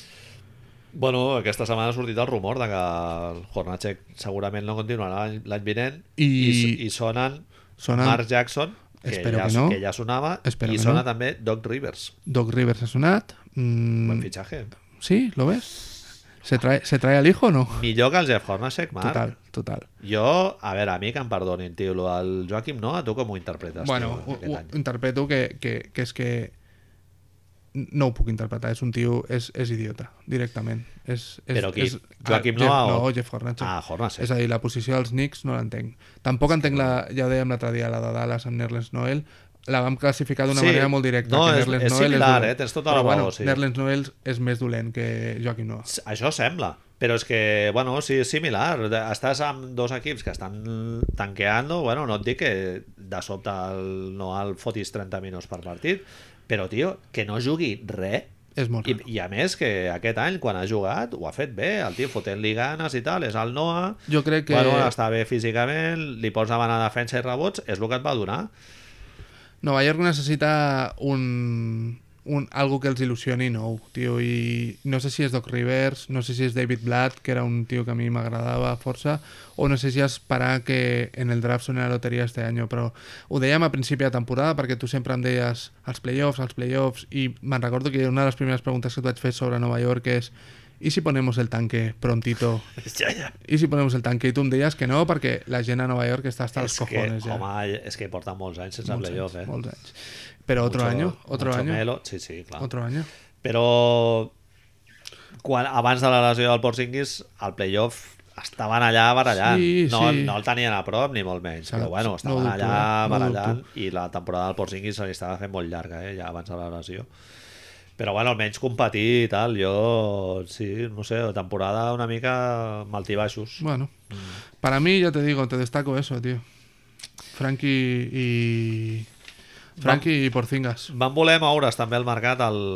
Speaker 1: Bueno, aquesta setmana ha sortit el rumor de que el Hornacek segurament no continuarà l'any- l'any vinent i,
Speaker 2: I-
Speaker 1: i sonen,
Speaker 2: Sonen-
Speaker 1: Mark Jackson, que,
Speaker 2: Espero
Speaker 1: ja,
Speaker 2: que no.
Speaker 1: que ja sonava,
Speaker 2: Espero
Speaker 1: i
Speaker 2: que
Speaker 1: sona
Speaker 2: no.
Speaker 1: també Doc Rivers.
Speaker 2: Doc Rivers ha sonat. Mm,
Speaker 1: Buen fitxatge.
Speaker 2: sí, ¿lo ves? ¿Se trae, ¿Se trae al hijo o no?
Speaker 1: Millor que el Jeff Hornacek, Marc.
Speaker 2: Total, total.
Speaker 1: Jo, a veure, a mi que em perdonin, tio, lo del Joaquim Noah, tu com ho interpretes?
Speaker 2: Bueno,
Speaker 1: tio,
Speaker 2: ho,
Speaker 1: aquest
Speaker 2: ho
Speaker 1: any?
Speaker 2: interpreto que, que, que és que no ho puc interpretar, és un tio, és, és idiota, directament. És, és,
Speaker 1: Però qui?
Speaker 2: És,
Speaker 1: Joaquim
Speaker 2: Jeff,
Speaker 1: Noah o-
Speaker 2: No, Jeff Hornacek.
Speaker 1: Ah, Hornacek.
Speaker 2: És a dir, la posició dels Knicks no l'entenc. Tampoc entenc, la, ja ho dèiem l'altre dia, la de Dallas amb Nerlens Noel, la vam classificar d'una
Speaker 1: Sí.
Speaker 2: manera molt directa.
Speaker 1: No,
Speaker 2: que
Speaker 1: és-
Speaker 2: Nerlens
Speaker 1: és
Speaker 2: Noel
Speaker 1: similar,
Speaker 2: dolent.
Speaker 1: eh? Tens tota la
Speaker 2: Però,
Speaker 1: raó,
Speaker 2: bueno,
Speaker 1: sí.
Speaker 2: Nerlens Noel és més dolent que Joaquim Noah.
Speaker 1: Això sembla, però és que, bueno, sí, és similar. De- Estàs amb dos equips que estan tanqueando, bueno, no et dic que de sobte el, no el fotis 30 minuts per partit, Però, tio, que no jugui res
Speaker 2: És molt
Speaker 1: i,
Speaker 2: raro.
Speaker 1: I a més que aquest any, quan ha jugat, ho ha fet bé, el tio fotent-li ganes i tal, és el Noah,
Speaker 2: Jo crec que-
Speaker 1: bueno, està bé físicament, li pots demanar defensa i rebots, és el que et va donar.
Speaker 2: Nova York necessita un, un algo que els il·lusioni nou, tio, i no sé si és Doc Rivers, no sé si és David Blatt, que era un tio que a mi m'agradava força, o no sé si esperar que en el draft soni la loteria este any, però ho dèiem a principi de temporada perquè tu sempre em deies els playoffs, els playoffs, i me'n recordo que una de les primeres preguntes que et vaig fer sobre Nova York és ¿Y si ponemos el tanque prontito?
Speaker 1: Ja, ja.
Speaker 2: ¿Y si ponemos el tanque? I tu em deies que no, perquè la gent a Nova York està hasta els
Speaker 1: és que,
Speaker 2: cojones ja.
Speaker 1: home, és que porta molts anys sense
Speaker 2: Molts
Speaker 1: playoff,
Speaker 2: anys,
Speaker 1: eh?
Speaker 2: molts anys. Pero otro
Speaker 1: Mucho-
Speaker 2: año, otro
Speaker 1: mucho
Speaker 2: año,
Speaker 1: Melo. Sí, sí, clar.
Speaker 2: otro año.
Speaker 1: Però quan, abans de la lesió del Porzingis, al playoff estaven allà barallant.
Speaker 2: Sí,
Speaker 1: no,
Speaker 2: sí.
Speaker 1: no el tenien a prop, ni molt menys.
Speaker 2: Saps?
Speaker 1: Però bueno,
Speaker 2: No
Speaker 1: estaven
Speaker 2: ho dubto,
Speaker 1: allà
Speaker 2: eh? No ho
Speaker 1: barallant
Speaker 2: dubto.
Speaker 1: i la temporada del Porzingis se li estava fent molt llarga, eh, ja abans de la lesió. Però bueno, almenys competir i tal. Jo, sí, no sé, la temporada una mica amb altibaixos.
Speaker 2: Bueno,
Speaker 1: Mm.
Speaker 2: para mí ya te digo, te destaco eso, tío. Frankie y Frankie y Porcingas.
Speaker 1: Van voler moure's també al mercat al,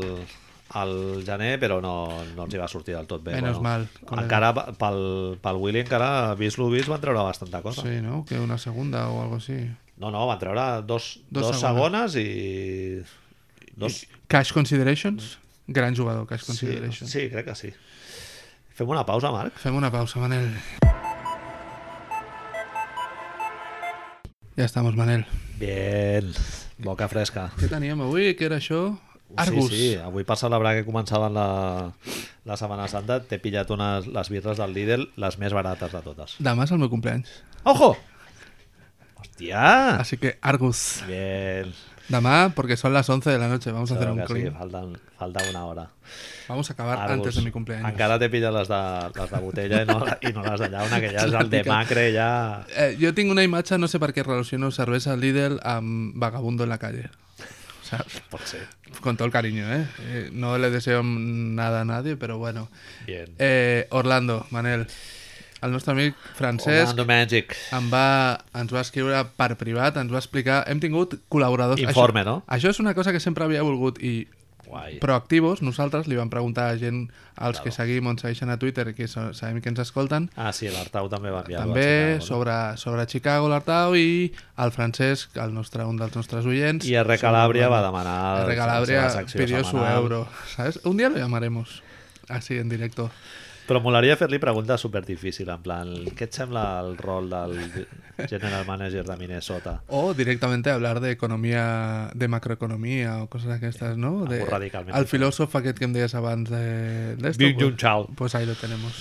Speaker 1: al gener, però no, no els hi va sortir del tot bé.
Speaker 2: Menos mal, col·lega.
Speaker 1: Encara pe- pel, pel Willy, encara vist lo vist, van treure bastanta cosa.
Speaker 2: Sí, ¿no? Que una segunda o algo así.
Speaker 1: No, no, van treure dos,
Speaker 2: Dos
Speaker 1: dos, dos segones i... Dos,
Speaker 2: Cash Considerations, gran jugador, Cash
Speaker 1: sí,
Speaker 2: Considerations.
Speaker 1: sí, crec que sí. Fem una pausa, Marc?
Speaker 2: Fem una pausa, Manel. Ya estamos, Manel.
Speaker 1: Bien, boca fresca.
Speaker 2: ¿Qué teníem avui? ¿Qué era això? Argus.
Speaker 1: Sí, sí, avui per celebrar que començaven la, la Setmana Santa t'he pillat unes, les birres del Lidl, les més barates de totes.
Speaker 2: Demà és el meu cumpleaños.
Speaker 1: Ojo! Hòstia!
Speaker 2: Así que Argus.
Speaker 1: Bien.
Speaker 2: Damá, porque son las 11 de la noche, vamos a hacer
Speaker 1: Claro que
Speaker 2: un
Speaker 1: sí,
Speaker 2: clean.
Speaker 1: faltan, falta una hora.
Speaker 2: Vamos a acabar
Speaker 1: Argos.
Speaker 2: antes de mi cumpleaños.
Speaker 1: Encara te pillan las de, les de botella y no, i no les de llauna, que ya es el de macre, ya...
Speaker 2: Eh, jo tinc una imatge, no sé per què relaciono cervesa Lidl amb vagabundo en la calle. O sea,
Speaker 1: Pot ser.
Speaker 2: con todo el cariño, ¿eh? Eh, No le deseo nada a nadie, pero bueno.
Speaker 1: Bien.
Speaker 2: Eh, Orlando, Manel, el nostre amic francès
Speaker 1: Orlando Magic.
Speaker 2: em va, ens va escriure per privat, ens va explicar... Hem tingut col·laboradors...
Speaker 1: Informe,
Speaker 2: això,
Speaker 1: no?
Speaker 2: Això és una cosa que sempre havia volgut i
Speaker 1: Guai.
Speaker 2: proactius, nosaltres li vam preguntar a gent, als que seguim o ens segueixen a Twitter, que so- sabem que ens escolten,
Speaker 1: Ah, sí, l'Artau també va enviar.
Speaker 2: també sobre, sobre Chicago, l'Artau, i el Francesc, el nostre, un dels nostres oients.
Speaker 1: I R. Calabria
Speaker 2: sobre-
Speaker 1: va demanar
Speaker 2: R.
Speaker 1: la
Speaker 2: Calabria
Speaker 1: seva secció
Speaker 2: pidió su
Speaker 1: setmanal.
Speaker 2: euro, ¿sabes? Un día lo llamaremos, así en directo.
Speaker 1: Però molaria fer-li preguntes superdifícil, en plan, què et sembla el rol del general manager de Minnesota?
Speaker 2: O directamente hablar de economía, de macroeconomía o cosas aquestes, ¿no? De,
Speaker 1: Algo radicalmente
Speaker 2: Al
Speaker 1: diferent.
Speaker 2: filósofo aquest que em deies abans de, de esto,
Speaker 1: Big
Speaker 2: pues-
Speaker 1: Jun Chao.
Speaker 2: Pues ahí lo tenemos.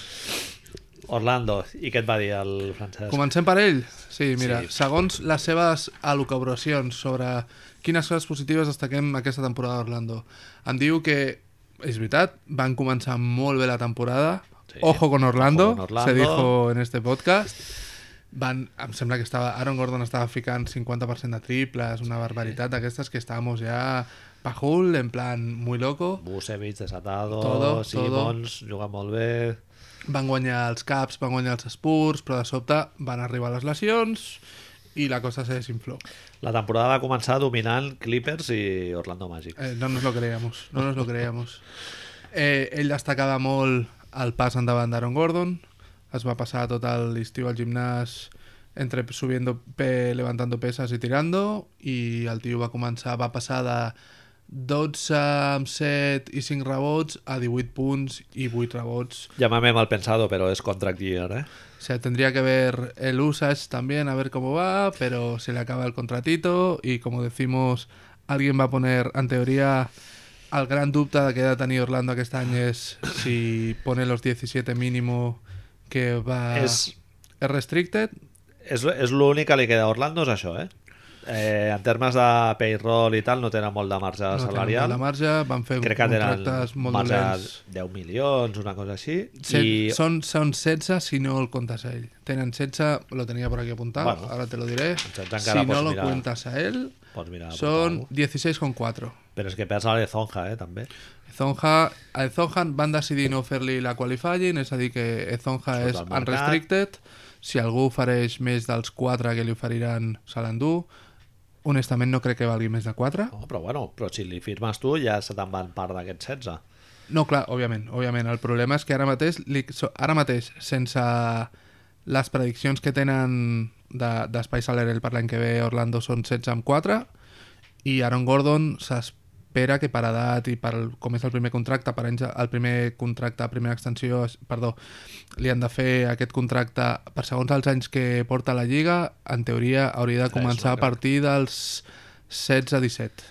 Speaker 1: Orlando, i què et va dir el Francesc?
Speaker 2: Comencem per ell? Sí, mira,
Speaker 1: Sí.
Speaker 2: sí. segons les seves elucubracions sobre quines coses positives destaquem aquesta temporada d'Orlando. Em diu que, és veritat, van començar molt bé la temporada.
Speaker 1: Sí.
Speaker 2: Sí. Ojo con Orlando,
Speaker 1: Ojo con Orlando.
Speaker 2: se dijo en este podcast. Van, em sembla que estava, Aaron Gordon estava ficant 50% de triples, una barbaritat d'aquestes que estàvamos ja pajul, en plan muy loco.
Speaker 1: Busevich, desatado,
Speaker 2: Todo,
Speaker 1: Simons, juga molt bé...
Speaker 2: Van guanyar els Caps, van guanyar els Spurs, però de sobte van arribar les lesions i la cosa se desinfló.
Speaker 1: La temporada va començar dominant Clippers i Orlando Magic.
Speaker 2: Eh, no nos lo creíamos, no nos lo creíamos. Eh, ell destacava molt el pas endavant d'Aaron Gordon, es va passar tot l'estiu al gimnàs entre subiendo, pe, levantando pesas i tirando, i el tio va començar, va passar de 12 amb 7 i 5 rebots a 18 punts i 8 rebots.
Speaker 1: Llámame mal pensado, pero es contract year, ¿eh?
Speaker 2: Se tendría que ver el usage también, a ver cómo va, pero se le acaba el contratito y como decimos, alguien va a poner, en teoría, al gran dubte que ha tenido Orlando aquest any és si pone los 17 mínimo que va...
Speaker 1: És-
Speaker 2: és restricted?
Speaker 1: És, és l'únic que li queda a Orlando, és això, eh? eh? En termes de payroll i tal, no tenen molt de marge
Speaker 2: No tenen molt
Speaker 1: salarial.
Speaker 2: de marge, van fer
Speaker 1: Crec que tenen
Speaker 2: contractes molt
Speaker 1: marge
Speaker 2: dolents.
Speaker 1: de 10 milions, una cosa així.
Speaker 2: Set,
Speaker 1: I
Speaker 2: són, són 16 si no el comptes a ell. Tenen 16, lo tenia por aquí apuntado,
Speaker 1: Bueno.
Speaker 2: ahora te lo diré.
Speaker 1: encara
Speaker 2: Si no
Speaker 1: pots
Speaker 2: lo
Speaker 1: mirar.
Speaker 2: cuentas a él,
Speaker 1: Pots mirar,
Speaker 2: son
Speaker 1: Son...
Speaker 2: 16,4.
Speaker 1: Però és que perds a l'Ezonja, eh, també.
Speaker 2: Ezonja, a Ezonja van decidir no fer-li la qualifying, és a dir que Ezonja
Speaker 1: Surt
Speaker 2: és
Speaker 1: al mercat.
Speaker 2: unrestricted, si algú ofereix més dels 4 que li oferiran se l'endú, honestament no crec que valgui més de 4.
Speaker 1: No, però bueno, però si li firmes tu ja se te'n van part d'aquests 16.
Speaker 2: No, clar, òbviament, òbviament. El problema és que ara mateix, li, so- ara mateix sense les prediccions que tenen de- d'espai de, salarial per l'any que ve Orlando són 16 amb 4 i Aaron Gordon s'espera que per edat i per com és el primer contracte, per anys, el primer contracte, primera extensió, es- perdó, li han de fer aquest contracte per segons els anys que porta la Lliga, en teoria hauria de
Speaker 1: Tres,
Speaker 2: començar
Speaker 1: no
Speaker 2: a
Speaker 1: crec.
Speaker 2: partir dels 16-17.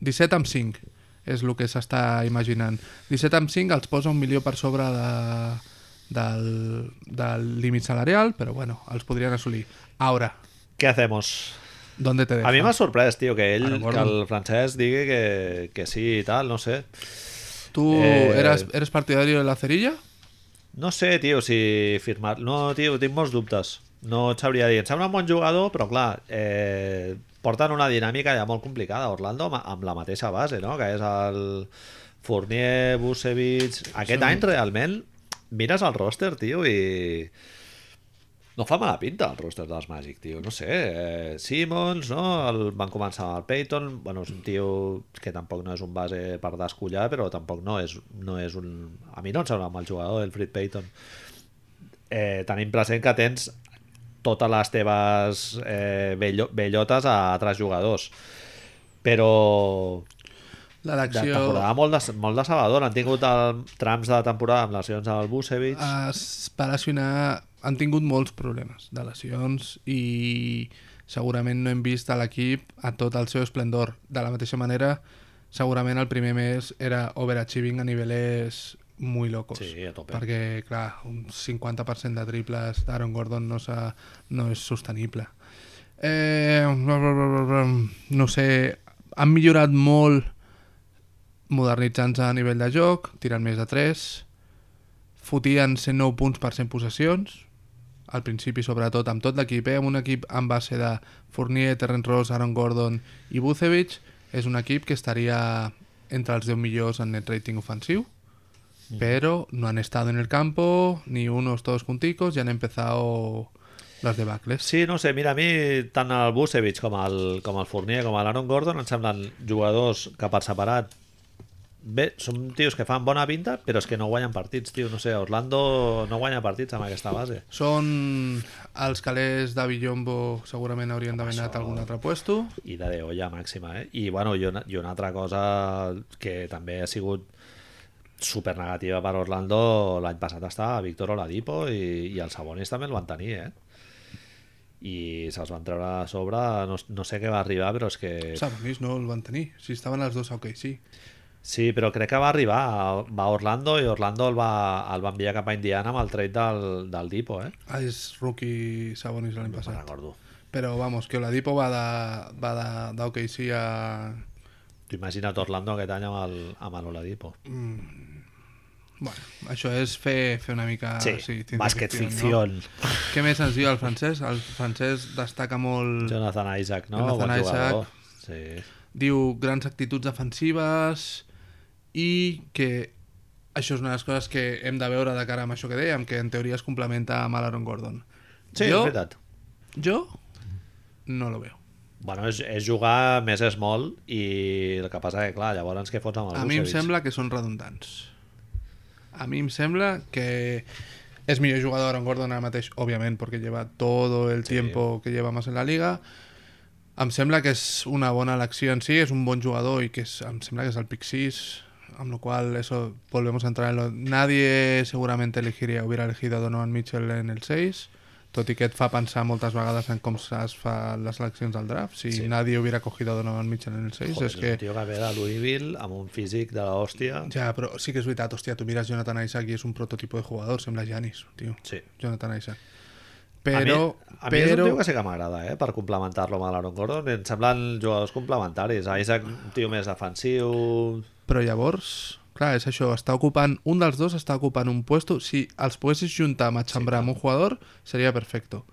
Speaker 2: 17 amb 5 és el que s'està imaginant. 17 amb 5 els posa un milió per sobre de, del, del límit salarial, però bueno, els podrien assolir. Ara,
Speaker 1: Què hacemos?
Speaker 2: ¿dónde te deja?
Speaker 1: A mí me ha sorprès, tío, que
Speaker 2: A lo
Speaker 1: él,
Speaker 2: mejor
Speaker 1: que
Speaker 2: no.
Speaker 1: el francés diga que, que sí y tal, no sé.
Speaker 2: ¿Tú
Speaker 1: Eh,
Speaker 2: eras, eres partidario de la cerilla?
Speaker 1: No sé, tío, si firmar... No, tío, tinc molts dubtes. No et sabria dir. Em sembla un bon jugador, però clar, eh, porten una dinàmica ja molt complicada. Orlando amb, amb la mateixa base, no? Que és el Fournier, Busevich... Aquest
Speaker 2: Sí.
Speaker 1: any realment mires el roster, tio, i... No fa mala pinta el roster dels Magic, tio. No sé, eh, Simmons, no? El, van començar amb el Peyton. Bueno, és un tio que tampoc no és un base per descollar, però tampoc no és, no és un... A mi no em sembla mal jugador, el Fred Peyton. Eh, tenim present que tens totes les teves eh, bello, bellotes a altres jugadors. Però de
Speaker 2: L'elecció...
Speaker 1: temporada molt, des, molt decebedora. Han tingut el, trams de la temporada amb lesions al Busevich.
Speaker 2: Ah, es va lesionar... Han tingut molts problemes de lesions i segurament no hem vist a l'equip a tot el seu esplendor. De la mateixa manera, segurament el primer mes era overachieving a niveles muy locos.
Speaker 1: Sí, a tope.
Speaker 2: Perquè, clar, un 50% de triples d'Aaron Gordon no, s'ha- no és sostenible. Eh, no sé, han millorat molt modernitzant-se a nivell de joc, tirant més de 3, fotien 109 punts per 100 possessions, al principi sobretot amb tot l'equip, eh? amb un equip en base de Fournier, Terrence Ross, Aaron Gordon i Vucevic, és un equip que estaria entre els 10 millors en net rating ofensiu, pero no han estado en el campo, ni unos todos junticos, ya han empezado las debacles.
Speaker 1: Sí, no sé, mira, a mi tant el Busevich com el, com el Fournier com l'Aaron Gordon em semblen jugadors que per separat bé, són tios que fan bona pinta però és que no guanyen partits, tio, no sé Orlando no guanya partits amb aquesta base
Speaker 2: Són els calés de Villombo segurament haurien d'haver anat a algun altre puesto.
Speaker 1: i de deolla màxima, eh? I, bueno, i una, i una altra cosa que també ha sigut super negativa per Orlando l'any passat estava Víctor Oladipo i, i els Sabonis també el van tenir, eh? I se'ls van treure a sobre, no, no sé què va arribar, però és que...
Speaker 2: Sabonis no el van tenir. Si estaven els dos, ok, sí.
Speaker 1: Sí, però crec que va arribar, va a Orlando i Orlando el va, el va enviar cap a Indiana amb el trade del, del Dipo, eh?
Speaker 2: Ah, és rookie Sabonis l'any
Speaker 1: Me'n
Speaker 2: passat.
Speaker 1: recordo.
Speaker 2: Però vamos, que Oladipo va de, va de, de OKC a...
Speaker 1: T'ho imagina't Orlando aquest any amb el, amb l'Oladipo.
Speaker 2: Bueno, això és fer, fer una mica...
Speaker 1: sí,
Speaker 2: ciencia
Speaker 1: bàsquet
Speaker 2: ficción,
Speaker 1: ficció. No?
Speaker 2: No? Què més ens diu el francès? El francès destaca molt...
Speaker 1: Jonathan Isaac, no?
Speaker 2: Jonathan
Speaker 1: Bon jugador.
Speaker 2: Isaac.
Speaker 1: Sí.
Speaker 2: diu grans actituds defensives i que això és una de les coses que hem de veure de cara amb això que dèiem, que en teoria es complementa amb l'Aaron Gordon.
Speaker 1: Sí, jo...
Speaker 2: jo,
Speaker 1: és veritat.
Speaker 2: jo no lo veo.
Speaker 1: Bueno, és, és jugar més small i el que passa que, clar, llavors què fots amb el
Speaker 2: A mi em
Speaker 1: Vucevic?
Speaker 2: sembla que són redundants. A mi em sembla que es millor jugador Aaron Gordon ara mateix, òbviament, perquè lleva todo el tiempo que lleva más en la liga. Em sembla que és una bona elecció en si, és un bon jugador i que és, em sembla que és el pick 6, amb lo cual eso volvemos a entrar en lo... Nadie seguramente elegiria, hubiera elegido a Donovan Mitchell en el 6, tot i que et fa pensar moltes vegades en com es fa les eleccions al draft. Si
Speaker 1: Sí.
Speaker 2: nadie hubiera cogido a Donovan Mitchell en el 6,
Speaker 1: Joder,
Speaker 2: és que...
Speaker 1: un tio que ve de Louisville amb un físic de l'hòstia.
Speaker 2: Ja, però sí que és veritat, hòstia, tu mires Jonathan Isaac i és un prototipo de jugador, sembla Giannis, tio.
Speaker 1: Sí.
Speaker 2: Jonathan Isaac.
Speaker 1: A mi-
Speaker 2: Però,
Speaker 1: a mi, és un
Speaker 2: però...
Speaker 1: tio que sí que m'agrada, eh? per complementar-lo amb l'Aaron Gordon. Em semblen jugadors complementaris. Isaac, un tio més defensiu...
Speaker 2: però llavors, clar, és això, està ocupant, un dels dos està ocupant un puesto, si els poguessis juntar amb Xambra amb un jugador, seria perfecto.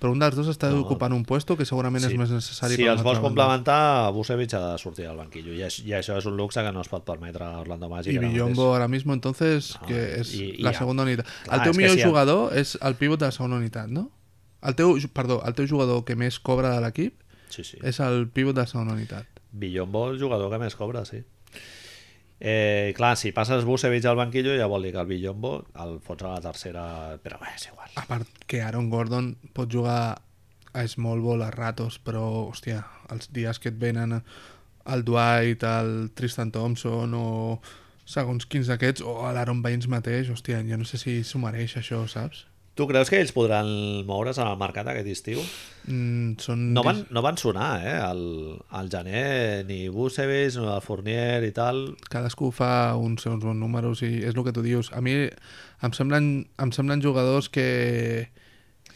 Speaker 2: Però un dels dos està
Speaker 1: No.
Speaker 2: ocupant un puesto que segurament és més necessari
Speaker 1: si
Speaker 2: per
Speaker 1: els
Speaker 2: una
Speaker 1: vols
Speaker 2: altra banda.
Speaker 1: complementar, Vucevic ha de sortir del banquillo. I, aix- I això és un luxe que no es pot permetre a Orlando Magic.
Speaker 2: I
Speaker 1: ara
Speaker 2: Villombo
Speaker 1: mateix.
Speaker 2: ara mismo, entonces,
Speaker 1: No,
Speaker 2: que és
Speaker 1: Ah, i- i
Speaker 2: la
Speaker 1: ja.
Speaker 2: segona unitat.
Speaker 1: Clar,
Speaker 2: el teu
Speaker 1: és que
Speaker 2: millor
Speaker 1: si el-
Speaker 2: jugador és el pivot de la segona unitat, no? El teu, ju- perdó, el teu jugador que més cobra de l'equip
Speaker 1: Sí, sí.
Speaker 2: És el pivot de segona unitat.
Speaker 1: Billombo, el jugador que més cobra, sí. Eh, clar, si passes Busevich al banquillo ja vol dir que el Billombo el fots a la tercera, però bé, és igual.
Speaker 2: A part que Aaron Gordon pot jugar a small ball a ratos, però, hòstia, els dies que et venen el Dwight, el Tristan Thompson o segons quins d'aquests, o a l'Aaron Baines mateix, hòstia, jo no sé si s'ho mereix això, saps?
Speaker 1: Tu creus que ells podran moure's en el mercat aquest estiu?
Speaker 2: Mm, són...
Speaker 1: No van, no van sonar, eh? Al, al gener, ni Busevich, ni el Fournier i tal.
Speaker 2: cadascú fa uns seus bons números i és el que tu dius. A mi em semblen, em semblen jugadors que,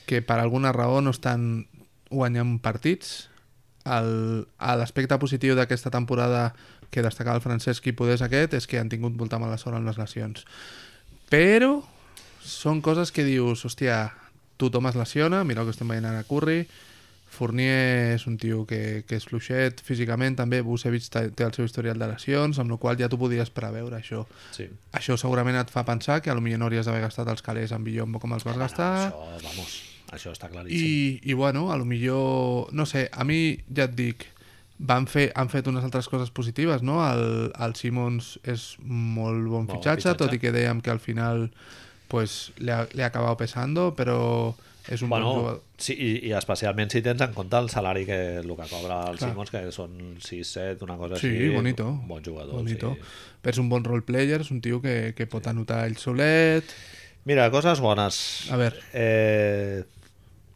Speaker 2: que per alguna raó no estan guanyant partits. El- a L'aspecte positiu d'aquesta temporada que destacava el Francesc i Podés aquest és que han tingut molta mala sort amb les lesions. Però són coses que dius, hòstia, tothom es lesiona, mira el que estem veient ara a Curry, Fournier és un tio que, que és fluixet físicament, també Busevich té té el seu historial de lesions, amb la qual cosa ja t'ho podies preveure, això.
Speaker 1: Sí.
Speaker 2: Això segurament et fa pensar que potser no hauries d'haver gastat els calés en Billombo com els vas gastar...
Speaker 1: No, això, vamos, això està claríssim.
Speaker 2: I, i bueno, a lo millor, no sé, a mi ja et dic, van fer, han fet unes altres coses positives, no? El, el Simons és molt bon
Speaker 1: bon
Speaker 2: fitxatge,
Speaker 1: fitxatge.
Speaker 2: tot i que dèiem que al final pues, le ha, le ha acabat pesando, però és un
Speaker 1: bueno,
Speaker 2: bon jugador.
Speaker 1: sí, i, i especialment si tens en compte el salari que el que cobra el
Speaker 2: Clar.
Speaker 1: Simons, que són 6-7, una cosa
Speaker 2: Sí,
Speaker 1: així.
Speaker 2: bonito.
Speaker 1: Bon jugador,
Speaker 2: Bonito.
Speaker 1: sí.
Speaker 2: És un bon role player, és un tio que, que pot anotar ell solet...
Speaker 1: Mira, coses bones.
Speaker 2: A veure.
Speaker 1: Eh,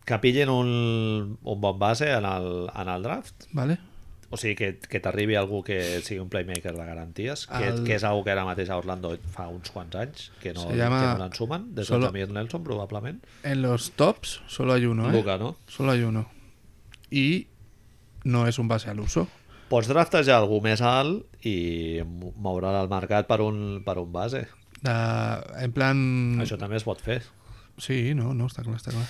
Speaker 1: que pillin un, un bon base en el, en el draft.
Speaker 2: Vale?
Speaker 1: O sigui, que, que t'arribi algú que sigui un playmaker de garanties, que,
Speaker 2: El-
Speaker 1: que és algo que ara mateix a Orlando fa uns quants anys, que no,
Speaker 2: Se llama-
Speaker 1: que no l'ensumen, des de
Speaker 2: Solo-
Speaker 1: Jamir Nelson, probablement.
Speaker 2: En los tops solo hay
Speaker 1: No,
Speaker 2: uno, ¿eh?
Speaker 1: Luca, no?
Speaker 2: Solo hay uno. Y no es un base al uso.
Speaker 1: Pots draftejar algú més alt i mo- moure'l al mercat per un, per un base.
Speaker 2: De- en plan...
Speaker 1: Això també es pot fer.
Speaker 2: Sí, no, no, està clar, està clar.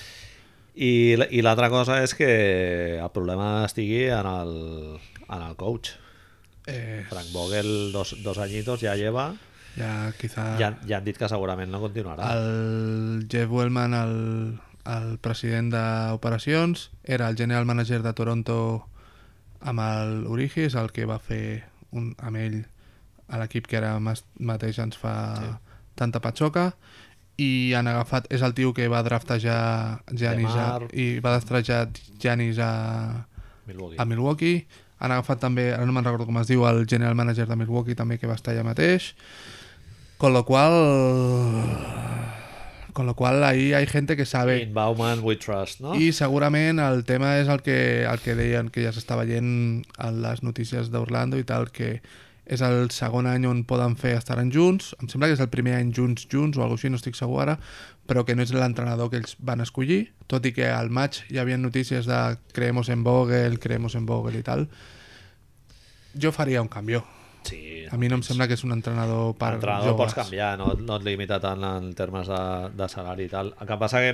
Speaker 1: I, l- i l'altra cosa és que el problema estigui en el, en el coach.
Speaker 2: Eh,
Speaker 1: Frank Vogel, dos, dos anyitos, ja lleva.
Speaker 2: ja, quizá...
Speaker 1: Ja, han- ja han dit que segurament no continuarà.
Speaker 2: El Jeff Wellman, el, el president d'operacions, era el general manager de Toronto amb el Origi, és el que va fer un, amb ell a l'equip que ara mas- mateix ens fa sí. tanta patxoca i han agafat, és el tio que va draftejar Janis a,
Speaker 1: Demar.
Speaker 2: i va draftejar Janis a,
Speaker 1: Milwaukee.
Speaker 2: a Milwaukee han agafat també, ara no me'n recordo com es diu el general manager de Milwaukee també que va estar allà mateix con lo cual con lo cual ahí hay gente que sabe
Speaker 1: In Bauman, we trust, no?
Speaker 2: i segurament el tema és el que, el que deien que ja s'està veient en les notícies d'Orlando i tal que és el segon any on poden fer estaran junts, em sembla que és el primer any junts junts o alguna cosa així, no estic segur ara però que no és l'entrenador que ells van escollir tot i que al maig hi havia notícies de creemos en Vogel, creemos en Vogel i tal jo faria un canvi
Speaker 1: Sí,
Speaker 2: a mi no em sembla que és un entrenador per
Speaker 1: Entrenador
Speaker 2: joves
Speaker 1: pots canviar, no, no et limita tant en termes de, de salari i tal. El que passa que,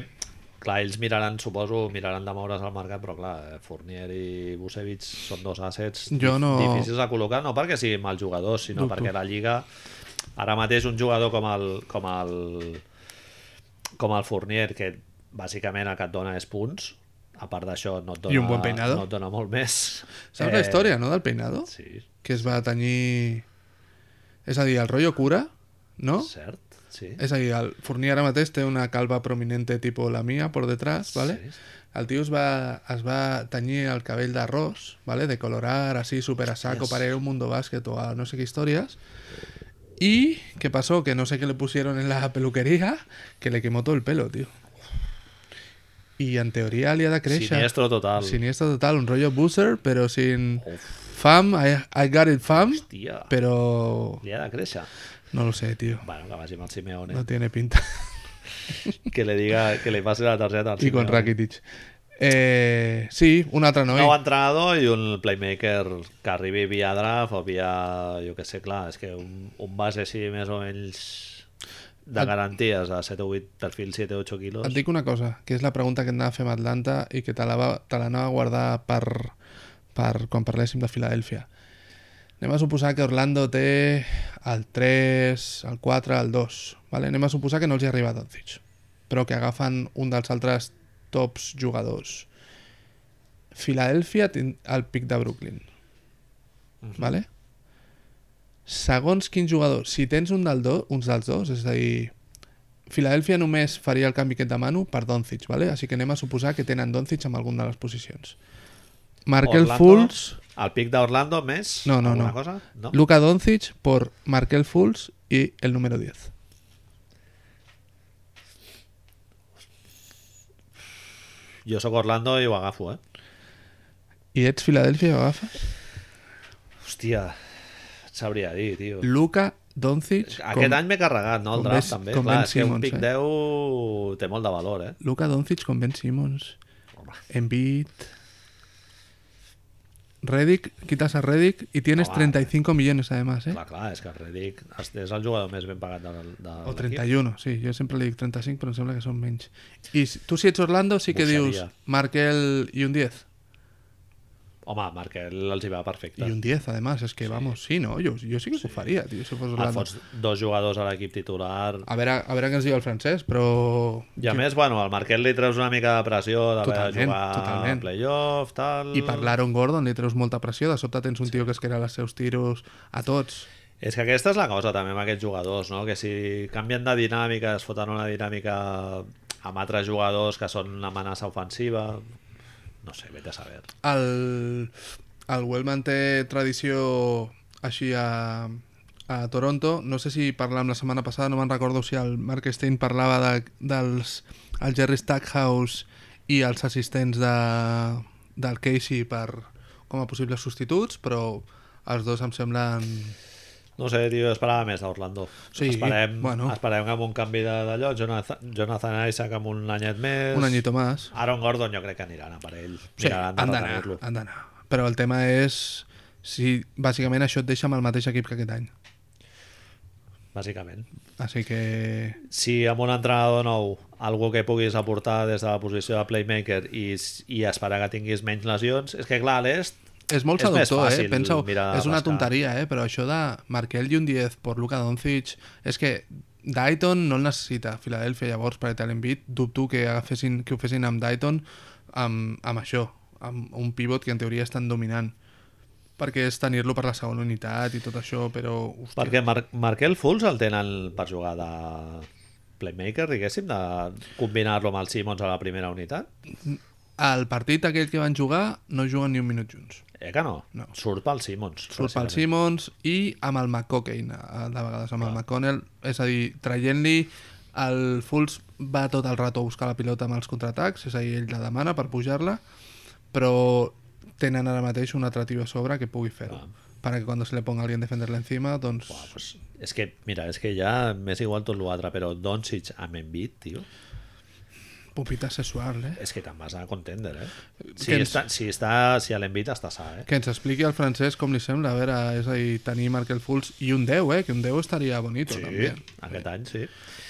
Speaker 1: clar, ells miraran, suposo, miraran de moure's al mercat, però clar, eh, Fournier i Busevich són dos assets
Speaker 2: Jo
Speaker 1: dif-
Speaker 2: no-
Speaker 1: difícils de col·locar, no perquè siguin mal jugadors, sinó
Speaker 2: Dubto.
Speaker 1: perquè la Lliga, ara mateix un jugador com el, com el, com el Fournier, que bàsicament el que et dona és punts, a part d'això no, et dona-
Speaker 2: I un bon peinado.
Speaker 1: no et dona molt més.
Speaker 2: saps
Speaker 1: Eh,
Speaker 2: la història, no, del peinado?
Speaker 1: Sí,
Speaker 2: que es va tenyir... És a dir, el rotllo cura, no? Sí.
Speaker 1: cert, sí.
Speaker 2: És a dir, el Fornier ara mateix té una calva prominente tipo la mía por detrás, ¿vale?
Speaker 1: Sí.
Speaker 2: El tio es va, es va tenyir el cabell d'arròs, ¿vale? De colorar así, super a saco,
Speaker 1: Hòsties.
Speaker 2: para ir a un mundo básquet o a no sé qué historias. Y, ¿qué pasó? Que no sé qué le pusieron en la peluquería, que le quemó todo el pelo, tío. Y en teoría le ha de créixer...
Speaker 1: Siniestro total.
Speaker 2: Siniestro total, un rollo booster, pero sin...
Speaker 1: Uf,
Speaker 2: Fam, I, I got it, fam.
Speaker 1: tia.
Speaker 2: Pero
Speaker 1: Li ha de créixer.
Speaker 2: no lo sé, tío.
Speaker 1: Bueno, que vagi amb el Simeone.
Speaker 2: No tiene pinta.
Speaker 1: Que li diga que li passi la targeta al
Speaker 2: Y con
Speaker 1: Simeone.
Speaker 2: Rakitic. Eh, sí, un altre
Speaker 1: Un
Speaker 2: noi.
Speaker 1: nou entrenador i un playmaker que arribi via draft o via, jo que sé, clar, és que un, un base així més o menys de
Speaker 2: Et-
Speaker 1: garanties de 7 o 8, perfil 7 o 8 quilos.
Speaker 2: Et dic una cosa, que és la pregunta que anava a fer amb Atlanta i que te la va- te l'anava a guardar per, per quan parléssim de Filadèlfia. Anem a suposar que Orlando té el 3, el 4, el 2. Vale? Anem a suposar que no els hi arriba Doncic, però que agafen un dels altres tops jugadors. Filadèlfia tin- al pic de Brooklyn. Vale? Segons quin jugador, si tens un del do, uns dels dos, és a dir, Filadèlfia només faria el canvi que et demano per Doncic, vale? així que anem a suposar que tenen Doncic en alguna de les posicions. Markel
Speaker 1: Orlando,
Speaker 2: Fultz,
Speaker 1: Al pic d'Orlando, més?
Speaker 2: No, no,
Speaker 1: alguna
Speaker 2: no.
Speaker 1: Cosa? no?
Speaker 2: Luka Doncic por Markel Fultz y el número 10.
Speaker 1: Jo sóc Orlando i ho agafo, eh?
Speaker 2: I ets Filadèlfia i ho agafes?
Speaker 1: Hòstia, et sabria dir, tio.
Speaker 2: Luka Doncic
Speaker 1: Aquest
Speaker 2: com,
Speaker 1: any m'he carregat, no? El
Speaker 2: com
Speaker 1: draft,
Speaker 2: Ben-
Speaker 1: també.
Speaker 2: com
Speaker 1: Clar,
Speaker 2: Ben
Speaker 1: és que un
Speaker 2: Simmons,
Speaker 1: pic
Speaker 2: eh?
Speaker 1: 10 té molt de valor, eh?
Speaker 2: Luka Doncic con Ben Simmons. Embiid. Reddick, quitas a Reddick y tienes
Speaker 1: Home,
Speaker 2: 35 millones además, ¿eh?
Speaker 1: Clar, clar, és que Redick és és el jugador més ben pagat de, de
Speaker 2: O 31, sí, jo sempre li dic 35, però em sembla que són menys. I si- tu si ets Orlando sí que
Speaker 1: Boxeria.
Speaker 2: dius Markel i un 10.
Speaker 1: Home, Markel els hi va perfecte.
Speaker 2: I un 10, además, és que, vamos, sí, no? Jo, jo sí Ah, que ho faria, tio, si fos
Speaker 1: Et
Speaker 2: Orlando.
Speaker 1: fots dos jugadors a l'equip titular...
Speaker 2: A veure, a veure què ens diu el francès, però...
Speaker 1: I a més, bueno, al Marquet li treus una mica de pressió d'haver de
Speaker 2: Totalment,
Speaker 1: jugar
Speaker 2: totalment.
Speaker 1: a playoff, tal...
Speaker 2: I per l'Aaron Gordon li treus molta pressió, de sobte tens un tio que es queda als seus tiros a tots.
Speaker 1: És que aquesta és la cosa també amb aquests jugadors, no? que si canvien de dinàmica, es foten una dinàmica amb altres jugadors que són una amenaça ofensiva, no sé, vete a saber.
Speaker 2: El, el Wellman té tradició així a, a Toronto. No sé si parlàvem la setmana passada, no me'n recordo si el Mark Stein parlava de, dels el Jerry Stackhouse i els assistents de, del Casey per, com a possibles substituts, però els dos em semblen
Speaker 1: No sé, tio, esperava més d'Orlando.
Speaker 2: Sí,
Speaker 1: esperem,
Speaker 2: bueno.
Speaker 1: esperem que amb un canvi de- d'allò, Jonathan, Jonathan Isaac amb un anyet més...
Speaker 2: un anyito més.
Speaker 1: Aaron Gordon jo crec que aniran a per ell.
Speaker 2: Sí,
Speaker 1: Miraran
Speaker 2: han
Speaker 1: de
Speaker 2: d'anar,
Speaker 1: retenir-lo.
Speaker 2: han d'anar. Però el tema és si bàsicament això et deixa amb el mateix equip que aquest any.
Speaker 1: Bàsicament.
Speaker 2: Així que...
Speaker 1: si amb un entrenador nou algú que puguis aportar des de la posició de playmaker i, i esperar que tinguis menys lesions, és que clar, a l'est
Speaker 2: És molt
Speaker 1: És més
Speaker 2: seductor, eh?
Speaker 1: fàcil
Speaker 2: Pensa-ho,
Speaker 1: mirar
Speaker 2: és una
Speaker 1: rascar.
Speaker 2: tonteria, eh? Però això de Markel i un 10 per Luka Doncic... És que Dayton no el necessita, Filadèlfia, llavors, per Italian Beat, dubto que, agafessin, que ho fessin amb Dayton amb, amb això, amb un pivot que en teoria és tan dominant perquè és tenir-lo per la segona unitat i tot això, però... Hòstia,
Speaker 1: perquè Mar Markel Fultz el tenen per jugar de playmaker, diguéssim, de combinar-lo amb el Simons a la primera unitat
Speaker 2: El partit aquell que van jugar no juguen ni un minut junts.
Speaker 1: eh que no?
Speaker 2: No.
Speaker 1: surt pel Simons
Speaker 2: Surt pel
Speaker 1: bàsicament.
Speaker 2: Simmons i amb el McCockey, eh, de vegades amb el McConnell, és a dir, traient-li el Fultz va tot el rato a buscar la pilota amb els contraatacs, és a dir, ell la demana per pujar-la, però tenen ara mateix un altre tio a sobre que pugui fer-ho. Para que cuando se le ponga alguien defenderle encima, doncs...
Speaker 1: Ah, pues, és que, mira, és que ja m'és igual tot l'altre, però Doncic amb Embiid, tio,
Speaker 2: Pupita sexual, eh?
Speaker 1: és que te'n vas a contender, eh? Si,
Speaker 2: Que ens-
Speaker 1: està, si, està, si a l'Embiid està sa, eh?
Speaker 2: Que ens expliqui al francès com li sembla, a veure, és a dir, tenir Markel Fultz i un 10, eh? Que un 10 estaria bonito,
Speaker 1: Sí,
Speaker 2: també.
Speaker 1: aquest any, sí.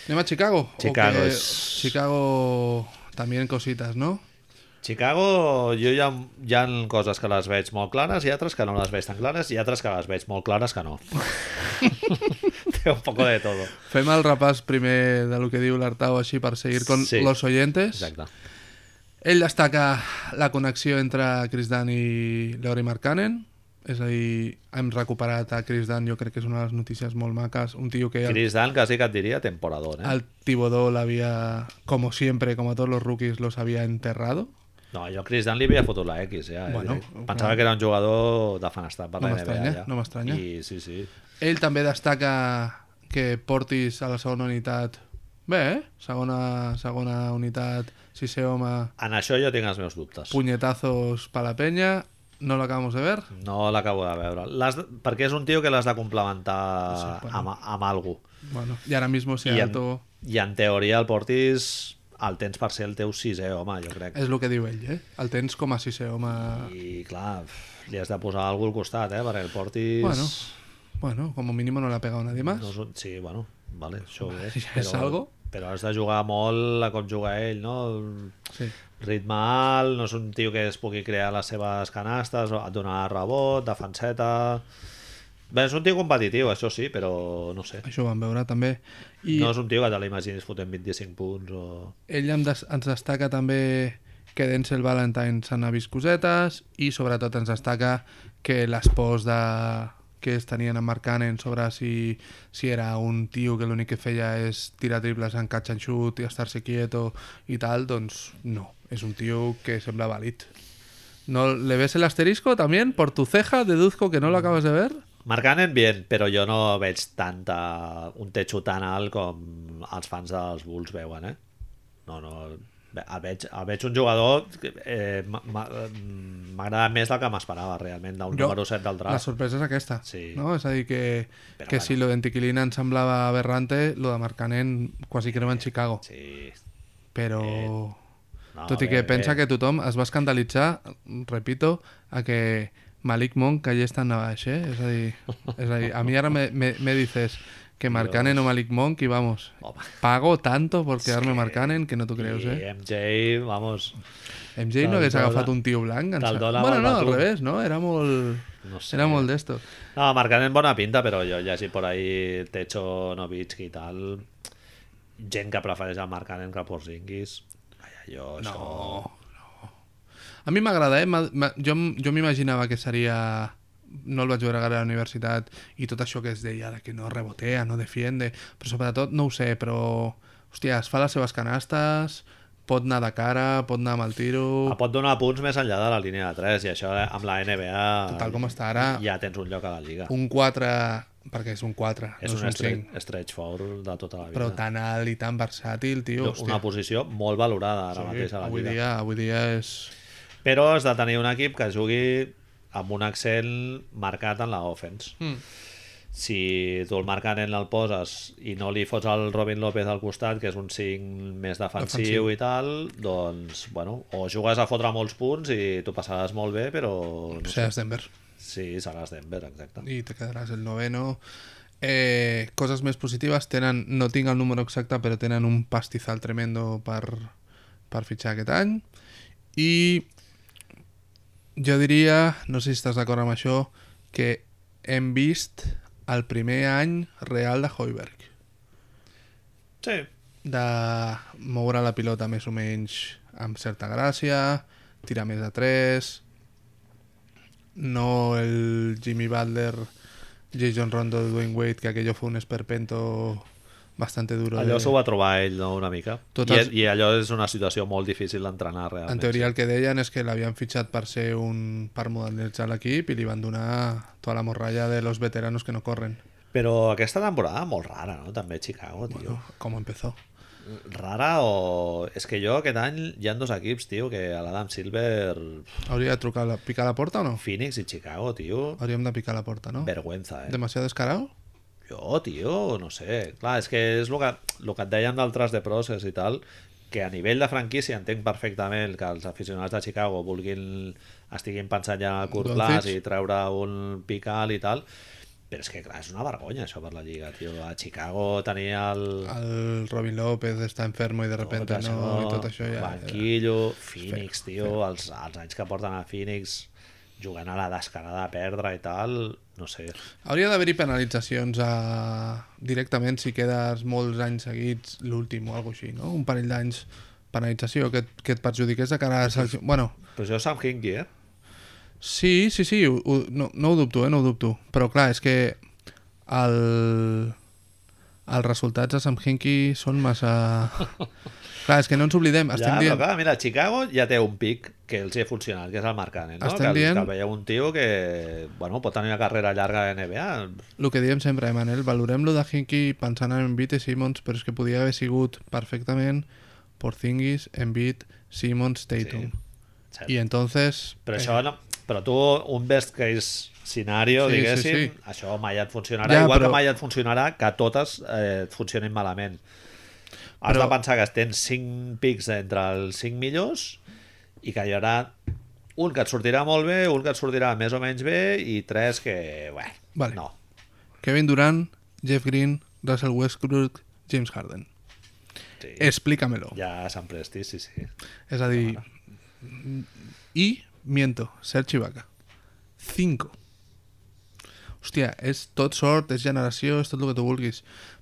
Speaker 2: Anem a Chicago. o
Speaker 1: Chicago
Speaker 2: que-
Speaker 1: es-
Speaker 2: Chicago también cositas, ¿no?
Speaker 1: Chicago, jo hi ha, hi ha coses que les veig molt clares i altres que no les veig tan clares i altres que les veig molt clares que no. Té un poco de todo.
Speaker 2: Fem el repàs primer de lo que diu l'Artau així per seguir con
Speaker 1: Sí.
Speaker 2: los oyentes.
Speaker 1: Exacte.
Speaker 2: Ell destaca la connexió entre Chris Dunn i Leori Markkanen. És a dir, hem recuperat a Chris Dunn, jo crec que és una de les notícies molt maques. Un tio que el,
Speaker 1: Chris Dunn quasi que et diria temporador, eh?
Speaker 2: el Tibodó l'havia, com siempre, com a tots los rookies, los havia enterrado.
Speaker 1: No, jo a Chris Dunn li havia fotut la X, ja. Eh?
Speaker 2: Bueno,
Speaker 1: Pensava que era un jugador defenestrat per
Speaker 2: No
Speaker 1: la NBA,
Speaker 2: m'estranya,
Speaker 1: ja.
Speaker 2: no m'estranya.
Speaker 1: I, sí, sí.
Speaker 2: Ell també destaca que Portis a la segona unitat... Bé, eh? Segona, segona unitat, sisè home,
Speaker 1: En això jo tinc els meus dubtes.
Speaker 2: puñetazos pa la penya. No lo acabamos de ver.
Speaker 1: No l'acabo de veure. L'has de- Perquè és un tio que l'has de complementar
Speaker 2: Sí, bueno.
Speaker 1: amb, amb algú.
Speaker 2: Bueno, y ahora mismo
Speaker 1: I en,
Speaker 2: Seattle
Speaker 1: I en teoria el Portis el tens per ser el teu sisè home, jo crec.
Speaker 2: és el que diu ell, eh? El tens com a sisè home...
Speaker 1: I clar, pf, li has de posar algú al costat, eh? Perquè el Portis...
Speaker 2: Bueno, bueno, com a mínim no l'ha pegat a nadie más.
Speaker 1: No és un... Sí, bueno, vale, això bé.
Speaker 2: ja és algo.
Speaker 1: Però has de jugar molt a com juga ell, no?
Speaker 2: Sí.
Speaker 1: Ritme alt, no és un tio que es pugui crear les seves canastes, et donarà rebot, defenseta... Bé, és un tio competitiu, això sí, però no sé.
Speaker 2: Això ho vam veure també. I
Speaker 1: No és un tio que te l'imaginis fotent 25 punts o...
Speaker 2: ell em des ens destaca també que d'Encel Valentine s'han vist cosetes i sobretot ens destaca que les pors de que es tenien emmarcant en sobre si, si era un tio que l'únic que feia és tirar triples en catch and shoot i estar-se quieto i tal, doncs no, és un tio que sembla vàlid. ¿No le ves el asterisco también por tu ceja? Deduzco que no lo acabas de ver.
Speaker 1: Marcanen bien, però jo no veig tanta, un techo tan alt com els fans dels Bulls veuen, eh? No, no, el veig, el veig un jugador que eh, m'agrada més del que m'esperava realment, d'un
Speaker 2: Jo,
Speaker 1: número 7 del
Speaker 2: La
Speaker 1: draft.
Speaker 2: sorpresa és aquesta,
Speaker 1: Sí.
Speaker 2: no? És a dir, que,
Speaker 1: Però
Speaker 2: que
Speaker 1: bueno.
Speaker 2: si lo d'Antiquilina em semblava aberrante, lo de Marcanen quasi crema en Chicago.
Speaker 1: Eh, Sí. Eh,
Speaker 2: Però...
Speaker 1: No, eh.
Speaker 2: Tot i que pensa que tothom es va escandalitzar, repito, a que Malik Monk caigués tan a baix, eh? És a dir, és a, dir a mi ara me, me, me dices que Marcanen o Malik Monk i vamos,
Speaker 1: Home.
Speaker 2: pago tanto por quedarme Marcanen que no t'ho creus, eh?
Speaker 1: I MJ, vamos,
Speaker 2: MJ
Speaker 1: Te'l
Speaker 2: no hagués
Speaker 1: dona-
Speaker 2: agafat un tio blanc.
Speaker 1: te'l
Speaker 2: Ens...
Speaker 1: dona
Speaker 2: Bueno, no, al
Speaker 1: Batum.
Speaker 2: revés, no? Era molt...
Speaker 1: no sé.
Speaker 2: Era molt d'esto.
Speaker 1: No, Marcanen bona pinta, però jo he llegit por ahí Techo, Novitsky i tal, gent que prefereix el Marcanen que el Porzingis. Ai, jo, això...
Speaker 2: No, A mi m'agrada, eh? M'ha- m'ha- Jo, m- jo m'imaginava que seria... No el vaig veure gaire a la universitat i tot això que es deia de que no rebotea, no defiende, però sobretot no ho sé, però... Hòstia, es fa les seves canastes, pot anar de cara, pot anar amb el tiro...
Speaker 1: Et Ah, pot donar punts més enllà de la línia de 3 i això eh, amb la NBA
Speaker 2: Tal com està ara,
Speaker 1: ja tens un lloc a la Lliga.
Speaker 2: un 4... Perquè és un 4,
Speaker 1: és
Speaker 2: no és
Speaker 1: un
Speaker 2: un 5.
Speaker 1: stretch, stretch four de tota la vida.
Speaker 2: Però tan alt i tan versàtil, tio,
Speaker 1: una
Speaker 2: hòstia.
Speaker 1: posició molt valorada ara mateix a la
Speaker 2: avui
Speaker 1: Lliga.
Speaker 2: dia, avui dia és...
Speaker 1: Però has de tenir un equip que jugui amb un accent marcat en la offense.
Speaker 2: Mm.
Speaker 1: Si tu el Marcanen el poses i no li fots el Robin López al costat, que és un 5 més defensiu,
Speaker 2: Defensiu.
Speaker 1: i tal, doncs, bueno, o jugues a fotre molts punts i tu passaràs molt bé, però... No sé,
Speaker 2: Seràs Denver.
Speaker 1: sí, seràs Denver, exacte.
Speaker 2: i te quedaràs el noveno. Eh, coses més positives tenen, no tinc el número exacte, però tenen un pastizal tremendo per, per fitxar aquest any. I jo diria, no sé si estàs d'acord amb això, que hem vist el primer any real de Hoiberg,
Speaker 1: Sí,
Speaker 2: de moure la pilota més o menys amb certa gràcia, tirar més de 3, no el Jimmy Butler, Jason Rondo, Dwayne Wade, que aquello fue un esperpento bastante duro.
Speaker 1: allò
Speaker 2: de-
Speaker 1: s'ho va trobar ell, no?, una mica.
Speaker 2: Tot
Speaker 1: I,
Speaker 2: els-
Speaker 1: I allò és una situació molt difícil d'entrenar, realment.
Speaker 2: En teoria el que deien és que l'havien fitxat per ser un per modernitzar l'equip i li van donar tota la morralla de los veteranos que no corren.
Speaker 1: Però aquesta temporada molt rara, no?, també Chicago, tio.
Speaker 2: Bueno, com empezó.
Speaker 1: Rara o... És que jo aquest any hi han dos equips, tio, que a l'Adam Silver...
Speaker 2: Hauria de trucar la... picar la porta o no?
Speaker 1: Phoenix i Chicago, tio.
Speaker 2: Hauríem de picar la porta, no?
Speaker 1: Vergüenza, eh?
Speaker 2: Demasiado descarado?
Speaker 1: Jo, tio, no sé. Clar, és que és el que, el que et deien d'altres de Process i tal, que a nivell de franquícia entenc perfectament que els aficionats de Chicago vulguin, estiguin pensant ja a curt
Speaker 2: Doncic.
Speaker 1: plaç i treure un pical i tal, però és que, clar, és una vergonya això per la Lliga, tio. A Chicago tenia el...
Speaker 2: El Robin López està enfermo i de repente
Speaker 1: Tot
Speaker 2: no, i tot això ja... eh,
Speaker 1: Banquillo, Phoenix, tio, els, els anys que porten a Phoenix jugant a la descarada a perdre i tal, no sé.
Speaker 2: Hauria d'haver-hi penalitzacions a... directament si quedes molts anys seguits, l'últim o alguna cosa així, no? Un parell d'anys penalització que, et- que et perjudiqués de cara a... selecció- Bueno,
Speaker 1: Però jo Sam Hinkie, eh?
Speaker 2: sí, sí, sí, ho, ho, no, no ho dubto, eh? No ho dubto. Però clar, és que el... els resultats de Sam Hinkie són massa... clar, és que no ens oblidem. Estem
Speaker 1: ja,
Speaker 2: dient...
Speaker 1: però clar, mira, Chicago ja té un pic que els hi ha funcionat, que és el Marc Cannon, no?
Speaker 2: Estem
Speaker 1: que, el-
Speaker 2: dient-
Speaker 1: que veieu un tio que, bueno, pot tenir una carrera llarga a NBA.
Speaker 2: El que diem sempre, eh, Manel, valorem lo de Hinkie pensant en Embiid i Simmons, però és que podia haver sigut perfectament Porzingis, Embiid, Simmons, Tatum.
Speaker 1: Cert.
Speaker 2: I entonces...
Speaker 1: eh. Però això no... Però tu, un best case scenario,
Speaker 2: Sí, sí,
Speaker 1: diguéssim,
Speaker 2: sí.
Speaker 1: això mai et funcionarà.
Speaker 2: Ja,
Speaker 1: Igual
Speaker 2: però-
Speaker 1: que mai et funcionarà que totes eh, et funcionin malament. Has
Speaker 2: Però-
Speaker 1: de pensar que tens 5 pics entre els 5 millors i que hi haurà un que et sortirà molt bé, un que et sortirà més o menys bé i tres que, bueno,
Speaker 2: Vale.
Speaker 1: no.
Speaker 2: Kevin Durant, Jeff Green, Russell Westbrook, James Harden.
Speaker 1: Sí.
Speaker 2: Explícamelo.
Speaker 1: Ja s'han presti, sí, sí.
Speaker 2: És a dir... I, Mm, miento, Sergi Vaca. 5. Hòstia, és tot sort, és generació, és tot el que tu vulguis.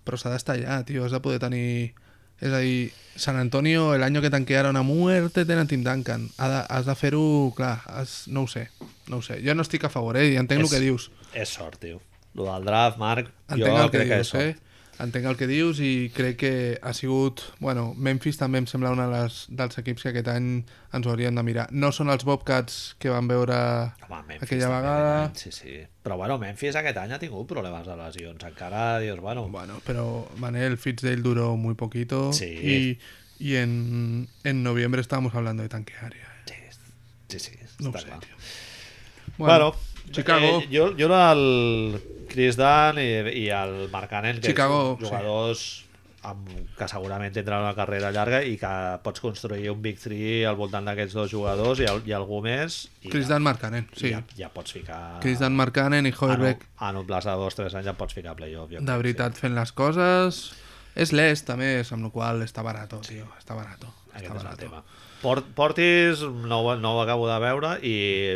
Speaker 2: Però s'ha d'estar allà, tio. Has de poder tenir És a dir, San Antonio, el año que tanquearon a muerte, tenen Tim Duncan. Ha de, has de fer-ho, clar, has, no ho sé. No ho sé. Jo no estic a favor, eh? I entenc és... el que dius.
Speaker 1: És sort, tio. Lo del draft, Marc,
Speaker 2: Entenc
Speaker 1: jo
Speaker 2: el que
Speaker 1: crec
Speaker 2: dius,
Speaker 1: que és
Speaker 2: eh? Entenc el que dius i crec que ha sigut... Bueno, Memphis també em sembla una de les, dels equips que aquest any ens ho hauríem de mirar. No són els Bobcats que van veure
Speaker 1: Home, Memphis
Speaker 2: aquella
Speaker 1: també, eh?
Speaker 2: vegada...
Speaker 1: any, Sí, sí. Però bueno, Memphis aquest any ha tingut problemes de lesions. Encara, dius, bueno...
Speaker 2: Bueno, pero Manel Fitzdale duró muy poquito
Speaker 1: Sí.
Speaker 2: y, y en, en noviembre estábamos hablando de eh? tanquearia.
Speaker 1: Sí, sí, sí
Speaker 2: No
Speaker 1: està
Speaker 2: ho sé,
Speaker 1: clar.
Speaker 2: tio.
Speaker 1: Bueno,
Speaker 2: Chicago.
Speaker 1: Eh, jo, jo era el Chris Dunn i, i el Mark Cannon, que
Speaker 2: Chicago,
Speaker 1: són jugadors amb, que segurament tindran una carrera llarga i que pots construir un Big 3 al voltant d'aquests dos jugadors i, al- i algú més i
Speaker 2: Chris
Speaker 1: eh, ja,
Speaker 2: Dan Marcanen, sí.
Speaker 1: ja, Ah, ja pots ficar
Speaker 2: Chris Dan Marcanen i
Speaker 1: en, un,
Speaker 2: Hoiberg
Speaker 1: en un plaç de dos tres anys ja pots ficar a playoff jo
Speaker 2: de
Speaker 1: crec,
Speaker 2: veritat fent les coses. És l'est també, amb la qual cosa està barato, tio, està barato.
Speaker 1: sí.
Speaker 2: Està
Speaker 1: aquest és el
Speaker 2: barato.
Speaker 1: tema Port, Portis no, ho- no ho acabo de veure i,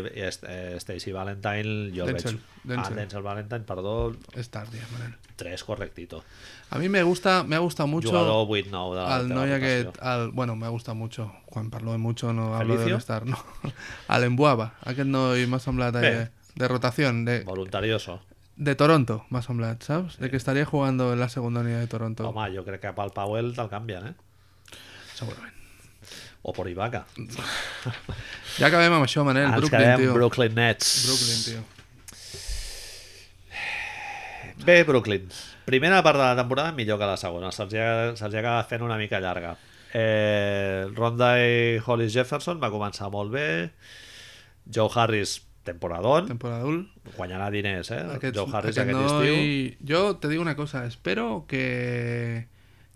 Speaker 1: i est- eh, Stacy Valentine jo el
Speaker 2: Denzel,
Speaker 1: veig
Speaker 2: Denzel.
Speaker 1: Ah, Denzel Valentine, perdó
Speaker 2: És tardia, Manel.
Speaker 1: tres correctito
Speaker 2: A mi me gusta, me ha gustado mucho
Speaker 1: jugador 8-9 de la
Speaker 2: al
Speaker 1: teva
Speaker 2: noi
Speaker 1: rotació.
Speaker 2: aquest, al, bueno, me gusta mucho, quan parlo de mucho no hablo de
Speaker 1: Felicio?
Speaker 2: estar, no. Al Embuaba, aquest noi m'ha semblat de,
Speaker 1: Bé.
Speaker 2: de rotación, de,
Speaker 1: Voluntarioso.
Speaker 2: De Toronto, más semblat, ¿sabes? De que estaría jugando en la segunda unidad de Toronto.
Speaker 1: Home, jo crec que pel Powell te'l canvien, eh?
Speaker 2: Seguramente.
Speaker 1: O per Ibaka.
Speaker 2: Ya acabem amb això, Manel.
Speaker 1: Ens
Speaker 2: Brooklyn,
Speaker 1: quedem
Speaker 2: tío.
Speaker 1: Brooklyn Nets.
Speaker 2: Brooklyn, tío.
Speaker 1: Bé, Brooklyn. Primera part de la temporada millor que la segona. Se'ls hi ha- se'ls hi acaba fent una mica llarga. Eh, Ronda i Hollis Jefferson va començar molt bé. Joe Harris, temporadón.
Speaker 2: Temporada ul.
Speaker 1: Guanyarà diners, eh?
Speaker 2: Aquest,
Speaker 1: Joe Harris
Speaker 2: aquest
Speaker 1: aquest,
Speaker 2: noi-
Speaker 1: estiu.
Speaker 2: Yo te digo una cosa, espero que...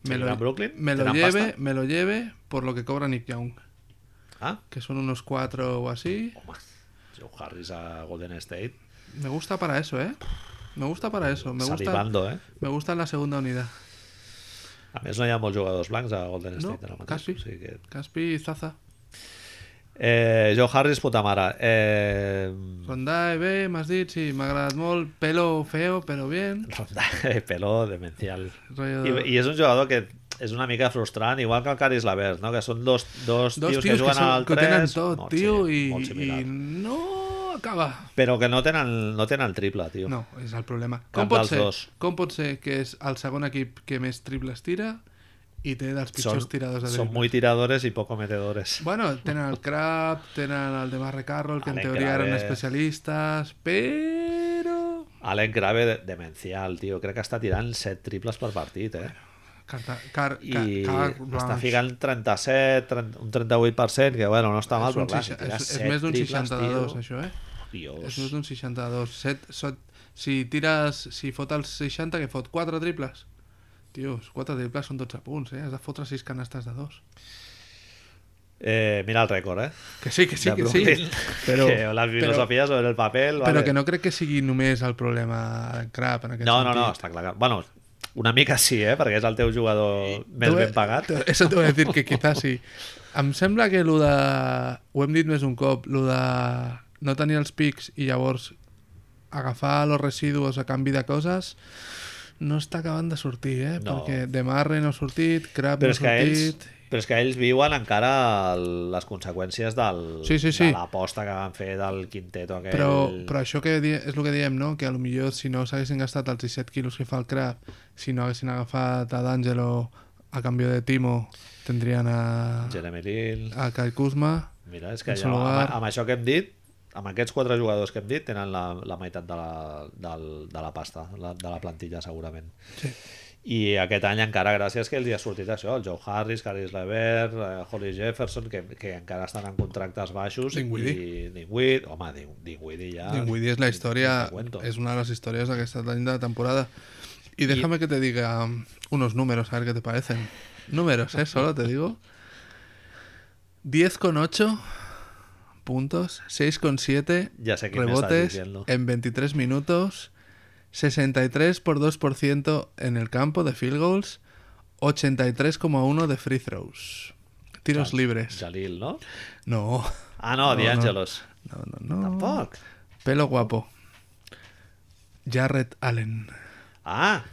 Speaker 1: ¿Se irá a Brooklyn?
Speaker 2: me lo
Speaker 1: ¿Tendrán
Speaker 2: lleve,
Speaker 1: pasta?
Speaker 2: me lo lleve por lo que cobra Nick Young,
Speaker 1: Ah,
Speaker 2: que son unos cuatro o así.
Speaker 1: home. Joe Harris a Golden State.
Speaker 2: Me gusta para eso, ¿eh? Me gusta para eso. Me gusta,
Speaker 1: Salivando, eh?
Speaker 2: me gusta la segunda unidad.
Speaker 1: A més, no hi ha molts jugadors blancs a Golden
Speaker 2: No,
Speaker 1: State ara mateix.
Speaker 2: quasi.
Speaker 1: O sigui que
Speaker 2: Caspi, Zaza,
Speaker 1: Eh, Joe Harris, puta mare. Eh,
Speaker 2: Rondae, B, m'has dit, sí, m'ha agradat molt. Pelo feo, pero bien.
Speaker 1: Ronda- pelo demencial.
Speaker 2: Rollo
Speaker 1: I, I és un jugador que és una mica frustrant, igual que el Caris Lavert, no? que són dos, dos,
Speaker 2: dos tios,
Speaker 1: tios, que juguen
Speaker 2: són-
Speaker 1: al
Speaker 2: que ho
Speaker 1: 3,
Speaker 2: tenen tot,
Speaker 1: molt,
Speaker 2: tio,
Speaker 1: sí, molt
Speaker 2: i,
Speaker 1: similar.
Speaker 2: i no acaba.
Speaker 1: Però que no tenen, no tenen triple, tio.
Speaker 2: No, és el problema.
Speaker 1: Cap
Speaker 2: Com pot,
Speaker 1: dels
Speaker 2: ser,
Speaker 1: dos.
Speaker 2: com pot ser que és el segon equip que més triples tira i té dels
Speaker 1: Són,
Speaker 2: pitjors tiradors de
Speaker 1: són
Speaker 2: drible?
Speaker 1: muy tiradores y poco metedores.
Speaker 2: Bueno, tenen el Crab, tenen el de Marre Carroll, que en
Speaker 1: Alec
Speaker 2: teoria eren
Speaker 1: Graves.
Speaker 2: especialistes, però...
Speaker 1: Alec Grave, de- demencial, tio. Crec que està tirant 7 triples per partit, eh?
Speaker 2: Carta, car,
Speaker 1: I
Speaker 2: car, car,
Speaker 1: està ficant 37, 30, un 38%, que bueno, no està mal,
Speaker 2: és,
Speaker 1: però
Speaker 2: un,
Speaker 1: clar, si
Speaker 2: seixa-
Speaker 1: tiras
Speaker 2: és, és
Speaker 1: 7
Speaker 2: més d'un
Speaker 1: triples,
Speaker 2: 62,
Speaker 1: tio,
Speaker 2: això, eh?
Speaker 1: Dios.
Speaker 2: És més d'un 62. Set, set, si tires, si fot els 60, que fot 4 triples. Tios, 4 triples són 12 punts, eh? Has de fotre 6 canastes de 2.
Speaker 1: Eh, mira el récord, eh?
Speaker 2: Que sí, que sí,
Speaker 1: de
Speaker 2: que sí.
Speaker 1: Brooklyn.
Speaker 2: Però,
Speaker 1: que las filosofías sobre el papel...
Speaker 2: però,
Speaker 1: vale.
Speaker 2: però que no crec que sigui només el problema del crap, en aquest
Speaker 1: no, no,
Speaker 2: sentit.
Speaker 1: no, està clar. Que... Bueno, una mica sí, eh? Perquè és el teu jugador més
Speaker 2: Te voy-
Speaker 1: ben pagat.
Speaker 2: te- Eso te voy a decir que quizás sí. Em sembla que lo de... Ho hem dit més un cop, lo de no tenir els pics i llavors agafar los residus a canvi de coses no està acabant de sortir, eh?
Speaker 1: No.
Speaker 2: Perquè de Marre no ha sortit, Crab
Speaker 1: Però
Speaker 2: no ha
Speaker 1: és que ells...
Speaker 2: sortit...
Speaker 1: Però és que ells viuen encara el, les conseqüències del,
Speaker 2: Sí, sí, sí.
Speaker 1: de l'aposta que van fer del quinteto aquell.
Speaker 2: Però, però això que die, és el que diem, no? Que a lo millor si no s'haguessin gastat els 17 quilos que fa el Crab, si no haguessin agafat a D'Angelo a canvi de Timo, tindrien a,
Speaker 1: Jeremy Lin...
Speaker 2: a Kyle Kuzma...
Speaker 1: Mira, és que
Speaker 2: En
Speaker 1: ja, amb,
Speaker 2: Solovar.
Speaker 1: amb això que hem dit, amb aquests quatre jugadors que hem dit, tenen la, la meitat de la, del, de la pasta, la, de la plantilla, segurament.
Speaker 2: Sí.
Speaker 1: I aquest any encara, gràcies que els hi ha sortit això, el Joe Harris, Caris Levert, eh, Holly Jefferson, que, que encara estan en contractes baixos.
Speaker 2: Dinwiddie.
Speaker 1: I Dinwiddie, home, Din- Dinwiddie ja...
Speaker 2: Dinwiddie és la història,
Speaker 1: te cuento.
Speaker 2: és una de les històries d'aquesta any de temporada. Y déjame que te diga um, unos números, a ver qué te parecen. Números, ¿eh? Solo te digo. 10,8 puntos, 6,7
Speaker 1: Ya sé quién me estás
Speaker 2: rebotes
Speaker 1: diciendo.
Speaker 2: en 23 minutos, 63 por 2% en el campo de field goals, 83,1 de free throws. Tiros libres.
Speaker 1: Jalil, no?
Speaker 2: No,
Speaker 1: Ah, no, D'Angelos.
Speaker 2: no, no, no.
Speaker 1: Tampoc.
Speaker 2: Pelo guapo. Jarrett Allen.
Speaker 1: Ah,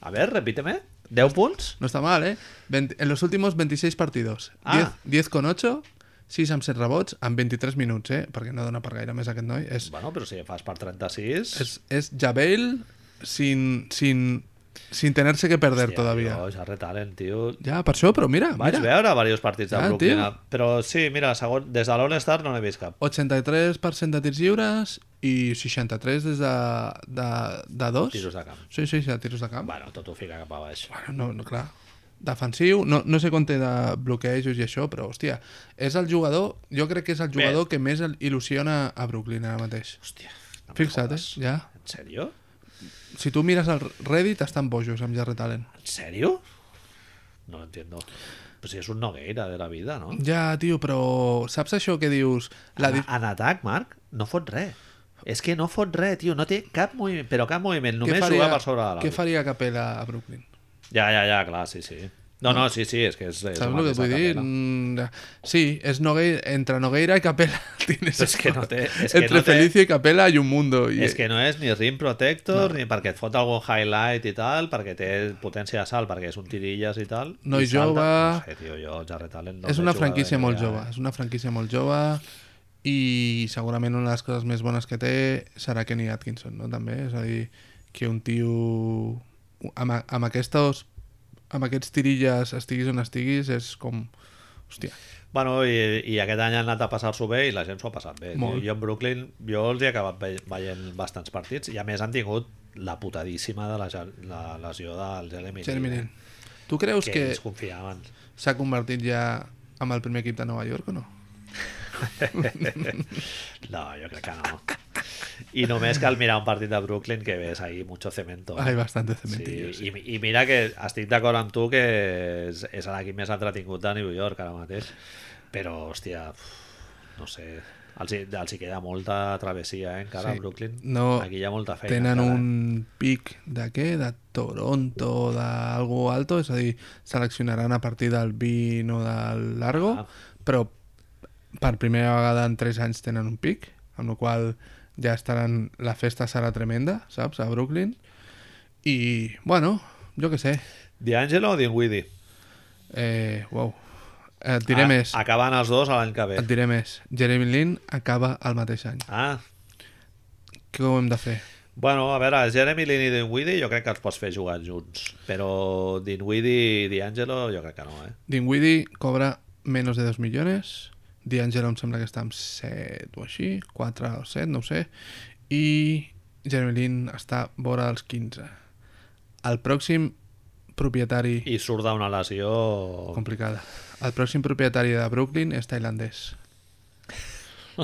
Speaker 1: a ver, repíteme. 10 punts?
Speaker 2: No está mal, ¿eh? 20 en los últimos 26 partidos.
Speaker 1: Ah.
Speaker 2: 10, 10 con 8, 6 amb 7 rebots, en 23 minuts, eh? Perquè no dona per gaire més aquest noi. És,
Speaker 1: Bueno, però si fas per 36...
Speaker 2: és, és Javel sin, sin, sin tener-se que perder
Speaker 1: Hòstia,
Speaker 2: todavía.
Speaker 1: tio, Jarrett Allen, tio...
Speaker 2: Ja, per això, però mira,
Speaker 1: Vaig
Speaker 2: mira.
Speaker 1: veure diversos partits de
Speaker 2: Ah,
Speaker 1: Brooklyn,
Speaker 2: tio.
Speaker 1: eh? però sí, mira, segon, des de l'All-Star no n'he vist cap.
Speaker 2: 83% de tirs lliures i 63 des de, de, de dos.
Speaker 1: Tiros de camp.
Speaker 2: Sí, sí, sí, de tiros de camp. Bueno,
Speaker 1: Bueno, tot ho fica cap a baix.
Speaker 2: no, no, clar. Defensiu, no, no sé quan té de bloquejos i això, però hòstia, és el jugador, jo crec que és el jugador que més el- il·lusiona a Brooklyn ara mateix.
Speaker 1: Hòstia, no me
Speaker 2: Fixa't, eh?
Speaker 1: jodes.
Speaker 2: Ja.
Speaker 1: En sèrio?
Speaker 2: Si tu mires el Reddit, estan bojos amb Jarret Allen.
Speaker 1: En sèrio? No l'entiendo. Però si és un nogueira de la vida, no?
Speaker 2: Ja, tio, però saps això que dius? La
Speaker 1: En,
Speaker 2: di...
Speaker 1: en atac, Marc, no fot res. És que no fot res, tio. No té cap moviment, però cap moviment.
Speaker 2: què
Speaker 1: Només jugar per sobre de l'altre.
Speaker 2: què faria Capella a Brooklyn?
Speaker 1: Ja, ja, ja, clar, sí, sí. No, no, sí, sí, és que és... és el
Speaker 2: Saps el que
Speaker 1: mateix
Speaker 2: et vull
Speaker 1: de
Speaker 2: dir?
Speaker 1: Capella.
Speaker 2: Mm, sí, és Nogueira, entre Nogueira i Capela. Tienes
Speaker 1: És que no té- és que
Speaker 2: entre
Speaker 1: no té-
Speaker 2: Felicia i Capela hay un mundo. I,
Speaker 1: És que no és ni Rim Protector, no. ni perquè et fot algun highlight i tal, perquè té potència de salt, perquè és un tirilles i tal.
Speaker 2: Noi
Speaker 1: i salta.
Speaker 2: jove.
Speaker 1: No sé, tio, jo, Jarret Allen... No
Speaker 2: és
Speaker 1: el
Speaker 2: una
Speaker 1: veig jugar
Speaker 2: franquícia
Speaker 1: gaire
Speaker 2: molt
Speaker 1: ja, eh?
Speaker 2: jove, és una franquícia molt jove i segurament una de les coses més bones que té serà Kenny Atkinson, no? També, és a dir, que un tio amb, a- amb aquests amb aquests tirilles estiguis on estiguis és com... Hòstia,
Speaker 1: eh? Bueno, i, i aquest any han anat a passar-s'ho bé i la gent s'ho ha passat bé. Tio.
Speaker 2: Molt.
Speaker 1: Jo en Brooklyn, jo els he acabat ve- veient bastants partits i a més han tingut la putadíssima de la, ja- la lesió del Jeremy,
Speaker 2: Jeremy
Speaker 1: Lin, eh?
Speaker 2: Lin. Tu creus
Speaker 1: que,
Speaker 2: que
Speaker 1: ells confiaven.
Speaker 2: s'ha convertit ja amb el primer equip de Nova York o no?
Speaker 1: No, jo crec que no. I només cal mirar un partit de Brooklyn que ves ahí mucho cemento. eh?
Speaker 2: Hay bastante cementillos.
Speaker 1: Sí, i, i mira que estic d'acord amb tu que és, és l'equip més entretingut de New York ara mateix, però hòstia uf, no sé els, hi- els hi queda molta travessia eh, encara
Speaker 2: Sí.
Speaker 1: a Brooklyn,
Speaker 2: No,
Speaker 1: aquí hi ha molta feina
Speaker 2: Tenen
Speaker 1: encara, eh?
Speaker 2: un pic de què? De Toronto, d'algo alto, és a dir, seleccionaran a partir del 20 o del largo,
Speaker 1: Ah.
Speaker 2: però per primera vegada en 3 anys tenen un pic, amb la qual cosa ja estaran... La festa serà tremenda, saps? A Brooklyn. I, bueno, jo que sé.
Speaker 1: D'Angelo o Dinwiddie?
Speaker 2: Eh, wow. Et diré
Speaker 1: A-
Speaker 2: més.
Speaker 1: Acaben els dos l'any que ve
Speaker 2: Et diré més. Jeremy Lin acaba el mateix any.
Speaker 1: Ah,
Speaker 2: Què ho hem de fer?
Speaker 1: Bueno, a veure, Jeremy Lin i Dinwiddie jo crec que els pots fer jugar junts, però Dinwiddie i D'Angelo jo crec que no, eh?
Speaker 2: Dinwiddie cobra menos de 2 milions, D'Angelo em sembla que està amb 7 o així, 4 o 7, no ho sé, i Jeremy Lin està vora dels 15. El pròxim propietari...
Speaker 1: I Oh. surt d'una lesió...
Speaker 2: Complicada. El pròxim propietari de Brooklyn és tailandès.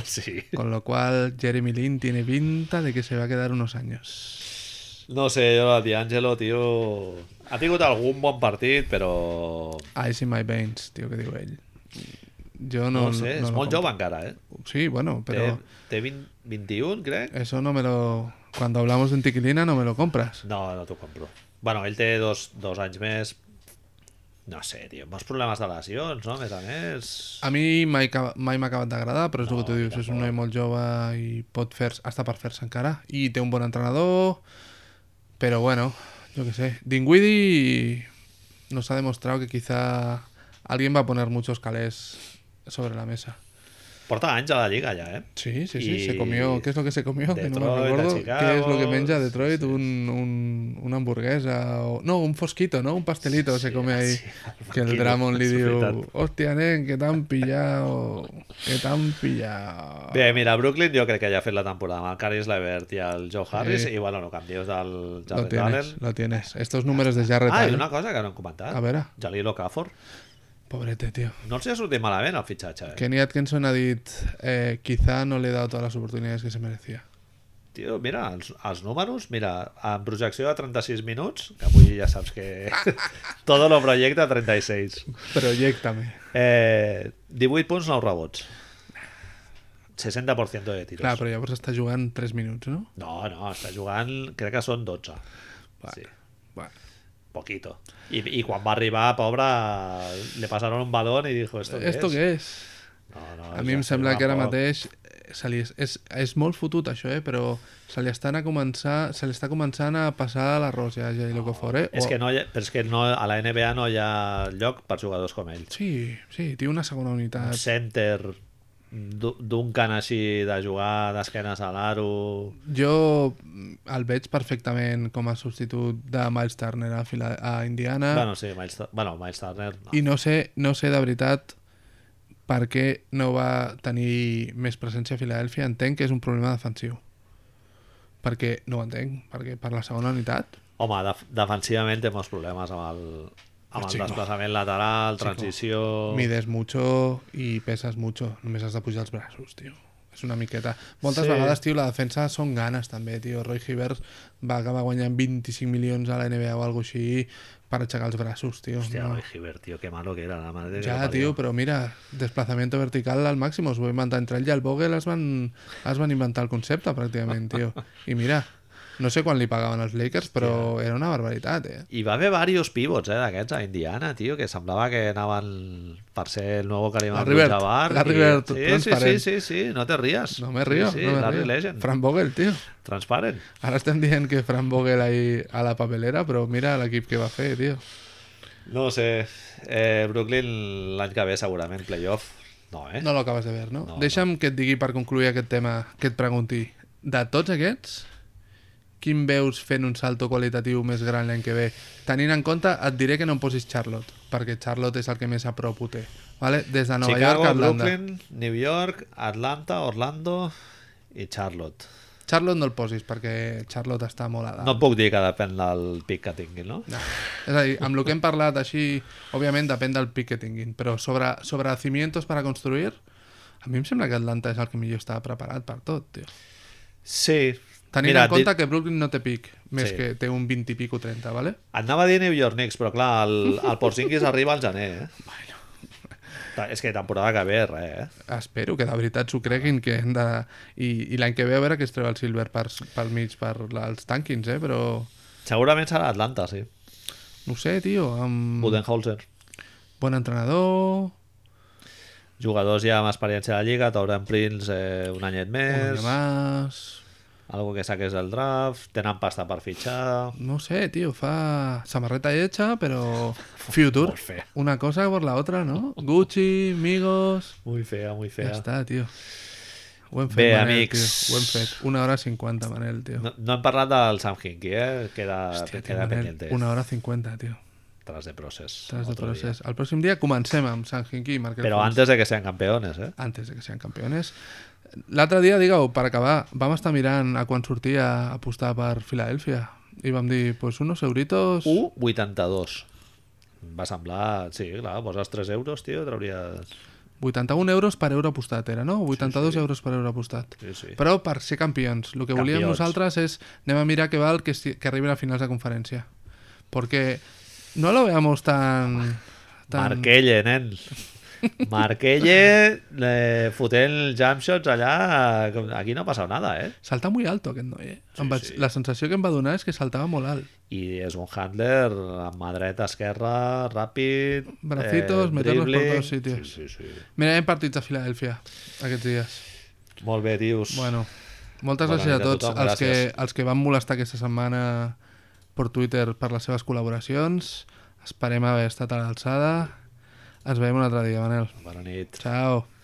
Speaker 1: Sí.
Speaker 2: Con lo cual Jeremy Lin tiene pinta de que se va a quedar unos años.
Speaker 1: No sé, jo, el D'Angelo, tio... Ha tingut algun bon partit, però...
Speaker 2: Ice in my veins, tio, que diu ell. Jo
Speaker 1: No,
Speaker 2: no...
Speaker 1: ho sé, és
Speaker 2: no lo
Speaker 1: molt jove encara, eh?
Speaker 2: compro. Sí, bueno, però... Eh.
Speaker 1: Té, té 20, 21, crec?
Speaker 2: Eso no me lo... Cuando hablamos de Antiquilina no me lo compras.
Speaker 1: No, no t'ho compro. Bueno, ell té dos, dos anys més... No sé, tio, molts problemes de lesions, no? A més a més...
Speaker 2: A mi mai, ca- mai m'ha acabat d'agradar, però és no, el que tu dius, és un noi molt jove i pot fer està per fer-se encara. I té un bon entrenador, però bueno, jo què sé. Dinwiddie nos ha demostrado que quizá alguien va a poner muchos calés sobre la mesa.
Speaker 1: Porta anys a la Lliga, ja, eh?
Speaker 2: Sí, sí, sí,
Speaker 1: Y-
Speaker 2: se comió. ¿Qué es lo que se comió? que no
Speaker 1: Detroit,
Speaker 2: me recuerdo.
Speaker 1: a Chicago,
Speaker 2: ¿Qué es lo que menja Detroit?
Speaker 1: sí,
Speaker 2: Un, un- una hamburguesa o... No, un fosquito, ¿no? Un pastelito se come
Speaker 1: ah,
Speaker 2: ahí.
Speaker 1: sí, el
Speaker 2: que el
Speaker 1: fosquito,
Speaker 2: Dramon le
Speaker 1: es verdad.
Speaker 2: dio... Hostia, nen, que tan pillado. Que tan pillado.
Speaker 1: Bé, mira, Brooklyn jo crec que ja ha fet la temporada amb el Caris Levert i el Joe Harris
Speaker 2: Sí.
Speaker 1: i, bueno, no canvies del
Speaker 2: Lo
Speaker 1: Jared Allen.
Speaker 2: tienes, lo tienes. Estos números de Jarrett
Speaker 1: Ah, i
Speaker 2: Allen.
Speaker 1: una cosa que no hem comentat.
Speaker 2: A veure.
Speaker 1: Jalil Okafor.
Speaker 2: Pobrete, tío.
Speaker 1: No els hi ha sortit malament el fitxatge, eh?
Speaker 2: Kenny Atkinson ha dit... eh, quizá no le he dado todas las oportunidades que se merecía.
Speaker 1: Tio, mira, els, els números, mira, en projecció de 36 minuts, que avui ja saps que... Todo lo projecta 36.
Speaker 2: Proyectame.
Speaker 1: Eh, 18 punts, 9 rebots. 60% de tiros.
Speaker 2: Clar, però llavors està jugant 3 minuts, no?
Speaker 1: No, no, està jugant, crec que són 12. Sí,
Speaker 2: Bueno.
Speaker 1: poquito. I, I quan va arribar, pobre, le passaron un balón i dijo, ¿esto qué
Speaker 2: ¿Esto
Speaker 1: es?
Speaker 2: qué es?
Speaker 1: No, no,
Speaker 2: A mi
Speaker 1: ja
Speaker 2: em
Speaker 1: sé,
Speaker 2: sembla que ara
Speaker 1: tampoc.
Speaker 2: mateix eh, se li, és, és molt fotut això, eh? però se li, estan a començar, se li està començant a passar l'arròs ja a Jailoko Fort. Eh?
Speaker 1: És que no hi ha, però és que no, a la NBA no hi ha lloc per jugadors com ell.
Speaker 2: Sí, sí, té una segona
Speaker 1: Un
Speaker 2: unitat.
Speaker 1: Center du- Duncan així de jugar d'esquenes a l'aro
Speaker 2: Jo el veig perfectament com a substitut de Miles Turner a, Fila a Indiana
Speaker 1: bueno, sí, Miles, Tu- bueno, Miles Turner no.
Speaker 2: Ah. i no sé, no sé de veritat per què no va tenir més presència a Filadèlfia. Entenc que és un problema defensiu. Perquè, no ho entenc, perquè per la segona unitat...
Speaker 1: home, def defensivament té molts problemes amb el, amb el
Speaker 2: Chico.
Speaker 1: desplaçament lateral, transició
Speaker 2: Mides mucho i peses mucho. Només has de pujar els braços, tio. És una miqueta. Moltes
Speaker 1: Sí.
Speaker 2: sí. vegades, tio, la defensa són ganes, també, tio. Roy Hibbert va acabar guanyant 25 milions a la NBA o alguna així per aixecar els braços, tio.
Speaker 1: Hòstia,
Speaker 2: No.
Speaker 1: no. Hibbert, tio, que malo que era la madre que
Speaker 2: Ja,
Speaker 1: lo parió.
Speaker 2: tio, però mira, desplaçamiento vertical al màxim, us ho va inventar entre ell i el Vogel, es van, es van inventar el concepte, pràcticament, tio. I mira, no sé quan li pagaven els Lakers, però era una barbaritat, eh?
Speaker 1: I va haver diversos pivots, eh, d'aquests a Indiana, tio, que semblava que anaven per ser el nou Karim
Speaker 2: La River-
Speaker 1: Abdul-Jabbar.
Speaker 2: la
Speaker 1: i-
Speaker 2: River
Speaker 1: sí, sí, sí,
Speaker 2: transparent.
Speaker 1: sí, sí, no te ries.
Speaker 2: No me río,
Speaker 1: sí, sí,
Speaker 2: no me
Speaker 1: Larry
Speaker 2: río.
Speaker 1: Legend.
Speaker 2: Fran Vogel, tio.
Speaker 1: Transparent.
Speaker 2: Ara estem dient que Fran Vogel ahí a la papelera, però mira l'equip que va fer, tio.
Speaker 1: No ho sé. Eh, Brooklyn l'any que ve segurament playoff. No, eh?
Speaker 2: No lo acabes de ver, no?
Speaker 1: No,
Speaker 2: Deixa'm que et digui per concluir aquest tema, que et pregunti, de tots aquests, quin veus fent un salto qualitatiu més gran l'any que ve? Tenint en compte, et diré que no em posis Charlotte, perquè Charlotte és el que més a prop ho té. Vale? Des de Nova
Speaker 1: Chicago,
Speaker 2: York a Atlanta.
Speaker 1: Brooklyn, New York, Atlanta, Orlando i Charlotte.
Speaker 2: Charlotte no el posis, perquè Charlotte està molt a dalt.
Speaker 1: No et puc dir que depèn del pic que tingui, no?
Speaker 2: No. És a dir, amb el que hem parlat així, òbviament depèn del pic que tinguin, però sobre, sobre cimientos per a construir, a mi em sembla que Atlanta és el que millor està preparat per tot, tio.
Speaker 1: Sí.
Speaker 2: Tenint
Speaker 1: Mira,
Speaker 2: en compte
Speaker 1: dit-
Speaker 2: que Brooklyn no té pic, més
Speaker 1: Sí.
Speaker 2: que té un 20 i pico 30, ¿vale?
Speaker 1: Anava a dir New York Knicks, però clar, el, el Porzingis arriba al gener, eh? Ta- És que temporada que ve, res, eh?
Speaker 2: Espero que de veritat s'ho creguin que hem de... I, i l'any que ve a veure que es treu el Silver per, pel mig per la- els tanquins, eh? Però
Speaker 1: Segurament serà Atlanta, sí.
Speaker 2: no ho sé, tio, amb
Speaker 1: Budenholzer.
Speaker 2: bon entrenador,
Speaker 1: Jugadors ja amb experiència de Lliga, Tauran Prince eh, un anyet
Speaker 2: és...
Speaker 1: més,
Speaker 2: més...
Speaker 1: algo que saques del draft, tenen pasta per fitxar...
Speaker 2: No sé, tío, fa samarreta hecha, pero future.
Speaker 1: Molt fea.
Speaker 2: Una cosa por la otra, ¿no? Gucci, amigos...
Speaker 1: Muy fea, muy
Speaker 2: Ya
Speaker 1: fea.
Speaker 2: está, tío. Buen fet,
Speaker 1: Bé,
Speaker 2: Manel,
Speaker 1: amics.
Speaker 2: tio. Buen fet. Una hora cincuenta, Manel, tío.
Speaker 1: No, no hem parlat del Sam Hinkie, eh? Queda,
Speaker 2: Hòstia, tio,
Speaker 1: queda
Speaker 2: Manel,
Speaker 1: pendiente.
Speaker 2: una hora cincuenta, tío.
Speaker 1: Tras de procés.
Speaker 2: Tras de
Speaker 1: otro día.
Speaker 2: proceso. Al próximo día comencem amb San Hinky i Markel
Speaker 1: Pero
Speaker 2: Fons.
Speaker 1: antes de que sean campeones, eh?
Speaker 2: antes de que sean campeones. L'altre dia, digueu, per acabar, vam estar mirant a quan sortia a apostar per Filadèlfia i vam dir, pues unos euritos...
Speaker 1: Uh. 1,82. Em Va semblar... Sí, clar, poses 3 euros, tio, trauries...
Speaker 2: 81 euros per euro apostat era, no? 82 sí, sí. euros per euro apostat.
Speaker 1: Sí, sí.
Speaker 2: Però per ser campions. El que volíem
Speaker 1: Campions.
Speaker 2: nosaltres és anem a mirar què val que, si, que arribin a finals de conferència. Perquè no lo veamos tan... tan...
Speaker 1: Marquelle, nen. Marquelle eh, fotent jumpshots allà... com- Aquí no ha passat nada, eh?
Speaker 2: Salta muy alto aquest noi, eh? Sí, vaig...
Speaker 1: sí.
Speaker 2: La sensació que em va donar és que saltava molt alt.
Speaker 1: I és un handler amb mà dreta, esquerra, ràpid... eh,
Speaker 2: Bracitos, meterlos por
Speaker 1: dribbling.
Speaker 2: todos sitios.
Speaker 1: Sí, sí, sí.
Speaker 2: Mirarem partits a Filadèlfia aquests dies.
Speaker 1: Molt bé, tios.
Speaker 2: Bueno, moltes
Speaker 1: Bona
Speaker 2: gràcies a
Speaker 1: nit a
Speaker 2: tots
Speaker 1: tothom,
Speaker 2: els que,
Speaker 1: gràcies.
Speaker 2: els que van molestar aquesta setmana per Twitter per les seves col·laboracions. Esperem haver estat a l'alçada. Ens veiem un altre dia, Manel.
Speaker 1: Bona nit.
Speaker 2: Ciao.